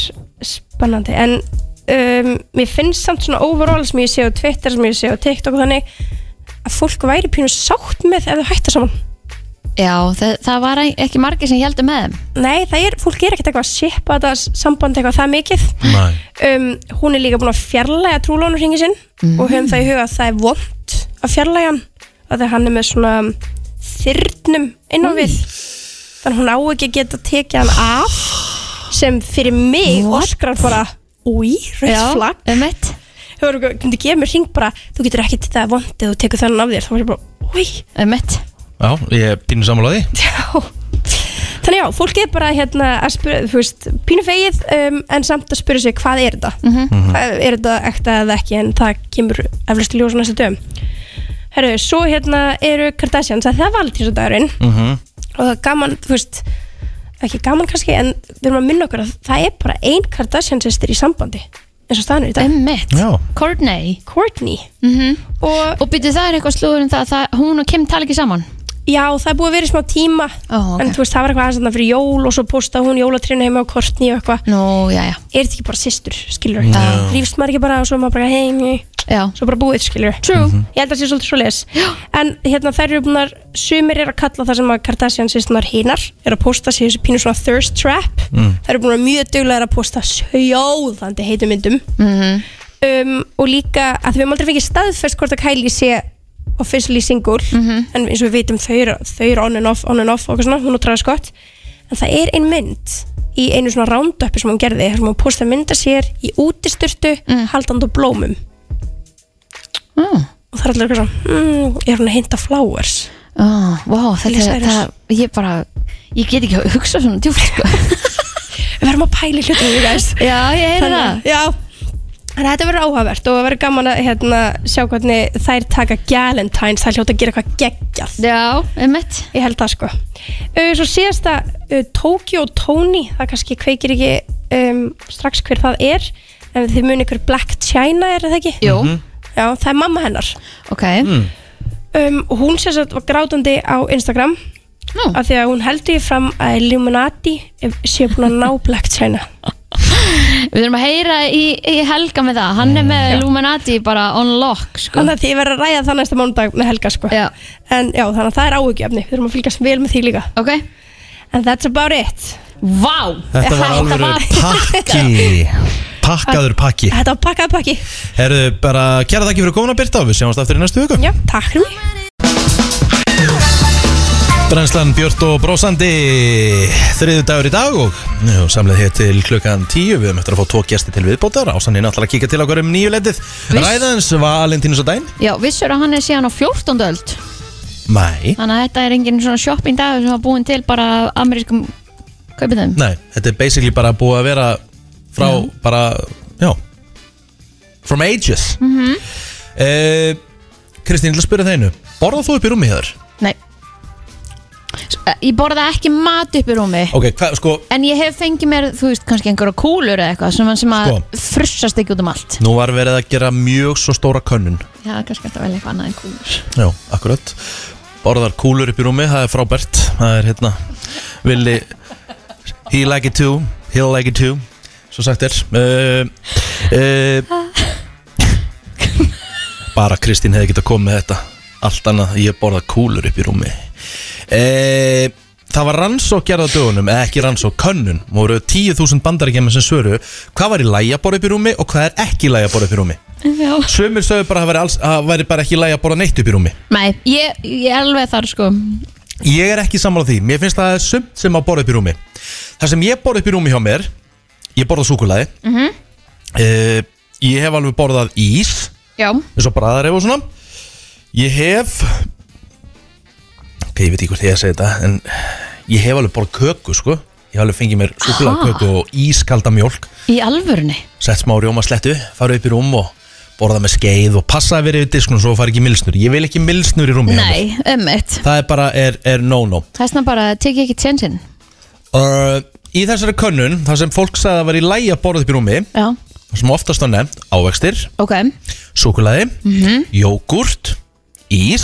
[SPEAKER 14] spennandi en um, mér finnst samt svona overall sem ég sé á Twitter, sem ég sé á TikTok og þannig að fólk væri pínu sátt með ef þau hætta saman
[SPEAKER 1] Já, það, það var e-, ekki margir sem heldur með þeim
[SPEAKER 14] Nei, það er, fólk er ekkert eitthvað að shippa þetta samband eitthvað það mikið
[SPEAKER 2] Nei.
[SPEAKER 14] um, Hún er líka búin að fjarlæga trúlónurringi sinn og höfum það í huga að það er vond að fjarlæga hann að því að hann er með svona þyrnum innan við þannig að hún á ekki að geta tekið hann af sem fyrir mig oskrar bara úi,
[SPEAKER 1] Já,
[SPEAKER 14] rauð flagg
[SPEAKER 1] emitt
[SPEAKER 14] Þú verður ekki að gefa mér hring bara þú getur ekki til það vond eða þú tekur þennan af þér þá var ég bara, úi,
[SPEAKER 1] emitt
[SPEAKER 2] Já, ég er pínu sammálaði
[SPEAKER 14] Þannig já, fólk er bara hérna að spyrja, þú veist, pínu fegið um, en samt að spyrja sig hvað er þetta
[SPEAKER 4] Mhm.
[SPEAKER 14] Hvað- er þetta ekta eða ekki en það kemur eflust í ljós á næstu dögum Herru, svo hérna eru Kardashians að það var alltaf dagurinn
[SPEAKER 2] Mhm.
[SPEAKER 14] og það er gaman, þú veist ekki gaman kannski, en við erum að minna okkur að það er bara ein Kardashian sýstir í sambandi eins og staðanur í dag
[SPEAKER 1] Einmitt.
[SPEAKER 2] Já.
[SPEAKER 1] Courtney mhm.
[SPEAKER 14] Courtney
[SPEAKER 1] Og, og byrju það er eitthvað slúður um það, að það Hún og Kim tala ekki saman
[SPEAKER 14] Já, það er búið að vera í smá tíma
[SPEAKER 1] oh,
[SPEAKER 14] en þú veist, það var eitthvað aðeins þarna fyrir jól og svo posta hún jólatrinu heima á Courtney og eitthvað
[SPEAKER 1] Nú, já, já
[SPEAKER 14] Er þetta ekki bara sýstur, skilur
[SPEAKER 1] Já.
[SPEAKER 14] Rífst maður ekki bara og svo er maður bara heim
[SPEAKER 1] Já.
[SPEAKER 14] Svo bara búið, skilur True Ég held að það sé svolítið svo leis En hérna þær eru búinar, sumir eru að kalla það sem að Kardashian sýstunar hinar eru að posta sér þessu pínu svona thirst trap
[SPEAKER 4] Mm.
[SPEAKER 14] Þær eru búinar mjög duglegar að posta sjóðandi heitumyndum
[SPEAKER 1] -hmm.
[SPEAKER 14] um, Og líka að við höfum aldrei fengið staðfest hvort að Kylie sé officially single En eins og við veitum þau eru, þau eru on and off, on and off og eitthvað svona, hún og Travis Scott en það er ein mynd í einu svona rounduppi sem hún gerði þar sem hún postaði mynda sér í útisturtu haldandi á blómum
[SPEAKER 1] mm.
[SPEAKER 14] og það er allir eitthvað svona mm, er hún að hinta flowers
[SPEAKER 1] oh, Vá, þetta
[SPEAKER 14] Miley
[SPEAKER 1] er
[SPEAKER 14] Cyrus.
[SPEAKER 1] það, Ég bara, ég get ekki að hugsa svona djúpt
[SPEAKER 14] (laughs)
[SPEAKER 1] sko.
[SPEAKER 14] Við verðum að pæla í hlutum við gæst
[SPEAKER 1] Já, ég heyri það.
[SPEAKER 14] Já Þannig að þetta verður áhugavert og verður gaman að hérna, sjá hvernig þær taka Galentines, það er hljóta að gera eitthvað geggjað.
[SPEAKER 1] Já, emmett.
[SPEAKER 14] Ég held það sko. Uh, svo síðasta, uh, Tokyo Tony, það kannski kveikir ekki um, strax hver það er, en þið munið hver Black China er það ekki?
[SPEAKER 1] Jú. Mhm. Mm.
[SPEAKER 14] Já, það er mamma hennar.
[SPEAKER 1] Ok
[SPEAKER 14] Um, og hún sem sagt var grátandi á Instagram
[SPEAKER 1] Nú.
[SPEAKER 14] af því að hún heldur í fram að Illuminati sé búin að ná Black China
[SPEAKER 1] (laughs) Við þurfum að heyra í, í Helga með það Hann er með Illuminati bara on lock sko.
[SPEAKER 14] þannig að því ég verður að ræða það næsta mánudag með Helga sko.
[SPEAKER 1] já.
[SPEAKER 14] en já, þannig að það er áhugjefni við þurfum að fylgjast vel með því líka
[SPEAKER 1] okay.
[SPEAKER 14] and that's about it
[SPEAKER 1] Vá,
[SPEAKER 2] Þetta var alveg pakki Pakkaður pakki
[SPEAKER 14] Þetta var pakkað pakki
[SPEAKER 2] Herðu bara, kæra þakki fyrir komuna Birta og við sjáumst aftur í næstu viku
[SPEAKER 14] Já, takk fyrir mig
[SPEAKER 2] Brænslan Björn og Brósandi Þriðu dagur í dag og já, samleið hér til klukkan 10 Við höfum eftir að fá tvo gesti til viðbótar Ásanin ætlar að kíka til okkur um nýju letið Ræðans Valentínus og dæn
[SPEAKER 1] Já, vissur að hann er síðan á 14. öld
[SPEAKER 2] Mæ
[SPEAKER 1] Þannig að þetta er engin svona shopping dagur sem var búin til bara af amerískum kaupinum
[SPEAKER 2] Nei, þetta er basically bara búið að vera frá bara, já From ages
[SPEAKER 1] mm
[SPEAKER 2] Eh, Kristín, ég ætla að spyrja það einu Borða þú upp í rúmi hér?
[SPEAKER 1] Nei eh, Ég borða ekki mat upp í rúmi
[SPEAKER 2] Ok, hva, sko,
[SPEAKER 1] En ég hef fengið mér, þú veist, kannski einhverja kúlur eða eitthvað sem, sem að
[SPEAKER 2] Sko.
[SPEAKER 1] frussast ekki út um allt
[SPEAKER 2] nú var verið að gera mjög svo stóra könnun
[SPEAKER 1] Já, kannski þetta vel eitthvað annað en kúlur
[SPEAKER 2] Já, akkurat Borðar kúlur upp í rúmi, það er frábært Það er hérna Vili, he like it too He'll like it too Svo sagt er uh, uh, Bara Kristín hefði getað komið með þetta Allt annað, ég borða kúlur upp í rúmi uh, Það var rannsók gerða dögunum Eða ekki rannsók, könnun Voru 10.000 bandaríkjum sem svöru Hvað var í lægja borða upp í rúmi Og hvað er ekki lægja borða upp í rúmi
[SPEAKER 1] Já
[SPEAKER 2] Sumir sögðu bara að það væri alls- að það væri bara ekki lægja borða neitt upp í rúmi
[SPEAKER 1] Nei, ég, ég er alveg þar sko
[SPEAKER 2] Ég er ekki sammála því, mér finnst það sumt sem að borða upp í rúmi Það sem ég borða upp í rúmi hjá mér Ég borða súkulaði
[SPEAKER 1] mm
[SPEAKER 2] uh, Ég hef alveg borðað ís
[SPEAKER 1] Já,
[SPEAKER 2] eins og bræðaref og svona Ég hef Ok, ég veit ekki hvort ég að segja þetta En ég hef alveg borðað köku, sko Ég hef alveg fengið mér súkulaði köku og ískalda mjólk
[SPEAKER 1] í alvörunni
[SPEAKER 2] Sett smá rjóma slettu, farið upp í rúm og borða með skeið og passa að vera yfir disknum svo fari ekki milsnur, ég vil ekki milsnur í rúmi hjá mér.
[SPEAKER 1] Nei, ömmit
[SPEAKER 2] Það er bara, er, er no-no
[SPEAKER 1] Það er svona bara, tek ég ekki tjensin
[SPEAKER 2] Uh, í þessari könnun, þar sem fólk sagði að vera í lægi að borða upp í rúmi
[SPEAKER 1] Já,
[SPEAKER 2] þar sem oftast var nefnt ávextir,
[SPEAKER 1] ok
[SPEAKER 2] súkulaði
[SPEAKER 1] Mhm.
[SPEAKER 2] jógurt, ís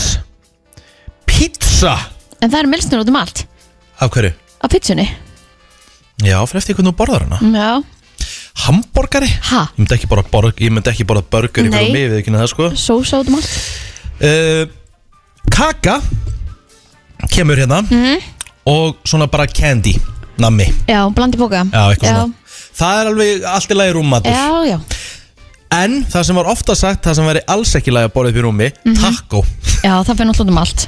[SPEAKER 2] pizza
[SPEAKER 1] En það er milsnur út um allt
[SPEAKER 2] af hverju?
[SPEAKER 1] Á pizzunni
[SPEAKER 2] Já, fyrir eftir hvernig þú borðar hana
[SPEAKER 1] Já
[SPEAKER 2] Hamborgari?
[SPEAKER 1] Ha?
[SPEAKER 2] Ég myndi ekki borða, borg, ég myndi ekki borða burger upp í
[SPEAKER 1] Nei.
[SPEAKER 2] rúmi, við ekki það sko
[SPEAKER 1] Sósa út um allt
[SPEAKER 2] uh, Kaka kemur hérna
[SPEAKER 1] Mhm.
[SPEAKER 2] Og svona bara candy Nammi
[SPEAKER 1] Já, blandi bóka
[SPEAKER 2] Já, eitthvað svona Það er alveg allt í lagi rúmmatur
[SPEAKER 1] Já, já
[SPEAKER 2] En það sem var ofta sagt, það sem væri alls ekki í lagi að borða upp í rúmi
[SPEAKER 1] Mhm.
[SPEAKER 2] Taco,
[SPEAKER 1] Já, það fyrir náttúrulega um allt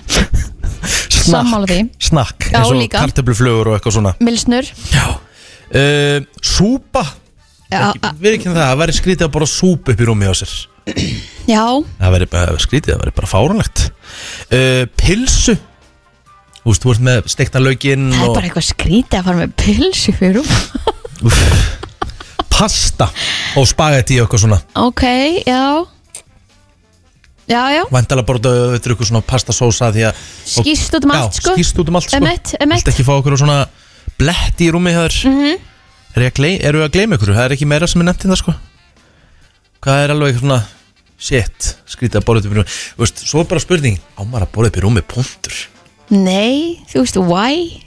[SPEAKER 1] Sammála því
[SPEAKER 2] snakk
[SPEAKER 1] Já,
[SPEAKER 2] Eins og
[SPEAKER 1] líka.
[SPEAKER 2] kartöfluflögur og eitthvað svona
[SPEAKER 1] Milsnur
[SPEAKER 2] uh, Súpa
[SPEAKER 1] Já,
[SPEAKER 2] Við ekki það, það væri skrítið að borða súpu upp í rúmi á sér
[SPEAKER 1] já,
[SPEAKER 2] Það væri bara skrítið, það væri bara fárunlegt uh, Pilsu Þú veist, þú ert með steikta laukinn
[SPEAKER 1] það er
[SPEAKER 2] og
[SPEAKER 1] bara eitthvað skrítið að fara með pilsu fyrir rúm
[SPEAKER 2] pasta og spagetti og eitthvað svona
[SPEAKER 1] Ok, já Já, já,
[SPEAKER 2] Væntalega borða auðvitað eitthvað svona pastasósa því að og-
[SPEAKER 1] skýst út um allt
[SPEAKER 2] Já,
[SPEAKER 1] sko
[SPEAKER 2] skýst út um allt sko
[SPEAKER 1] Emmett, emmett
[SPEAKER 2] Vilt ekki fá okkur svona bletti í rúmi hér mm
[SPEAKER 1] -hmm.
[SPEAKER 2] Er ég að gley- Eru við að gleyma ykkur? Það er ekki meira sem er nefnt í það sko Hvað er alveg svona Shit, skrítið að borða upp í rúmi Þú veist, Svo er bara spurning Á maður að borða upp í rúmi, punktur
[SPEAKER 1] Nei, þú veist, why?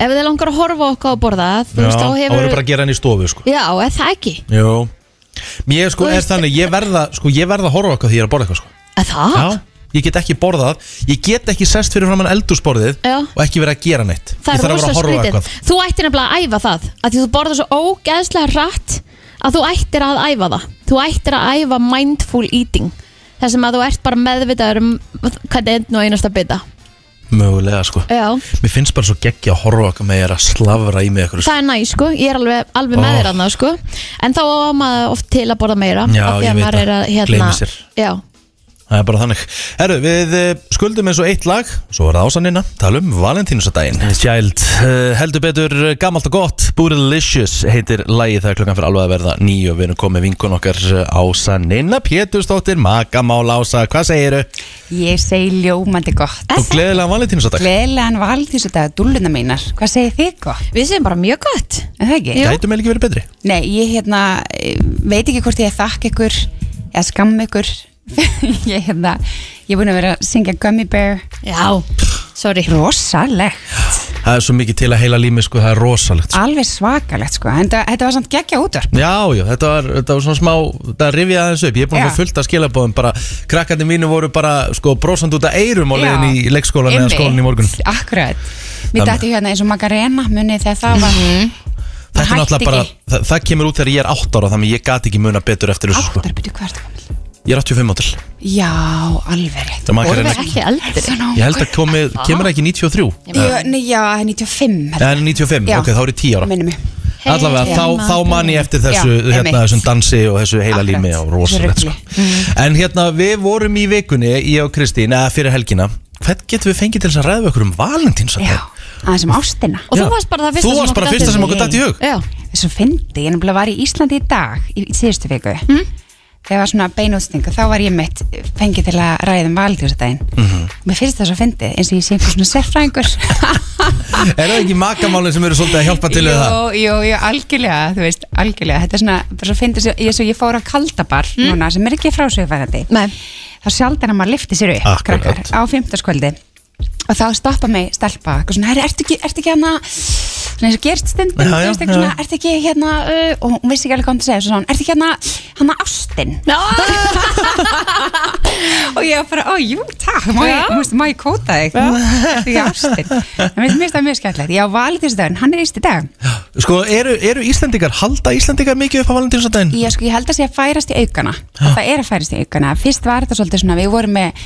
[SPEAKER 1] Ef þið langar að horfa á okkar að borða Þú veist, þá
[SPEAKER 2] Það
[SPEAKER 1] hefur
[SPEAKER 2] voru bara að gera hann í stofu sko
[SPEAKER 1] Já, eða það ekki
[SPEAKER 2] Jó Mér sko
[SPEAKER 1] Þú
[SPEAKER 2] er
[SPEAKER 1] veist-
[SPEAKER 2] þannig, ég verða sko, ég verða að horfa okkar því ég er að borða eitthvað sko
[SPEAKER 1] Eða það?
[SPEAKER 2] Já, ég get ekki borðað Ég get ekki sest fyrir framann eldúsborðið
[SPEAKER 1] Já.
[SPEAKER 2] Og ekki verið að gera neitt
[SPEAKER 1] Það
[SPEAKER 2] Ég
[SPEAKER 1] er
[SPEAKER 2] þarf að vera
[SPEAKER 1] rosa
[SPEAKER 2] að horfa á
[SPEAKER 1] skrítið
[SPEAKER 2] eitthvað.
[SPEAKER 1] Þú ættir nefnilega að æfa það að Því þú borðar svo ógeðslega rætt Að þú ættir að æfa það Þú ættir að æfa mindful eating Þar sem að þú ert bara meðvitaður um Hvernig einn og einasta bita
[SPEAKER 2] Mögulega sko
[SPEAKER 1] Já,
[SPEAKER 2] Mér finnst bara svo geggja að horfa okkar með ég er að slavra í mig eitthvað
[SPEAKER 1] það er næ sko Ég er alveg, alveg með
[SPEAKER 2] Ó.
[SPEAKER 1] þér annað sko En þá á maður oft til að borða meira
[SPEAKER 2] Já,
[SPEAKER 1] af því
[SPEAKER 2] ég
[SPEAKER 1] að
[SPEAKER 2] veit
[SPEAKER 1] maður
[SPEAKER 2] það.
[SPEAKER 1] er að, hérna,
[SPEAKER 2] Gleymir sér.
[SPEAKER 1] Já,
[SPEAKER 2] Það er bara þannig Herru, við eh, skuldum eins og eitt lag Svo var það ásannina Tala um Valentínusadaginn Child uh, Heldur betur eh, gamalt og gott Búrilicious heitir lagið Það er klokkan fyrir alveg að verða nýju Og við erum komið vinkun okkar ásannina Pétursdóttir, magamál ása Hvað segiru?
[SPEAKER 15] Ég segi ljómandi gott
[SPEAKER 2] Og gleðilega Valentínusadag
[SPEAKER 15] Gleðilegan valdinsdag, dúlluna mínar Hvað segir þið gott?
[SPEAKER 1] Við segjum bara mjög gott
[SPEAKER 15] En það ekki?
[SPEAKER 2] Gætum eða ekki verið betri
[SPEAKER 15] Nei, ég hérna eh, veit ekki hvort ég þakk ykkur eða skamm ykkur (laughs) ég hérna, ég er búin að vera að syngja Gummy Bear
[SPEAKER 1] Já, sorry
[SPEAKER 15] Rosaleg,
[SPEAKER 2] Það er svo mikið til að heila lími sko Það er rosalegt sko.
[SPEAKER 15] alveg svakalegt sko en það- þetta var samt geggja útvarp
[SPEAKER 2] Já, já, þetta var, þetta var svona smá, þetta rifjaði aðeins upp Ég er búin að
[SPEAKER 15] Já.
[SPEAKER 2] fá fullt að skilabóðum bara, krakkarnir mínu voru bara, sko, brosand út að eirum á
[SPEAKER 15] Já.
[SPEAKER 2] leiðin í leikskólan eða
[SPEAKER 15] Einmitt.
[SPEAKER 2] skólan í morgun
[SPEAKER 15] Akkurat, mér
[SPEAKER 2] Þannig-
[SPEAKER 15] dætti hérna eins og Magarena munið þegar það var
[SPEAKER 2] Þetta er
[SPEAKER 15] hætti
[SPEAKER 2] náttúrulega bara,
[SPEAKER 15] ekki.
[SPEAKER 2] það, það kemur út þegar ég er 8 ára þannig að ég gat ekki muna betur eftir þessu sko.
[SPEAKER 15] Bíddu, hvað ertu gamall?
[SPEAKER 2] Ég er 85 átil
[SPEAKER 15] Já, alveg rétt
[SPEAKER 2] Það makar en ekki-
[SPEAKER 1] ekki eldri
[SPEAKER 2] Ég held að komi, kemur það ekki 93
[SPEAKER 15] Jú, nei, Já, það er 95 held ég.
[SPEAKER 2] En 95,
[SPEAKER 15] Já.
[SPEAKER 2] ok, þá er ég 10 ára
[SPEAKER 15] Minnum mig
[SPEAKER 2] Allavega,
[SPEAKER 15] Hey,
[SPEAKER 2] þá, þá man ég eftir þessu,
[SPEAKER 15] Já,
[SPEAKER 2] hérna,
[SPEAKER 15] einmitt.
[SPEAKER 2] þessum dansi og þessu heila lími og rosalegt sko. En hérna, við vorum í vikunni, ég og Kristín, eða fyrir helgina Hvern getum við fengið til þess að ræða við okkur um Valentins
[SPEAKER 15] aðeins um ástina
[SPEAKER 2] Og þú Já. varst bara það fyrsta Þú sem varst okkur bara datt í fyrsta sem hug. okkur datt í hug.
[SPEAKER 1] Já.
[SPEAKER 15] Þessu fyndi, ég nefnilega var í Íslandi í dag í í síðustu viku
[SPEAKER 2] Mhm.
[SPEAKER 15] mm? þegar var svona beinútsning og þá var ég mitt fengið til að ræða um valdjóðsdægin
[SPEAKER 2] Mhm.
[SPEAKER 15] mér finnst það svo fyndi eins og ég sé einhver svona sérfræðingur
[SPEAKER 2] Er það ekki makamálin sem eru svolítið að hjálpa til við það?
[SPEAKER 15] Jú, jú, jú, algjörlega, þú veist, algjörlega Þetta er svona, bara svo fyndi ég eins og ég fór á kaldabar
[SPEAKER 2] Mhm.
[SPEAKER 15] núna, sem er ekki frásögufærandi Nei Þá sjaldan að maður lifti sér upp,
[SPEAKER 16] Akkurat.
[SPEAKER 15] krakkar, á fimmtarskvöldi Og þá stoppa mig stelpa, eitthvað svona, herri, ertu ekki, ertu ekki hérna Svona eins og gerst stundum,
[SPEAKER 16] Já,
[SPEAKER 15] þú
[SPEAKER 16] já,
[SPEAKER 15] veist, eitthvað svona,
[SPEAKER 16] já.
[SPEAKER 15] ertu ekki hérna uh, Og hún vissi ekki alveg hvað hann til að segja, svo svona, ertu ekki hérna, hérna ástin Og ég var bara, ó, jú, takk, má ég,
[SPEAKER 16] Já.
[SPEAKER 15] þú veist, má ég kóta þig Ertu ekki ástin En mér finnst það mjög skemmtilegt, já, valitinsdagurinn, hann er íst í dag
[SPEAKER 2] Sko, eru, eru Íslendingar, halda Íslendingar mikið upp á Valentínsdaginn?
[SPEAKER 15] Já, sko, ég held að sé að færast í aukana að það er að færast í aukana fyrst var þetta svolítið svona, við vorum með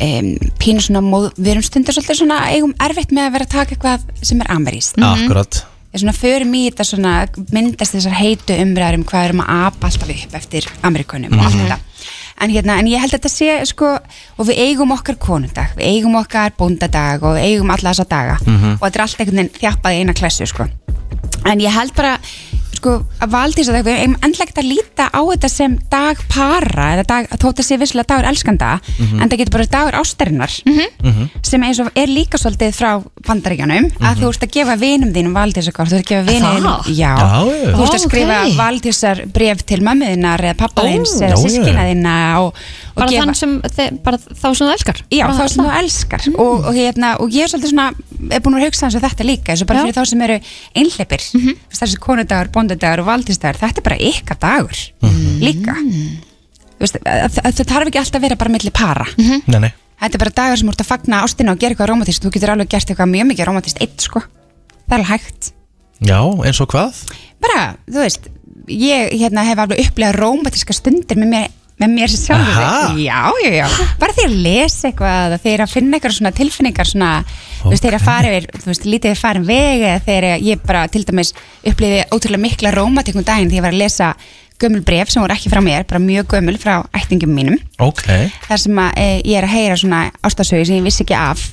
[SPEAKER 15] um, pínu svona, móð, við erum stundur svolítið svona, eigum erfitt með að vera að taka eitthvað sem er ameríst
[SPEAKER 2] Mm-hmm. Akkurat
[SPEAKER 15] Við svona förum í þetta svona, myndast þessar heitu umræður um hvað við erum að apa alltaf upp eftir Amerikunum og allt
[SPEAKER 16] Mhm.
[SPEAKER 15] þetta en, hérna, en ég held að þetta sé sko, og við eigum okkar konundag, við eigum okkar bóndadag og við eigum alla þessa daga
[SPEAKER 16] Mhm.
[SPEAKER 15] og þetta er allt einhvern veginn þjappað í eina klessu sko. en ég held bara sko, að valdís að við eigum endlegt að líta á þetta sem dag para eða dag, þótt að sé visslega dagur elskanda
[SPEAKER 16] Mhm.
[SPEAKER 15] en það getur bara dagur ástarinnar sem eins og er líka svolítið frá bandaríkjanum að
[SPEAKER 16] Mhm.
[SPEAKER 15] þú ert að gefa vinum þínum valdísakort, þú ert að gefa vinum
[SPEAKER 16] Er það?
[SPEAKER 15] þínum
[SPEAKER 16] Já,
[SPEAKER 15] já,
[SPEAKER 16] já.
[SPEAKER 15] þú ert að
[SPEAKER 16] Ó,
[SPEAKER 15] skrifa
[SPEAKER 16] ókei.
[SPEAKER 15] valdísar bref til mömmuðinar eða pappaðins
[SPEAKER 1] Ó,
[SPEAKER 15] eða
[SPEAKER 1] já, já.
[SPEAKER 15] sískina þína og, og
[SPEAKER 1] Bara þann sem, þe- bara þá sem þú elskar
[SPEAKER 15] Já,
[SPEAKER 1] Bara Mm.
[SPEAKER 15] þá sem þú elskar og, og, hérna, og ég er svolítið svona, er búin að vera að hugsa eins og þetta líka eins og bara
[SPEAKER 1] Já. Mhm.
[SPEAKER 15] fyrir þá sem eru einhleipir mm -hmm. þessi konudagur, bondudagur og valdistagur þetta er bara ykkar dagur
[SPEAKER 1] Mhm. Mm.
[SPEAKER 15] líka Þú veist, að- að- að það þarf ekki alltaf að vera bara milli para
[SPEAKER 2] Nei, nei
[SPEAKER 15] Þetta er bara dagur sem þú ert að fagna ástina og gera eitthvað romantist Þú getur alveg gert eitthvað mjög mikið romantist eitt sko Það er alveg hægt
[SPEAKER 2] Já, eins og hvað?
[SPEAKER 15] Bara, þú veist, ég hérna, hef alveg upplegað romantiska stundir með mér, með mér sem sjálfur
[SPEAKER 2] Aha.
[SPEAKER 15] Já, já, já Bara þegar ég les eitthvað Þegar ég finna eitthvað svona tilfinningar svona Þú veist, þegar ég fara yfir, þú veist, lítið farin veg eða þegar ég bara til dæmis upplifi ótrúlega mikla romantikum daginn þegar ég var að lesa gömul bref sem voru ekki frá mér, bara mjög gömul frá ættingum mínum
[SPEAKER 2] Ok,
[SPEAKER 15] þar sem að, e, ég er að heyra svona ástasögi sem ég vissi ekki af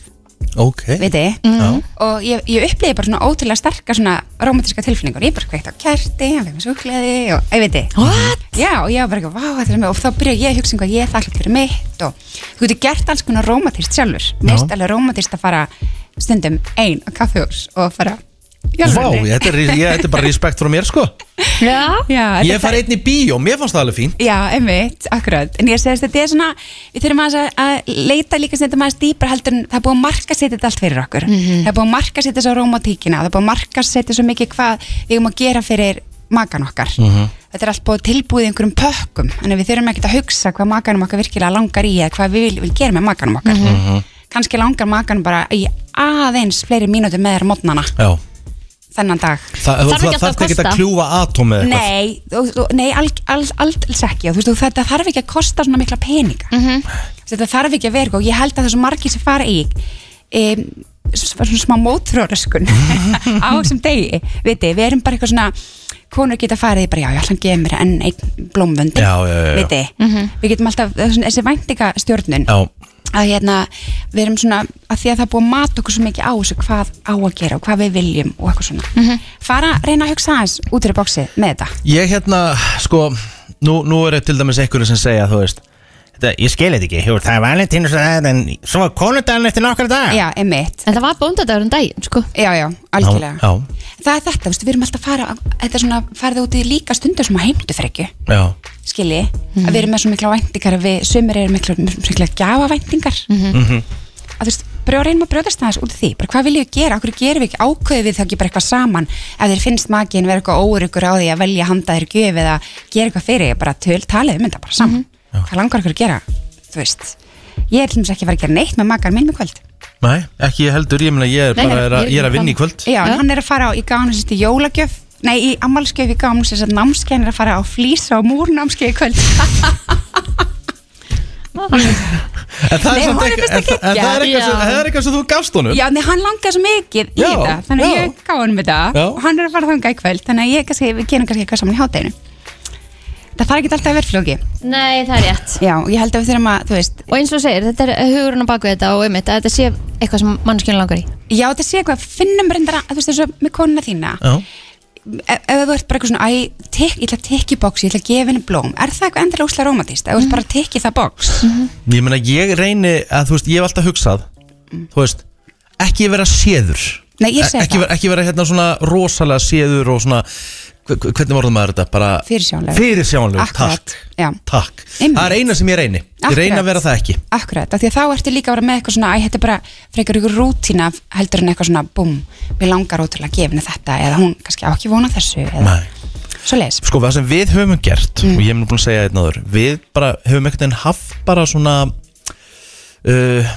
[SPEAKER 2] ok
[SPEAKER 15] viti,
[SPEAKER 2] Já.
[SPEAKER 15] og ég, ég uppliði bara svona ótrúlega starka svona romantíska tilfinningur, ég bara kveikt á kerti hann fekk mér súklaði og, ég viti What? Já, og ég var bara eitthvað, vá, þetta er mér og þá byrja ég að hugsa um hvað ég er þakklátt fyrir mitt og þú getur gert alls konar romantist sjálfur
[SPEAKER 2] Já.
[SPEAKER 15] mér erst alveg romantist að fara stundum ein á kaffihús og fara í
[SPEAKER 2] Vá,
[SPEAKER 15] alvörunni.
[SPEAKER 2] þetta er, ég, þetta er bara respekt frá mér sko
[SPEAKER 15] Já, já
[SPEAKER 2] Ég fari einn í bíó, mér fannst það alveg fín
[SPEAKER 15] Já, einmitt, akkurat En ég segist þetta er svona, við þurfum aðeins að, að leita líka sem þetta maður dýpar heldur en það er búið að marka setja þetta allt fyrir okkur Það er búið að marka setja svo rómatíkina Það er búið að marka setja svo mikið hvað við erum að gera fyrir makan okkar Þetta er allt búið tilbúið í einhverjum pökkum Þannig að við þurfum ekkert að hugsa hvað makanum okkar virkilega langar í eða hvað við vil, vil gera með makanum okkar
[SPEAKER 2] Mhm.
[SPEAKER 15] Kannski langar makanum bara í aðeins fleiri mínútur með þér mótnana
[SPEAKER 2] Já,
[SPEAKER 15] þennan dag
[SPEAKER 2] Þa, það þarf ekki að kljúfa atóm eða eitthvað
[SPEAKER 15] Nei, þú, þú, nei all, all, alls ekki og þú veist, þú- þetta þarf ekki að kosta svona mikla peninga mm -hmm. þetta þarf ekki að vera og ég held að þessu margir sem fara í um, svona smá mótróröskun (laughs) á þessum degi viti, við erum bara eitthvað svona konur geta farið í bara, já, ég ætla að gefa mér enn einn blómvöndi,
[SPEAKER 2] Já, já, já, já.
[SPEAKER 15] viti við getum alltaf, þessi, þessi væntingastjórnun
[SPEAKER 2] Já,
[SPEAKER 15] að hérna, við erum svona að því að það er búið að mata okkur svo mikið á þessu hvað á að gera og hvað við viljum og eitthvað svona
[SPEAKER 2] Mhm.
[SPEAKER 15] fara, reyna að hugsa aðeins út í bóksi með þetta
[SPEAKER 2] Ég hérna, sko Nú, nú er til dæmis einhverju sem segja, þú veist þetta, Ég skil þetta ekki, jú, það er valentínus En svo var konundaginn eftir nokkar dag
[SPEAKER 15] Já, emitt En það var bóndadagur um daginn, sko Já, já, algjörlega
[SPEAKER 2] Já,
[SPEAKER 15] Það er þetta, veistu, við erum alltaf að fara þetta er svona, farið út í líka stundu sem að heimdu frekju
[SPEAKER 2] já, já.
[SPEAKER 15] skilji, að við erum með svo mikla væntingar að við sömur eru mikla, mikla gjafavæntingar
[SPEAKER 2] Mhm.
[SPEAKER 15] að þú veist, bara að reynum að brjóðast aðeins út af því bara hvað viljum við gera, okkur gerum við ekki ákveðum við þá ekki bara eitthvað saman, ef þér finnst makin vera eitthvað óryggur á því að velja handa þér gjöf eða gera eitthvað fyrir, ég bara töl talið um þetta bara saman, hvað langar okkur að gera þú veist, ég er til dæmis ekki að vera að gera neitt með makar minn í kvöld
[SPEAKER 2] Nei, ekki ég heldur, ég meina ég er
[SPEAKER 15] Nei,
[SPEAKER 2] bara er að, ég er að vinna í kvöld
[SPEAKER 15] Já, en hann er að fara á, ég gaf hann sérst í jólagjöf Nei, í ammalskjöf, ég gaf hann sérst að námskein er að fara á flýsa og múrnámskeið í kvöld
[SPEAKER 2] En
[SPEAKER 15] Nei,
[SPEAKER 2] það er samt
[SPEAKER 15] honum
[SPEAKER 2] eitthvað-
[SPEAKER 15] finnst það
[SPEAKER 2] en það- en það er
[SPEAKER 15] geggjað.
[SPEAKER 2] eitthvað sem- það er eitthvað sem þú gafst honum
[SPEAKER 15] Já, nei, hann langar svo mikið í
[SPEAKER 2] Hm? Já,
[SPEAKER 15] þetta Þannig að
[SPEAKER 2] já.
[SPEAKER 15] ég gaf hann með það
[SPEAKER 2] Já.
[SPEAKER 15] og hann er að fara þangað í kvöld Þannig að ég kannski, við gerum kannski eitthvað saman í hátæginu Það þarf ekki alltaf að vera flóki
[SPEAKER 1] (laughs) Nei, það er rétt
[SPEAKER 15] Já, ég held að við þurfum að, þú veist
[SPEAKER 1] Og eins og þú segir, þetta er hugurinn á baku þetta og einmitt að þetta sé eitthvað sem mannskjörn langar í
[SPEAKER 15] Já, þetta sé eitthvað, finnum reyndar að, þú veist, þessu með konuna þína
[SPEAKER 2] Já Hm?
[SPEAKER 15] ef, ef þú ert bara eitthvað svona, æ, tek, ég ætla að tekja í box, ég ætla að gefa henni blóm Er það eitthvað endilega úslega romantist? Ef þú ert bara að tekja það box
[SPEAKER 2] Ég meina ég reyni að þú veist, ég hef alltaf hugsað
[SPEAKER 15] Mm.
[SPEAKER 2] Þú veist, ekki vera séður
[SPEAKER 15] Nei, ég segi
[SPEAKER 2] ekki,
[SPEAKER 15] það.
[SPEAKER 2] vera, ekki vera hérna svona rosalega séður og svona hve- hve- Hvernig voruð maður þetta? Bara
[SPEAKER 15] Fyrirsjáanlegur.
[SPEAKER 2] Fyrirsjánlegur,
[SPEAKER 15] Akkurat,
[SPEAKER 2] takk,
[SPEAKER 15] já.
[SPEAKER 2] takk
[SPEAKER 15] Einmitt.
[SPEAKER 2] Það er eina sem ég reyni Ég reyni
[SPEAKER 15] Akkurat.
[SPEAKER 2] að vera það ekki
[SPEAKER 15] Akkurat, af því að þá ertu líka að vera með eitthvað svona, æ, þetta er bara frekar ykkur rútína heldur en eitthvað svona, búm, mér langar ótrúlega að gefa henni þetta eða hún kannski á ekki vona þessu eða
[SPEAKER 2] Nei.
[SPEAKER 15] svo leis.
[SPEAKER 2] Sko, það sem við höfum gert
[SPEAKER 15] Mm.
[SPEAKER 2] og ég hef nú búin að segja þetta náður Við bara höfum ekkert enn haft bara svona uh,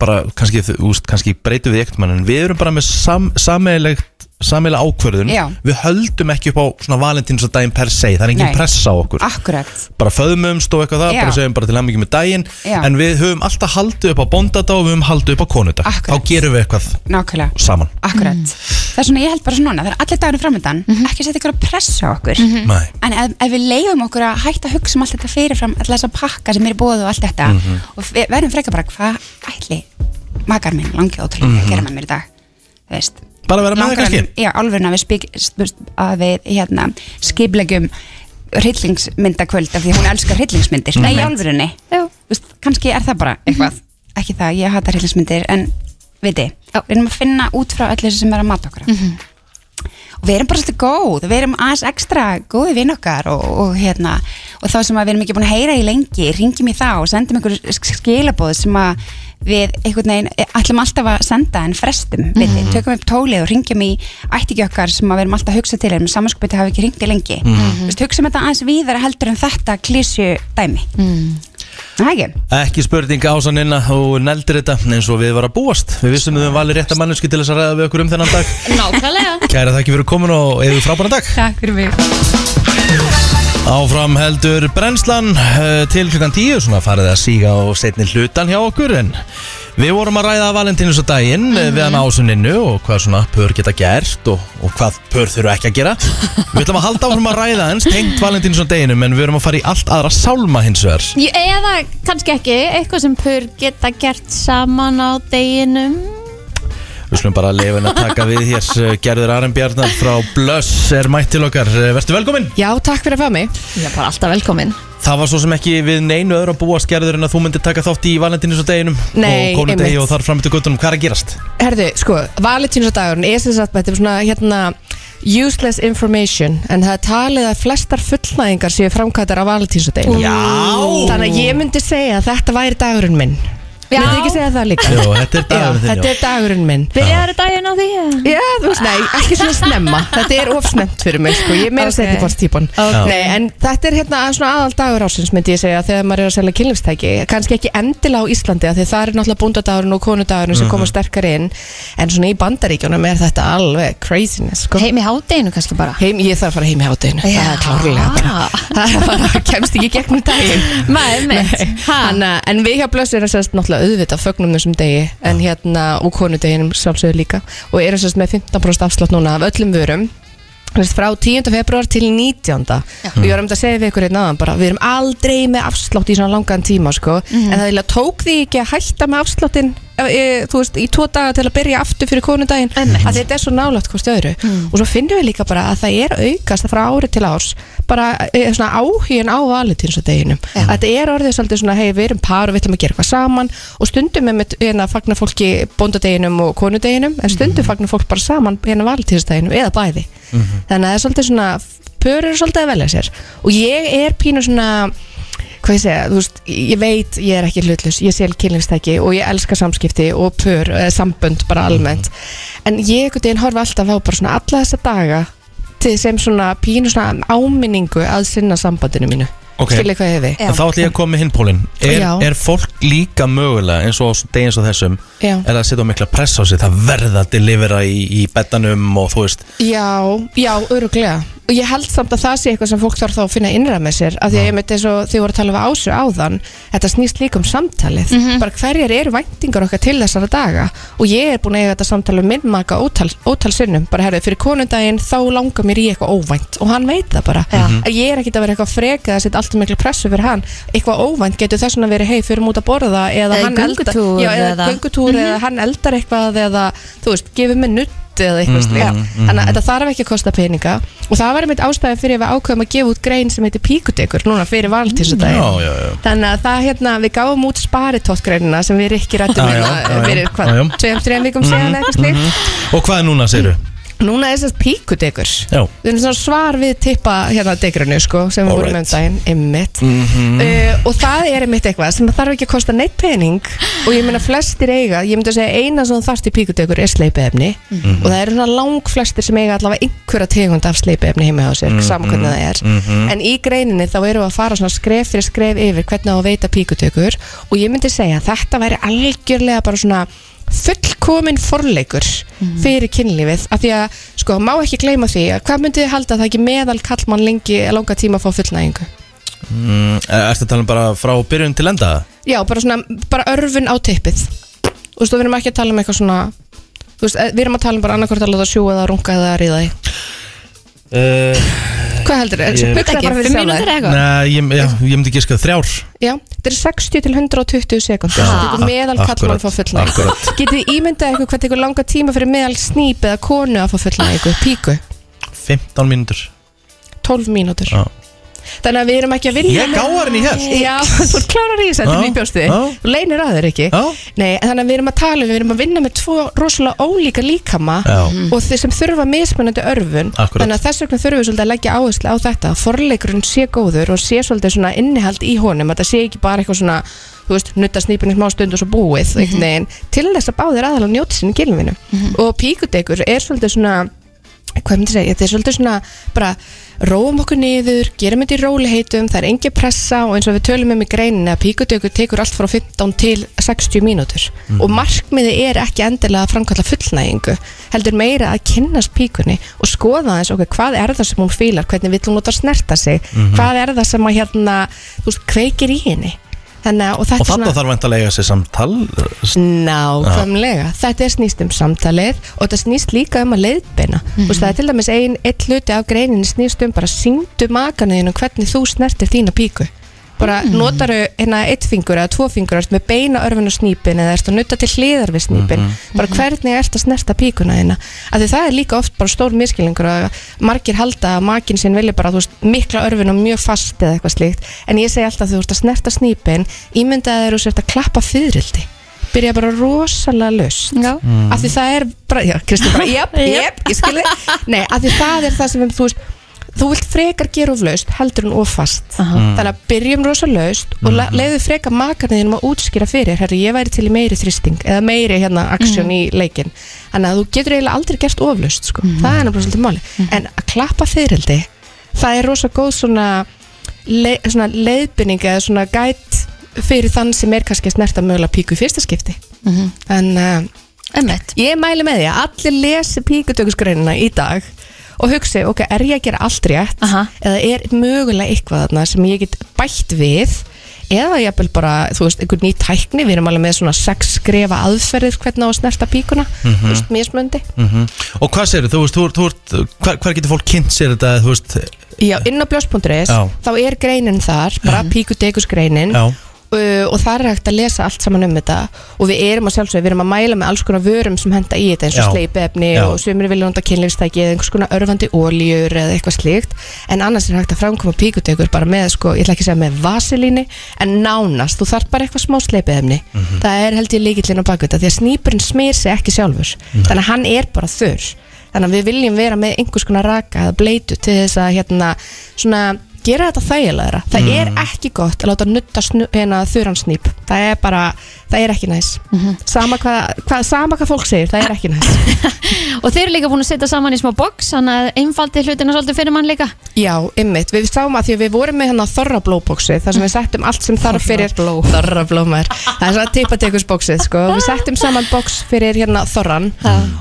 [SPEAKER 2] bara kannski, þú veist, kannski breytum við ekkert mann en við erum bara með sam, sameilegt sameilega ákvörðun
[SPEAKER 15] Já.
[SPEAKER 2] Við höldum ekki upp á svona valentínus að daginn per se það er engin
[SPEAKER 15] Nei.
[SPEAKER 2] pressa á okkur
[SPEAKER 15] Akkurat,
[SPEAKER 2] bara föðumumst og eitthvað það,
[SPEAKER 15] Já.
[SPEAKER 2] bara segjum bara til hann með daginn
[SPEAKER 15] Já.
[SPEAKER 2] en við höfum alltaf haldið upp á bóndata og við höfum haldið upp á konudag þá gerum við eitthvað
[SPEAKER 15] nákvæmlega,
[SPEAKER 2] saman
[SPEAKER 15] akkurat. Það er svona, ég held bara svona, núna, það er allir dagurinn framöndan, ekki setja ykkur að pressa á okkur.
[SPEAKER 2] Mhm. Nei.
[SPEAKER 15] En ef, ef við leiðum okkur að hætta að hugsa um allt þetta fyrirfram, alltaf þess að pakka sem er búið og allt þetta
[SPEAKER 2] Mhm.
[SPEAKER 15] og við verðum frekar bara, hvað ætli makar minn langi ótrúlega að
[SPEAKER 2] Mhm.
[SPEAKER 15] gera með mér í dag, þú veist.
[SPEAKER 2] Bara vera með það
[SPEAKER 15] Langar
[SPEAKER 2] kannski
[SPEAKER 15] hann- Já, alveg að við, spik, spust, að við hérna, skiplegjum hryllingsmyndakvöld af því að hún elskar
[SPEAKER 2] Mhm.
[SPEAKER 15] hryllingsmyndir Nei, í
[SPEAKER 14] Einmitt.
[SPEAKER 15] alvörunni Vist, Kannski er það bara eitthvað Ekki það, ég hata hryllingsmyndir En viti, reynum að finna út frá öllu þessu sem er að mata okkur Og við erum bara svolítið góð Við erum aðeins ekstra góði vinn okkar og, og, hérna, og og þá sem að við erum ekki búin að heyra í lengi ringjum í þá og sendum einhver skilabóð sem að við einhvern veginn eh, ætlum alltaf að senda en frestum mm
[SPEAKER 16] Mhm.
[SPEAKER 15] við tökum upp tólið og ringjum í ættingi okkar sem að við erum alltaf að hugsa til en samskupið hafa ekki ringt í lengi mm
[SPEAKER 2] Mhm.
[SPEAKER 15] -hmm. hugsaum þetta aðeins víðara heldur en þetta klísju dæmi Mhm.
[SPEAKER 1] mm.
[SPEAKER 15] Það ekki?
[SPEAKER 2] Ekki spurning ásaninna og neldir þetta eins og við var að búast Við vissum við höfum valið rétta manneski til þess að ræða við okkur um þennan dag
[SPEAKER 15] (laughs)
[SPEAKER 1] Nákvæmlega
[SPEAKER 2] Kæra þakki fyrir komin og eða frábæran dag
[SPEAKER 15] Takk fyrir mig
[SPEAKER 2] Áfram heldur brennslan eh, til klukkan 10 svona farið að síga á setni hlutan hjá okkur en við vorum að ræða valentínus og daginn mm við
[SPEAKER 17] Mhm.
[SPEAKER 2] hann ásuninnu og hvað svona pör geta gert og, og hvað pör þurfa ekki að gera Við ætlum að halda áfram að ræða eins tengt valentínus og daginum en við erum að fara í allt aðra sálma hins vegar
[SPEAKER 1] (laughs) Ég- Eða kannski ekki, eitthvað sem pur geta gert saman á deginum
[SPEAKER 2] Við slum bara að leifa henni að taka við hér eh, Gerður Arnbjarnar frá Blöss er mætt til okkar Eh, Vertu velkomin
[SPEAKER 17] Já, takk fyrir að fá mig
[SPEAKER 1] Ég er bara alltaf velkomin
[SPEAKER 2] Það var svo sem ekki við neinu öðru að búast Gerður en að þú myndir taka þátt í valentínus og deginum
[SPEAKER 17] Nei,
[SPEAKER 2] og konudegi
[SPEAKER 17] einmitt.
[SPEAKER 2] og þar fram eftir guttunum, hvað er að gerast?
[SPEAKER 17] Herðu, sko, valentínsdagurinn er sem sagt, þetta er svona hérna useless information en það er talið að flestar fullnæðingar séu framkvæmdar á valentínsdaginn
[SPEAKER 2] Já.
[SPEAKER 17] Þannig að ég myndi segja að þetta væri dagurinn minn Já. Myndi ekki segja það líka
[SPEAKER 2] Jó, þetta er dagurinn þinn,
[SPEAKER 17] Já, Þetta
[SPEAKER 2] já.
[SPEAKER 17] er dagurinn minn
[SPEAKER 1] Byrjaður daginn á því?
[SPEAKER 17] Já, þú veist, nei, ekki svona snemma Þetta er ofsnemt fyrir mig, sko Ég er meira
[SPEAKER 1] Ok.
[SPEAKER 17] okay. setni fórst típan
[SPEAKER 1] Ok.
[SPEAKER 17] Nei, en þetta er hérna svona aðal dagur ásins myndi ég segja þegar maður er að selja kynlífstæki kannski ekki endilega á Íslandi af því það er náttúrulega búndadagurinn og konudagurinn sem
[SPEAKER 1] Mhm.
[SPEAKER 17] koma sterkar inn en svona í bandaríkjunum er þetta alveg craziness sko.
[SPEAKER 1] Heim í hádeginu kannski bara
[SPEAKER 17] heim, Ég þarf að fara heim í hádeginu Það er klárlega bara (laughs) Það er bara, kemst ekki í gegnum daginn
[SPEAKER 1] Nei, mitt
[SPEAKER 17] Hanna, Eh, En við hjá Blössu erum sérst náttúrulega auðvitað fögnum þessum degi en hérna og konudeginum sjálfsögur líka og erum sérst með 15% afslátt núna af öllum vörum Þú veist, frá 10. februar til 19. og ég var um þetta að segja við ykkur einn aðan bara, við erum aldrei með afslátt í svona langan tíma sko, en það eiginlega tók því ekki að hætta með afsláttinn e, e, þú veist, í tvo daga til að byrja aftur fyrir konundaginn að þetta er svo nálægt hvort öðru og svo finnum við líka bara að það er aukast frá ári til árs bara e, svona áhugin á valentínsdeginum að þetta er orðið svolítið svona hei við erum par og við ætlum að gera eitthvað saman og stundum með með hérna, fagnar fólki bóndadeginum og konudeginum en stundum fagnar fólk bara saman hérna valentínsdeginum eða bæði þannig að það er svolítið svona pörur er svolítið að velja sér og ég er pínu svona hvað ég segja, þú veist, ég veit ég er ekki hlutlus, ég sel kynlingstæki og ég elska samskipti og pör, eh, sambönd bara almennt, en ég einhvern veginn horfa alltaf á bara svona alla þessa daga til sem svona pínu svona áminningu að sinna sambandinu mínu
[SPEAKER 2] Ok.
[SPEAKER 17] skilja hvað ég hefi
[SPEAKER 2] En þá ætlum ég að koma með hinn pólinn er,
[SPEAKER 17] Já.
[SPEAKER 2] er fólk líka mögulega eins og á degi eins og þessum
[SPEAKER 17] Já.
[SPEAKER 2] er að setja á mikla press á sig það verða að delivera í, í betanum og þú veist
[SPEAKER 17] Já, já, öruglega og ég held samt að það sé eitthvað sem fólk þarf þá að finna innra með sér af því að ég myndi eins og þið voru að tala um ásu áðan þetta snýst líka um samtalið
[SPEAKER 2] Mhm.
[SPEAKER 17] bara hverjar eru væntingar okkar til þessara daga og ég er búin að eiga þetta samtalið um minn maka ótal, ótal sinnum bara herðu, fyrir konundaginn þá langar mér í eitthvað óvænt og hann veit það bara
[SPEAKER 1] Mhm.
[SPEAKER 17] að ég er ekkit að vera eitthvað freka að setja alltaf miklu pressu fyrir hann eitthvað óvænt getur þess vegna verið hei fyrir mút að borða eða
[SPEAKER 1] Eða í
[SPEAKER 17] hann eldar-
[SPEAKER 1] göngutúr
[SPEAKER 17] Já, eða
[SPEAKER 1] eða-
[SPEAKER 17] göngutúr eða hann eldar eitthvað eða þú veist, gefur mér nutt eða eitthvað
[SPEAKER 1] Mhm,
[SPEAKER 17] slíkt.
[SPEAKER 1] mhm.
[SPEAKER 17] þannig að þetta þarf ekki að kosta peninga og það var einmitt ástæðan fyrir að við ákveðum að gefa út grein sem heitir píkutekur núna fyrir valtísadaginn
[SPEAKER 2] já, já, já.
[SPEAKER 17] þannig að það hérna, við gáum út sparitóttgreinina sem við rikki rættum
[SPEAKER 2] Ah, Já, já, já, já.
[SPEAKER 17] fyrir
[SPEAKER 2] Já,
[SPEAKER 17] hvað,
[SPEAKER 2] já.
[SPEAKER 17] tveim, þreim vikum segjan eitthvað slíkt
[SPEAKER 2] Mhm. Og hvað er núna, segirðu?
[SPEAKER 17] núna er þess að píkutekur
[SPEAKER 2] Já.
[SPEAKER 17] við erum svona svar við tippa hérna degrunu sko, sem við vorum með um daginn, ymmit
[SPEAKER 2] Mhm.
[SPEAKER 17] Uh, og það er einmitt eitthvað sem þarf ekki að kosta neitt pening og ég meina flestir eiga, ég myndi að segja eina sem þú þarft í píkutökur er sleipiðefni
[SPEAKER 16] Mhm.
[SPEAKER 17] og það eru svona lang flestir sem eiga allavega einhverja tegund af sleipiðefni heima á sér, mm
[SPEAKER 16] Mhm.
[SPEAKER 17] saman hvernig það er
[SPEAKER 16] Mhm.
[SPEAKER 17] en í greininni þá erum við að fara svona skref fyrir skref yfir hvernig á að veita píkutökur og ég myndi segja að þetta væri algjörlega bara svona fullkomin forleikur fyrir kynlífið af því að sko má ekki gleyma því að hvað myndið þið halda að það er ekki meðal kallmann lengi langa tíma að fá fullnægingu
[SPEAKER 2] Mm, er- Ertu að tala um bara frá byrjun til enda?
[SPEAKER 17] Já, bara svona, bara örfun á tippið Þú veist, og við erum ekki að tala um eitthvað svona Þú veist, eh, við erum að tala um bara annarkvort að láta sjú eða runga eða ríða því
[SPEAKER 2] Uh,
[SPEAKER 17] Hvað heldur þér?
[SPEAKER 2] Ég-
[SPEAKER 17] Hugsa bara fyrir sjálfa þig.
[SPEAKER 2] Nei, ég, já, ég myndi giska þrjár
[SPEAKER 17] Já, þetta er 60 til 120 sekundur
[SPEAKER 2] Já.
[SPEAKER 17] Þetta er meðal
[SPEAKER 2] Akkurat,
[SPEAKER 17] kallmann að fá fullnæg
[SPEAKER 2] akkurat.
[SPEAKER 17] Getið þið ímyndað ykkur hvað tekur langa tíma fyrir meðal snýp eða konu að fá fullnæg ykkur, píku,
[SPEAKER 2] 15 mínútur
[SPEAKER 17] 12 mínútur
[SPEAKER 2] Já.
[SPEAKER 17] Þannig að við erum ekki að vinna
[SPEAKER 2] Ég gáði henni í hér.
[SPEAKER 17] Já, þú ert klárar í þessu, þetta er
[SPEAKER 2] Já,
[SPEAKER 17] mjög bjóstið
[SPEAKER 2] já.
[SPEAKER 17] Þú leinir að þeir ekki Nei, en þannig að við erum að tala um, við erum að vinna með tvo rosalega ólíka líkama
[SPEAKER 2] Já.
[SPEAKER 17] og þeir sem þurfa mismunandi örfun
[SPEAKER 2] Akkurat.
[SPEAKER 17] Þannig að þess vegna þurfum við svolítið að leggja áherslu á þetta að Forleikurinn sé góður og sé svolítið svona innihald í honum að það sé ekki bara eitthvað svona þú veist, nutta snýpinni smá stund og svo búið mm
[SPEAKER 1] Mhm.
[SPEAKER 17] -hmm. til þess að báðir aðalega njóti sinni gilvinu og píkudekur er svolítið svona hvað myndi ég segja, þetta er svolítið svona bara róum okkur niður, gerum þetta í róliheitum það er engin pressa og eins og við tölum um í greinin að píkutökur tekur allt frá 15 til 60 mínútur
[SPEAKER 1] Mm.
[SPEAKER 17] og markmiði er ekki endilega að framkalla fullnægingu heldur meira að kynnast píkunni og skoða aðeins okkur hvað er það sem hún fílar hvernig vill hún út að snerta sig
[SPEAKER 2] Mhm.
[SPEAKER 17] hvað er það sem að hérna þú veist, kveikir í henni Þannig, að- og
[SPEAKER 2] Og
[SPEAKER 17] þetta er svona-
[SPEAKER 2] þarna þarf vantalega þessi samtal uh,
[SPEAKER 17] Nákvæmlega, þetta er snýst um samtalið og þetta snýst líka um að leiðbeina mm -hmm. það er til dæmis ein, einn hluti af greinin snýst um bara síndu makanuðinu hvernig þú snertir þína píku bara
[SPEAKER 1] Mm.
[SPEAKER 17] notaru hérna eitt fingur eða tvo fingur, ertu með beina örfun og snípin eða ertu að nutta til hliðar við snípin
[SPEAKER 1] Mhm.
[SPEAKER 17] bara
[SPEAKER 1] Mhm.
[SPEAKER 17] hvernig ertu að snerta píkuna þína af því það er líka oft bara stór miskilningur að margir halda að makin sinn vilja bara þú veist, mikla örfun og mjög fast eða eitthvað slíkt en ég segi alltaf þú ert að snerta snípin ímyndaði þér og sért að klappa fyririldi byrja bara rosalega laust
[SPEAKER 1] Mm.
[SPEAKER 17] af því það er bara, já, Kristi bara, (laughs) jöp, jöp, ég skilði nei, af því það er það sem þú veist þú vilt frekar gera of laust heldur en of fast
[SPEAKER 1] Mm.
[SPEAKER 17] þannig að byrjum rosa laust og le- leiðu frekar makarniðinum að útskýra fyrir herru, ég væri til í meiri þrýsting eða meiri hérna aksjón í leikin þannig að þú getur eiginlega aldrei gert of laust sko. það er náttúrulega svolítið máli en að klappa fyririldi, það er rosa góð svona, le, svona leiðbynning eða svona gætt fyrir þann sem er kannski að snerta mögulega píku í fyrsta skipti en uh, Mhm. ég mæli með því að allir lesi píkutökusgreinina í dag og hugsi, ok, er ég að gera allt rétt (laughs) eða er mögulega eitthvað þarna sem ég get bætt við eða ég vil bara, þú veist, einhver ný tækni við erum alveg með svona sex skrefa aðferðir hvernig á að snerta píkuna
[SPEAKER 2] Mhm.
[SPEAKER 17] þú veist, mismöndi
[SPEAKER 2] Mhm. Og hvað segir þú, veist, þú, ert- þú ert, hver, hver getur fólk kynnt sér þetta, þú veist
[SPEAKER 17] Já, inn á bljós.is
[SPEAKER 2] Já. Mhm.
[SPEAKER 17] þá er greinin þar, bara píkudekusgreinin
[SPEAKER 2] Já.
[SPEAKER 17] Uh, og það er hægt að lesa allt saman um þetta og við erum að sjálfsögðu, við erum að mæla með alls konar vörum sem henda í þetta eins og
[SPEAKER 1] Já.
[SPEAKER 17] sleipefni
[SPEAKER 1] Já.
[SPEAKER 17] og sumir vilja nota kynlífstæki eða einhvers konar örfandi óljur eða eitthvað slíkt en annars er hægt að framkoma píkutekur bara með sko, ég ætla ekki að segja með vaselíni en nánast, þú þarf bara eitthvað smá sleipefni
[SPEAKER 1] Mhm.
[SPEAKER 17] það er held ég líkillin á bakvita því að snýpurinn smýr sig ekki sjálfur
[SPEAKER 1] Nei.
[SPEAKER 17] þannig að hann er bara þurr þannig að við viljum vera með einhvers konar raka eða bleitu til þess að hérna, svona, gera þetta þægilegra það
[SPEAKER 1] Mm.
[SPEAKER 17] er ekki gott að láta nutta snu- hérna, þuransnýp, það er bara það er ekki næs sama, hvað, hvað, sama hvað fólk segir, það er ekki næs
[SPEAKER 1] Og þeir eru líka búin að setja saman í smá box Þannig að einfaldi hlutina svolítið fyrir mann líka
[SPEAKER 17] Já, ymmit, við sáum að því að við vorum með hérna þorra blóbóksi, þar sem við settum allt sem þarf fyrir þorra blómar það er svona tippatekusbóksið, sko við settum saman bóks fyrir hérna þorran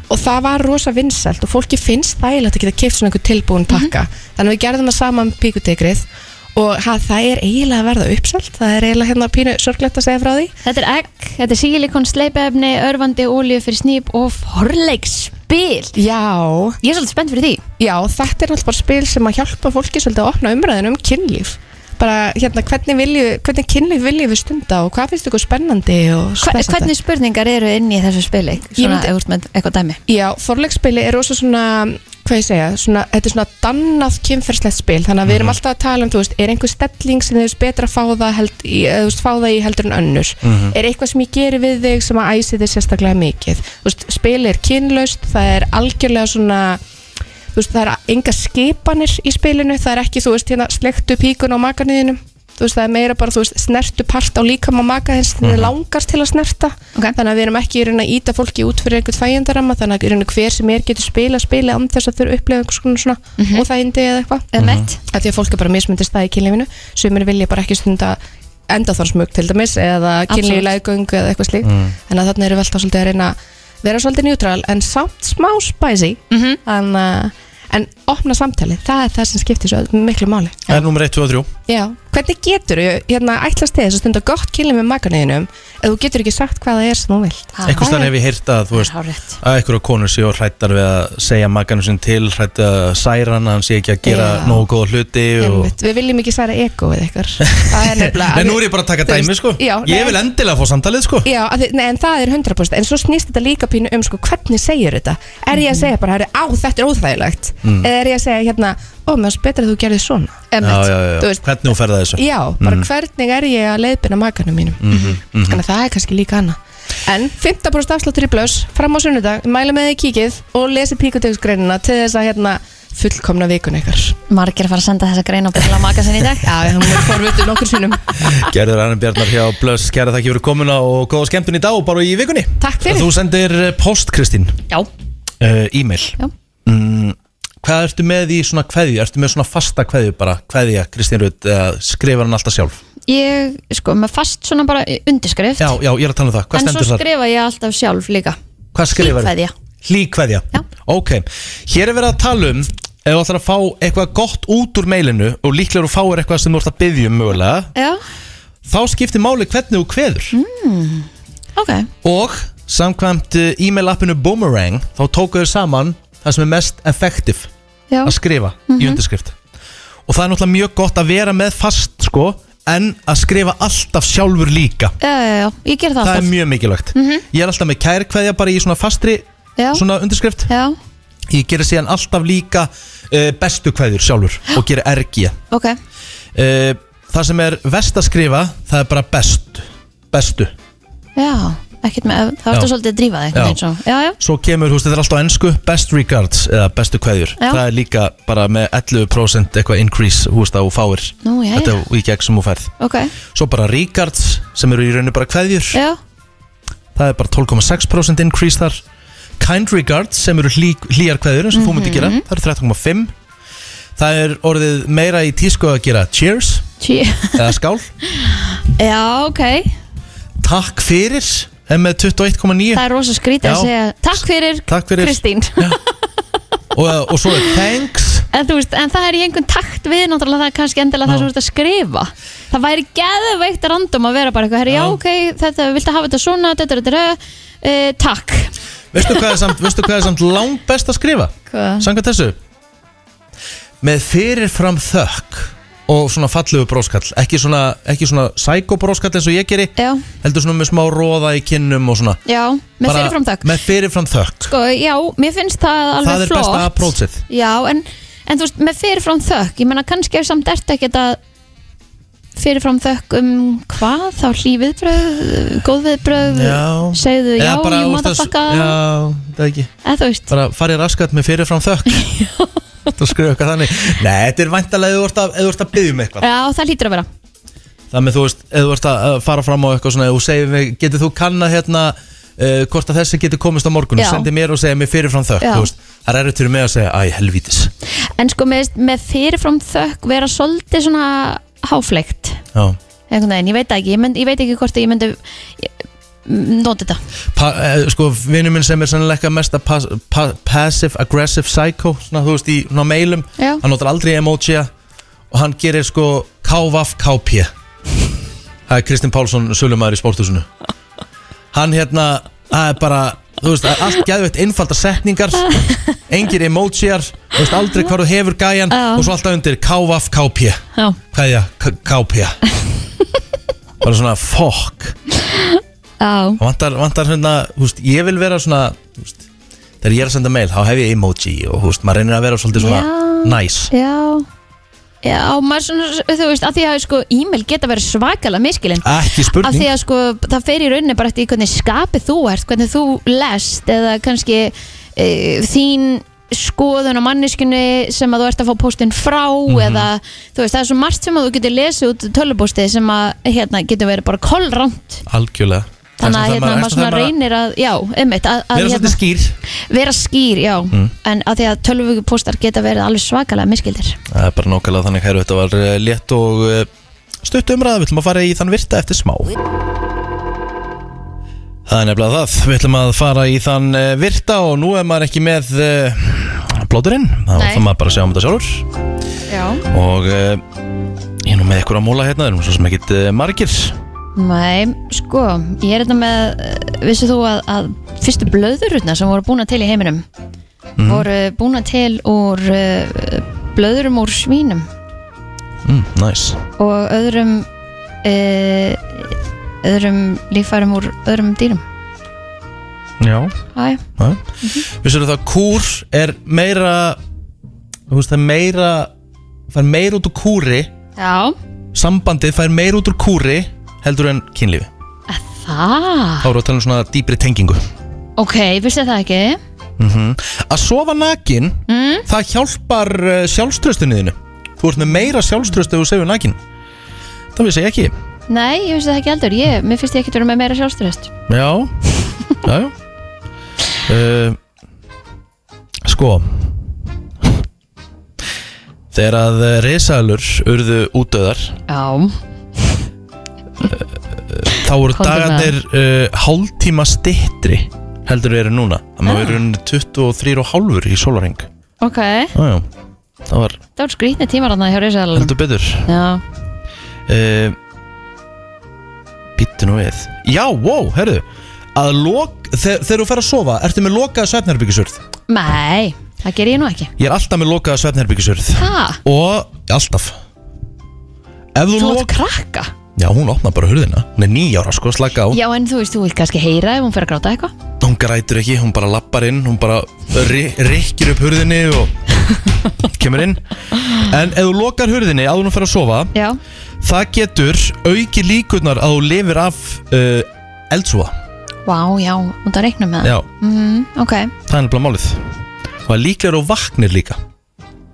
[SPEAKER 17] og það var rosa vinsælt og fólki finnst þægilegt að geta keift svona einhver tilbúin pakka þannig að við gerðum það saman með píkutekrið og ha, það er eiginlega að verða uppselt það er eiginlega hérna pínu sorglegt að segja frá því
[SPEAKER 1] Þetta er egg, þetta er sílikon, sleipefni, örfandi, ólíu fyrir snýp og forleikspil
[SPEAKER 17] Já Ég
[SPEAKER 1] er svolítið spennt fyrir því
[SPEAKER 17] Já, þetta er náttúrulega bara spil sem að hjálpa fólki svolítið að opna umræðin um kynlíf bara hérna, hvernig, vilju, hvernig kynlíf viljum við stunda og hvað finnst ykkur spennandi og
[SPEAKER 1] Hva,
[SPEAKER 17] spesandi?
[SPEAKER 1] Hvernig spurningar eru inn í þessu spili? Svona
[SPEAKER 17] myndi-
[SPEAKER 1] ef þú ert með eitthvað dæmi
[SPEAKER 17] Já, forleikspili er rosa svona hvað ég segja, svona, þetta er svona dannað kynferðslegt spil, þannig að við erum alltaf að tala um þú veist, er einhver stelling sem þau veist betra að fá það, held, í, eða, þú veist, fá það í heldur en önnur
[SPEAKER 1] Mhm.
[SPEAKER 17] er eitthvað sem ég geri við þig sem að æsi þig sérstaklega mikið þú veist, spil er kynlaust, það er algjörlega svona þú veist, það er enga skipanir í spilinu, það er ekki, þú veist, hérna slektu píkun á makarniðinum þú veist, það er meira bara, þú veist, snertu part á líkam á maka hins, þannig
[SPEAKER 1] Mhm.
[SPEAKER 17] langast til að snerta þannig að við erum ekki í raun að íta fólki út fyrir einhvern þægindarama, þannig að í raun að hver sem er getur spila, spila án þess að þau upplega einhvers konar svona mm
[SPEAKER 1] Mhm.
[SPEAKER 17] -hmm. óþægindi eða eitthvað
[SPEAKER 1] mm -hmm.
[SPEAKER 17] að því að fólk er bara mismundist það í kynlífinu sumir vilja bara ekki stunda endaþórsmög til dæmis, eða
[SPEAKER 1] Absolutt.
[SPEAKER 17] kynlíflegöng eða eitthvað slíkt,
[SPEAKER 1] Mm.
[SPEAKER 17] þannig að þarna erum við alltaf svolítið að reyna að vera svolítið neutral en samt smá spicy en, uh, en opna samtali, það er það sem skiptir svo miklu máli
[SPEAKER 2] Það er nummer 1, 2 og 3
[SPEAKER 17] Já, hvernig getur þú, hérna, ætlast þið þess að stunda gott kynlið með makarniðinum ef þú getur ekki sagt hvað það er sem þú vilt
[SPEAKER 2] einhvers þar hef ég heyrt að þú veist að einhverja konur séu hrættar við að segja makanum sinn til, hrætta særan að hann sé ekki að gera
[SPEAKER 17] Já.
[SPEAKER 2] nógu góða hluti og...
[SPEAKER 17] Við viljum ekki særa egoið
[SPEAKER 2] (laughs)
[SPEAKER 17] ykkur Það er nefnilega
[SPEAKER 2] Nei, nú er ég bara að taka
[SPEAKER 17] Þú veist,
[SPEAKER 2] dæmi sko
[SPEAKER 17] já,
[SPEAKER 2] Ég
[SPEAKER 17] nei.
[SPEAKER 2] vil endilega fá samtalið sko
[SPEAKER 17] Já, að, þið- nei, en það er 100% en svo snýst þetta líka pínu um sko, hvernig segir þetta er ég að segja bara, herri, á þetta er óþægilegt
[SPEAKER 2] Mm.
[SPEAKER 17] eða er ég að segja hérna, ó, mér finnst betra að þú gerðir svona
[SPEAKER 2] já, já, já.
[SPEAKER 17] Þú veist,
[SPEAKER 2] Hvernig hún ferða þessu Mm.
[SPEAKER 17] já, bara hvernig er ég að leiðbina makanum mínum
[SPEAKER 2] -hmm.
[SPEAKER 17] þannig að það er kannski líka hana en 15% afsláttur í blöss fram á sunnudag, mælu með því kíkið og lesi píkutegsgreinina til þess að hérna fullkomna vikun ykkar
[SPEAKER 1] Margir að fara að senda þessa grein á byrla maka sinni í dag
[SPEAKER 17] (laughs) Já, hún er forvöldu nokkur sinnum
[SPEAKER 2] Gerður Annan Bjarnar hjá Blöss, kæra þakki fyrir komuna og góða skemmtun í dag og bara í vikunni
[SPEAKER 17] Takk fyrir.
[SPEAKER 2] Þú sendir eh, post, Kristín
[SPEAKER 1] Já
[SPEAKER 2] uh, E-mail Já mm, Hvað ertu með í svona kveðju? Ertu með svona fasta kveðju bara? Kveðja, Kristín Rut, uh, skrifar hann alltaf sjálf
[SPEAKER 1] Ég, sko, með fast svona bara undirskrift
[SPEAKER 2] Já, já, ég er að tala um það, hvað
[SPEAKER 1] En svo
[SPEAKER 2] stendur það?
[SPEAKER 1] skrifa ég alltaf sjálf líka
[SPEAKER 2] Hvað skrifar
[SPEAKER 1] Hlýkveðja.
[SPEAKER 2] Hlíkveðja Ok, hér er verið að tala um ef þú ætlar að fá eitthvað gott út úr meilinu og líklega þú fáir eitthvað sem þú ert að byggja um mögulega
[SPEAKER 1] Já,
[SPEAKER 2] þá skiptir máli hvernig þú kveður
[SPEAKER 1] mm. ok
[SPEAKER 2] og samkvæmt eh, e-mail appinu Boomerang þá tóku þau saman það sem er mest effektiv
[SPEAKER 1] Já.
[SPEAKER 2] að skrifa
[SPEAKER 1] Mhm.
[SPEAKER 2] í undirskrift og það er náttúrulega mjög gott að vera með fast sko en að skrifa alltaf sjálfur líka
[SPEAKER 1] Já, já, já, ég ger það
[SPEAKER 2] það er
[SPEAKER 1] alltaf
[SPEAKER 2] mjög mikilvægt
[SPEAKER 1] Mhm.
[SPEAKER 2] ég er alltaf með kærkveðja bara í svona fastri
[SPEAKER 1] Já.
[SPEAKER 2] svona undirskrift
[SPEAKER 1] Já.
[SPEAKER 2] ég gerir síðan alltaf líka uh, bestu kveðjur sjálfur og gerir ergi
[SPEAKER 1] Ok,
[SPEAKER 2] uh, það sem er vest að skrifa það er bara best bestu
[SPEAKER 1] já, ekkert með Það
[SPEAKER 2] Já.
[SPEAKER 1] vartu svolítið að drífa þig
[SPEAKER 2] Já.
[SPEAKER 1] einhvern veginn svo Já, já,
[SPEAKER 2] Svo kemur, þú veist, þetta er alltaf á ennsku Best regards, eða bestu kveðjur
[SPEAKER 1] Já.
[SPEAKER 2] Það er líka bara með 11% eitthvað increase Þú veist að þú fáir
[SPEAKER 1] Nú, jæja.
[SPEAKER 2] Þetta er í gegn sem þú færð
[SPEAKER 1] ok
[SPEAKER 2] Svo bara regards, sem eru í rauninu bara kveðjur
[SPEAKER 1] Já.
[SPEAKER 2] Það er bara 12,6% increase þar Kind regards, sem eru hlý, hlýjar kveðjur eins og þú myndir gera, það eru 13,5 Það er orðið meira í tísku að gera cheers
[SPEAKER 1] Cheer.
[SPEAKER 2] Eða skál
[SPEAKER 1] (laughs) Já, ok
[SPEAKER 2] Takk fyrir, er með 21,9
[SPEAKER 1] Það er rosa skrítið að
[SPEAKER 2] Já.
[SPEAKER 1] segja Takk fyrir,
[SPEAKER 2] Takk fyrir.
[SPEAKER 1] Kristín (laughs)
[SPEAKER 2] og, og svo er thanks
[SPEAKER 1] En þú veist, en það er í einhvern takt við náttúrulega það er kannski endilega það sem þú ert að skrifa Það væri geðveikt random að vera bara eitthvað Herri, já, ok, þetta, viltu hafa þetta svona, þetta, þetta, þetta, uh, takk
[SPEAKER 2] Veistu hvað er samt, veistu hvað er samt langt best að skrifa?
[SPEAKER 1] Hvað?
[SPEAKER 2] Sanga þessu Með fyrirfram þökk Og svona fallegu bróskall Ekki svona, ekki svona sækobróskall eins og ég geri
[SPEAKER 1] Já.
[SPEAKER 2] Heldur svona með smá róða í kinnum og svona
[SPEAKER 1] Já, með
[SPEAKER 2] Bara
[SPEAKER 1] fyrirfram þökk
[SPEAKER 2] Með fyrirfram þökk
[SPEAKER 1] Sko, já, mér finnst það alveg
[SPEAKER 2] Það er
[SPEAKER 1] flott
[SPEAKER 2] besta approachið
[SPEAKER 1] Já, en, en þú veist, með fyrirfram þökk Ég menna, kannski er samt ert ekkert að fyrirfram þökk um hvað þá hlý viðbröð, góð viðbröð
[SPEAKER 2] Já.
[SPEAKER 1] segðu já,
[SPEAKER 2] Eða bara,
[SPEAKER 1] ég
[SPEAKER 2] þú veist,
[SPEAKER 1] maður þakka
[SPEAKER 2] Já, það er ekki
[SPEAKER 1] eða þú veist,
[SPEAKER 2] Bara farið raskat með fyrirfram þökk
[SPEAKER 1] (laughs)
[SPEAKER 2] Það skrifa eitthvað þannig Nei, þetta er væntalega ef þú ert að, ef þú ert að byggja um eitthvað
[SPEAKER 1] já, það hlýtur að vera
[SPEAKER 2] Það með þú veist, ef þú ert að uh, fara fram á eitthvað svona, ef þú segir mig, getur þú kanna hérna uh, hvort að þessi getur komist á morgun
[SPEAKER 1] Já.
[SPEAKER 2] og sendir mér og segir mér fyrirfram þökk,
[SPEAKER 1] Já.
[SPEAKER 2] þú veist, það er eftir mig að segja, æ, helvítis.
[SPEAKER 1] En sko með, með fyrirfram þökk vera svolítið svona háfleikt
[SPEAKER 2] Já.
[SPEAKER 1] einhvern veginn, ég veit það ekki, ég, mynd, ég veit ekki hvort að ég myndi ég- m- nota þetta
[SPEAKER 2] Pa, uh, sko, vinnum minn sem er sannleika mest að pas, pa, passive aggressive psycho, svona, þú veist, í svona mailum,
[SPEAKER 1] Já.
[SPEAKER 2] hann notar aldrei emojiða og hann gerir sko KVAF KP. Það er Kristinn Pálsson, sölumæður í sporthúsinu. Hann hérna, það er bara, þú veist, það er allt geðveitt einfaldar setningar, engir emojiðar, þú veist aldrei hvað þú hefur gæjan
[SPEAKER 1] Já.
[SPEAKER 2] og svo alltaf undir KVAF KP.
[SPEAKER 1] Já.
[SPEAKER 2] Hvað er það? KP. Bara svona, fuck.
[SPEAKER 1] Já,
[SPEAKER 2] Það Vantar, vantar hérna, þú veist, ég vil vera svona, þú veist, þegar ég er að senda mail, þá hef ég emoji og, þú veist, maður reynir að vera svolítið svona nice.
[SPEAKER 1] Já, já, maður svona þú veist, að því að sko e-mail geta verið svakalega miskilinn
[SPEAKER 2] Ekki spurning.
[SPEAKER 1] Af því að sko það fer í rauninni bara eftir í hvernig skapið þú ert, hvernig þú lest eða kannski e, þín skoðun á manneskunni sem að þú ert að fá póstinn frá
[SPEAKER 2] Mhm.
[SPEAKER 1] eða þú veist það er svo margt sem að þú getur lesið út tölupósti sem að hérna getur verið bara kolrand
[SPEAKER 2] Algjörlega.
[SPEAKER 1] þannig að hérna maður svona
[SPEAKER 2] reynir
[SPEAKER 1] reynir að já, einmitt að, að hérna-
[SPEAKER 2] Vera svolítið skýr.
[SPEAKER 1] vera skýr, já
[SPEAKER 2] Mm.
[SPEAKER 1] en að því að tölvupóstar geta verið alveg svakalega miskildir
[SPEAKER 2] Það er bara nákvæmlega þannig hæru Þetta var eh, létt og eh, stutt umræða Við ætlum að fara í þann virta eftir smá Það er nefnilega það Við ætlum að fara í þann eh, virta Og nú er maður ekki með eh, Blóturinn, þá
[SPEAKER 1] Nei.
[SPEAKER 2] ætlum maður bara að sjá um þetta sjálfur
[SPEAKER 1] Já
[SPEAKER 2] Og eh, ég er nú með ykkur að múla hérna Það er nú svo sem ekkit eh, margir
[SPEAKER 1] Nei, sko, ég er þetta með eh, vissir þú að, að fyrstu blöðurutna sem voru búna til í heiminum
[SPEAKER 2] Mhm.
[SPEAKER 1] voru búna til úr uh, blöðurum úr svínum
[SPEAKER 2] mm, Nice
[SPEAKER 1] og öðrum uh, öðrum líffærum úr öðrum dýrum
[SPEAKER 2] Já
[SPEAKER 1] Æ,
[SPEAKER 2] Vissur það að kúr er meira þú veist, það er meira fær meira út úr kúri
[SPEAKER 1] Já,
[SPEAKER 2] sambandið fær meira út úr kúri heldur en kynlífi
[SPEAKER 1] það
[SPEAKER 2] þá eru að tala um svona dýpri tengingu
[SPEAKER 1] Ok, vissi það ekki
[SPEAKER 2] mm að sofa nakin
[SPEAKER 1] Mm.
[SPEAKER 2] það hjálpar uh, sjálfströstinu þínu þú ert með meira sjálfströst ef þú sefur nakin það vissi ég ekki
[SPEAKER 1] Nei, ég vissi það ekki heldur ég, Mér finnst ég ekki vera með meira sjálfstyrst
[SPEAKER 2] já, (laughs) já, já. Uh, sko (laughs) þegar að uh, risalur urðu útöðar
[SPEAKER 1] Já
[SPEAKER 2] þá voru
[SPEAKER 1] Komdu með
[SPEAKER 2] dagarnir uh, hálftíma stittri heldur við erum núna það maður
[SPEAKER 1] Já.
[SPEAKER 2] verið runni 23 og hálfur í sólaring
[SPEAKER 1] Ok,
[SPEAKER 2] já, já, það var
[SPEAKER 1] það var skrýtni tímar hann að hjá Rísal
[SPEAKER 2] heldur betur
[SPEAKER 1] Já,
[SPEAKER 2] uh, Bittu nú við Já, wow, herðu að lok, þegar, þegar þú fer að sofa, ertu með lokaða svefnherbyggisurð
[SPEAKER 1] nei, það ger ég nú ekki
[SPEAKER 2] Ég er alltaf með lokaða svefnherbyggisurð
[SPEAKER 1] Ha?
[SPEAKER 2] Og alltaf Ef þú,
[SPEAKER 1] Þú
[SPEAKER 2] lok-
[SPEAKER 1] átt krakka
[SPEAKER 2] Já, hún opnar bara hurðina Hún er nýjára, sko, slaka á
[SPEAKER 1] Já, en þú veist, þú vilt kannski heyra ef hún fer að gráta eitthvað
[SPEAKER 2] Hún grætur ekki, hún bara lappar inn Hún bara ri- rykkir upp hurðinni og kemur inn En ef þú lokar hurðinni áður hún fer að sofa
[SPEAKER 1] Já,
[SPEAKER 2] Það getur auki líkurnar að þú lifir af uh, eldsúa
[SPEAKER 1] vá, já, út að reikna með það
[SPEAKER 2] Já,
[SPEAKER 1] mm, Ok,
[SPEAKER 2] það er nefnilega málið Og það er líklegur og vaknir líka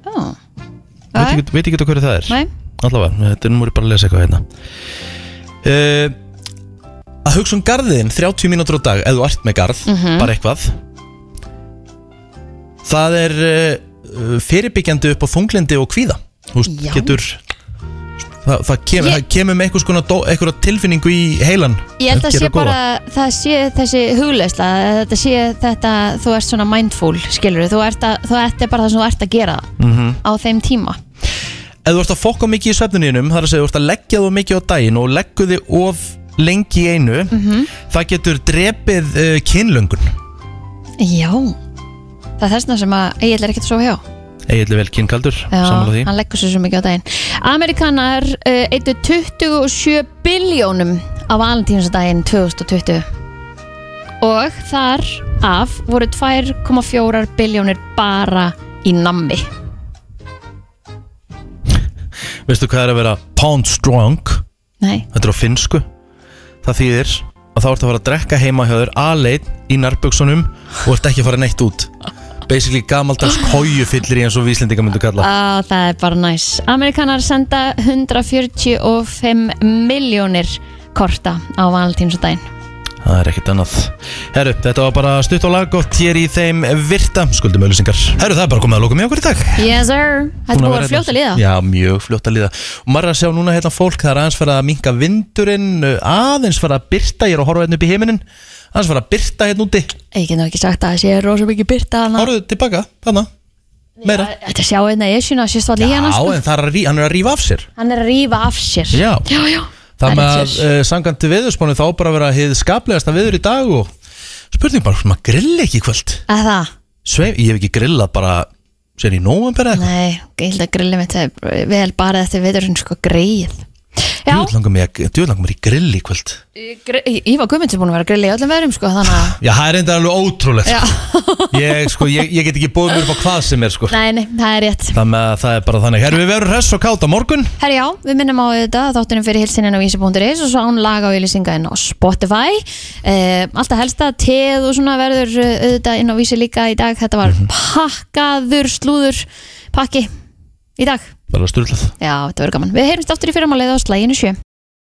[SPEAKER 1] já
[SPEAKER 2] Veit ekki- Veit ekki hverju það er
[SPEAKER 1] Nei.
[SPEAKER 2] Allavega, þetta er nú múri bara að lesa eitthvað hérna uh, Að hugsa um garðin 30 mínútur á dag Ef þú ert með garð,
[SPEAKER 1] Mhm.
[SPEAKER 2] bara eitthvað Það er uh, fyrirbyggjandi upp á þunglindi og kvíða Þú veist,
[SPEAKER 1] Já.
[SPEAKER 2] getur Það, það, kemur, það kemur með einhvers konar dó- einhverja tilfinningu í heilan
[SPEAKER 1] Ég held að
[SPEAKER 2] Gerir
[SPEAKER 1] sé
[SPEAKER 2] góða.
[SPEAKER 1] bara, það sé þessi hugleysla, að þetta sé þetta, þú ert svona mindful, skilur þú ert að, þú ert bara það sem þú ert að gera
[SPEAKER 2] Mhm.
[SPEAKER 1] á þeim tíma.
[SPEAKER 2] Ef þú ert að fokka mikið í svefnuninum Það er að segja, þú ert að leggja þú mikið á daginn Og leggu þig of lengi í einu
[SPEAKER 1] Mhm.
[SPEAKER 2] Það getur drepið uh, kynlöngun
[SPEAKER 1] Já, það er þessna sem að Egil er ekkert að sofa hjá.
[SPEAKER 2] Egillir vel kynkaldur,
[SPEAKER 1] Já,
[SPEAKER 2] sammála því
[SPEAKER 1] hann leggur sér svo mikið á daginn. Amerikanar uh, eittu 27 biljónum á valentínsdaginn 2020 og þar af voru 2,4 biljónir bara í nammi.
[SPEAKER 2] Veistu hvað er að vera pound strong?
[SPEAKER 1] Nei.
[SPEAKER 2] Þetta er á finnsku Það þýðir að þá ertu að fara að drekka heima hjá þér Aleinn í nærböksunum Og ert ekki að fara neitt út Basically gamaldags
[SPEAKER 1] (laughs)
[SPEAKER 2] kójufyllir í eins og víslendinga myndu kalla
[SPEAKER 1] Á, það er bara næs. Amerikanar senda 145 miljónir korta á valentínsdaginn.
[SPEAKER 2] Það er ekkert annað Herru, þetta var bara stutt og laggótt hér í þeim virta skuldum auðlýsingar Herru, það er bara komið að lóka mig okkur í dag
[SPEAKER 1] Yes sir, þetta er búið að
[SPEAKER 2] vera hérna
[SPEAKER 1] fljóta líða.
[SPEAKER 2] Já, mjög fljóta líða Og maður er að sjá núna hérna fólk Það er aðeins fara að minka vindurinn uh, Aðeins fara að byrta Ég er að horfa hérna upp í heiminin Aðeins fara að byrta hérna úti
[SPEAKER 1] Ég get nú ekki sagt að það sé rosa mikið byrta hana.
[SPEAKER 2] Horfðu tilbaka, hana, meira
[SPEAKER 1] Þetta sjá einna í esjuna, sést það
[SPEAKER 2] Já,
[SPEAKER 1] líðan sko.
[SPEAKER 2] en það er að rí, hann er að rífa af sér
[SPEAKER 1] Hann er að rífa af sér.
[SPEAKER 2] Já.
[SPEAKER 1] já, já.
[SPEAKER 2] Það
[SPEAKER 1] er
[SPEAKER 2] með
[SPEAKER 1] rétt
[SPEAKER 2] að
[SPEAKER 1] sér.
[SPEAKER 2] uh, sangandi veðurspánu Þá á bara að vera hið skaplegasta veður í dag og Spurning bara, maður grilla ekki í kvöld
[SPEAKER 1] Að það,
[SPEAKER 2] Sveif, ég hef ekki grillað bara Sér í nóvember eitthvað
[SPEAKER 1] nei, ég held að grillið mitt er vel bara þetta veður hún sko greið. Já,
[SPEAKER 2] Djúð langar mig að- djöfull langar mér í grill í kvöld
[SPEAKER 1] gr- ég var guðmynd sem búin að vera að grillið í öllum veðurum sko, þannig að,
[SPEAKER 2] Já, það er enda alveg ótrúlegt
[SPEAKER 1] já,
[SPEAKER 2] ég, sko, ég, ég get ekki bóðið mér upp á hvað sem er sko.
[SPEAKER 1] nei, nei, það er rétt.
[SPEAKER 2] Það með að það er bara þannig Herru, við verum hress og káta morgun
[SPEAKER 1] Herri já, við minnum á þetta þáttunum fyrir hilsininn á vísi.is og svo án laga og ylisinga inn á Spotify uh, Alltaf helsta, teð og svona verður eh, auðvitað inn á vísi líka í dag Þetta var pakkaður slúður pakki í dag
[SPEAKER 2] Bara styrlað
[SPEAKER 1] Já, þetta verður gaman. Við heyrumst aftur í fyrramálið á slæginu sjö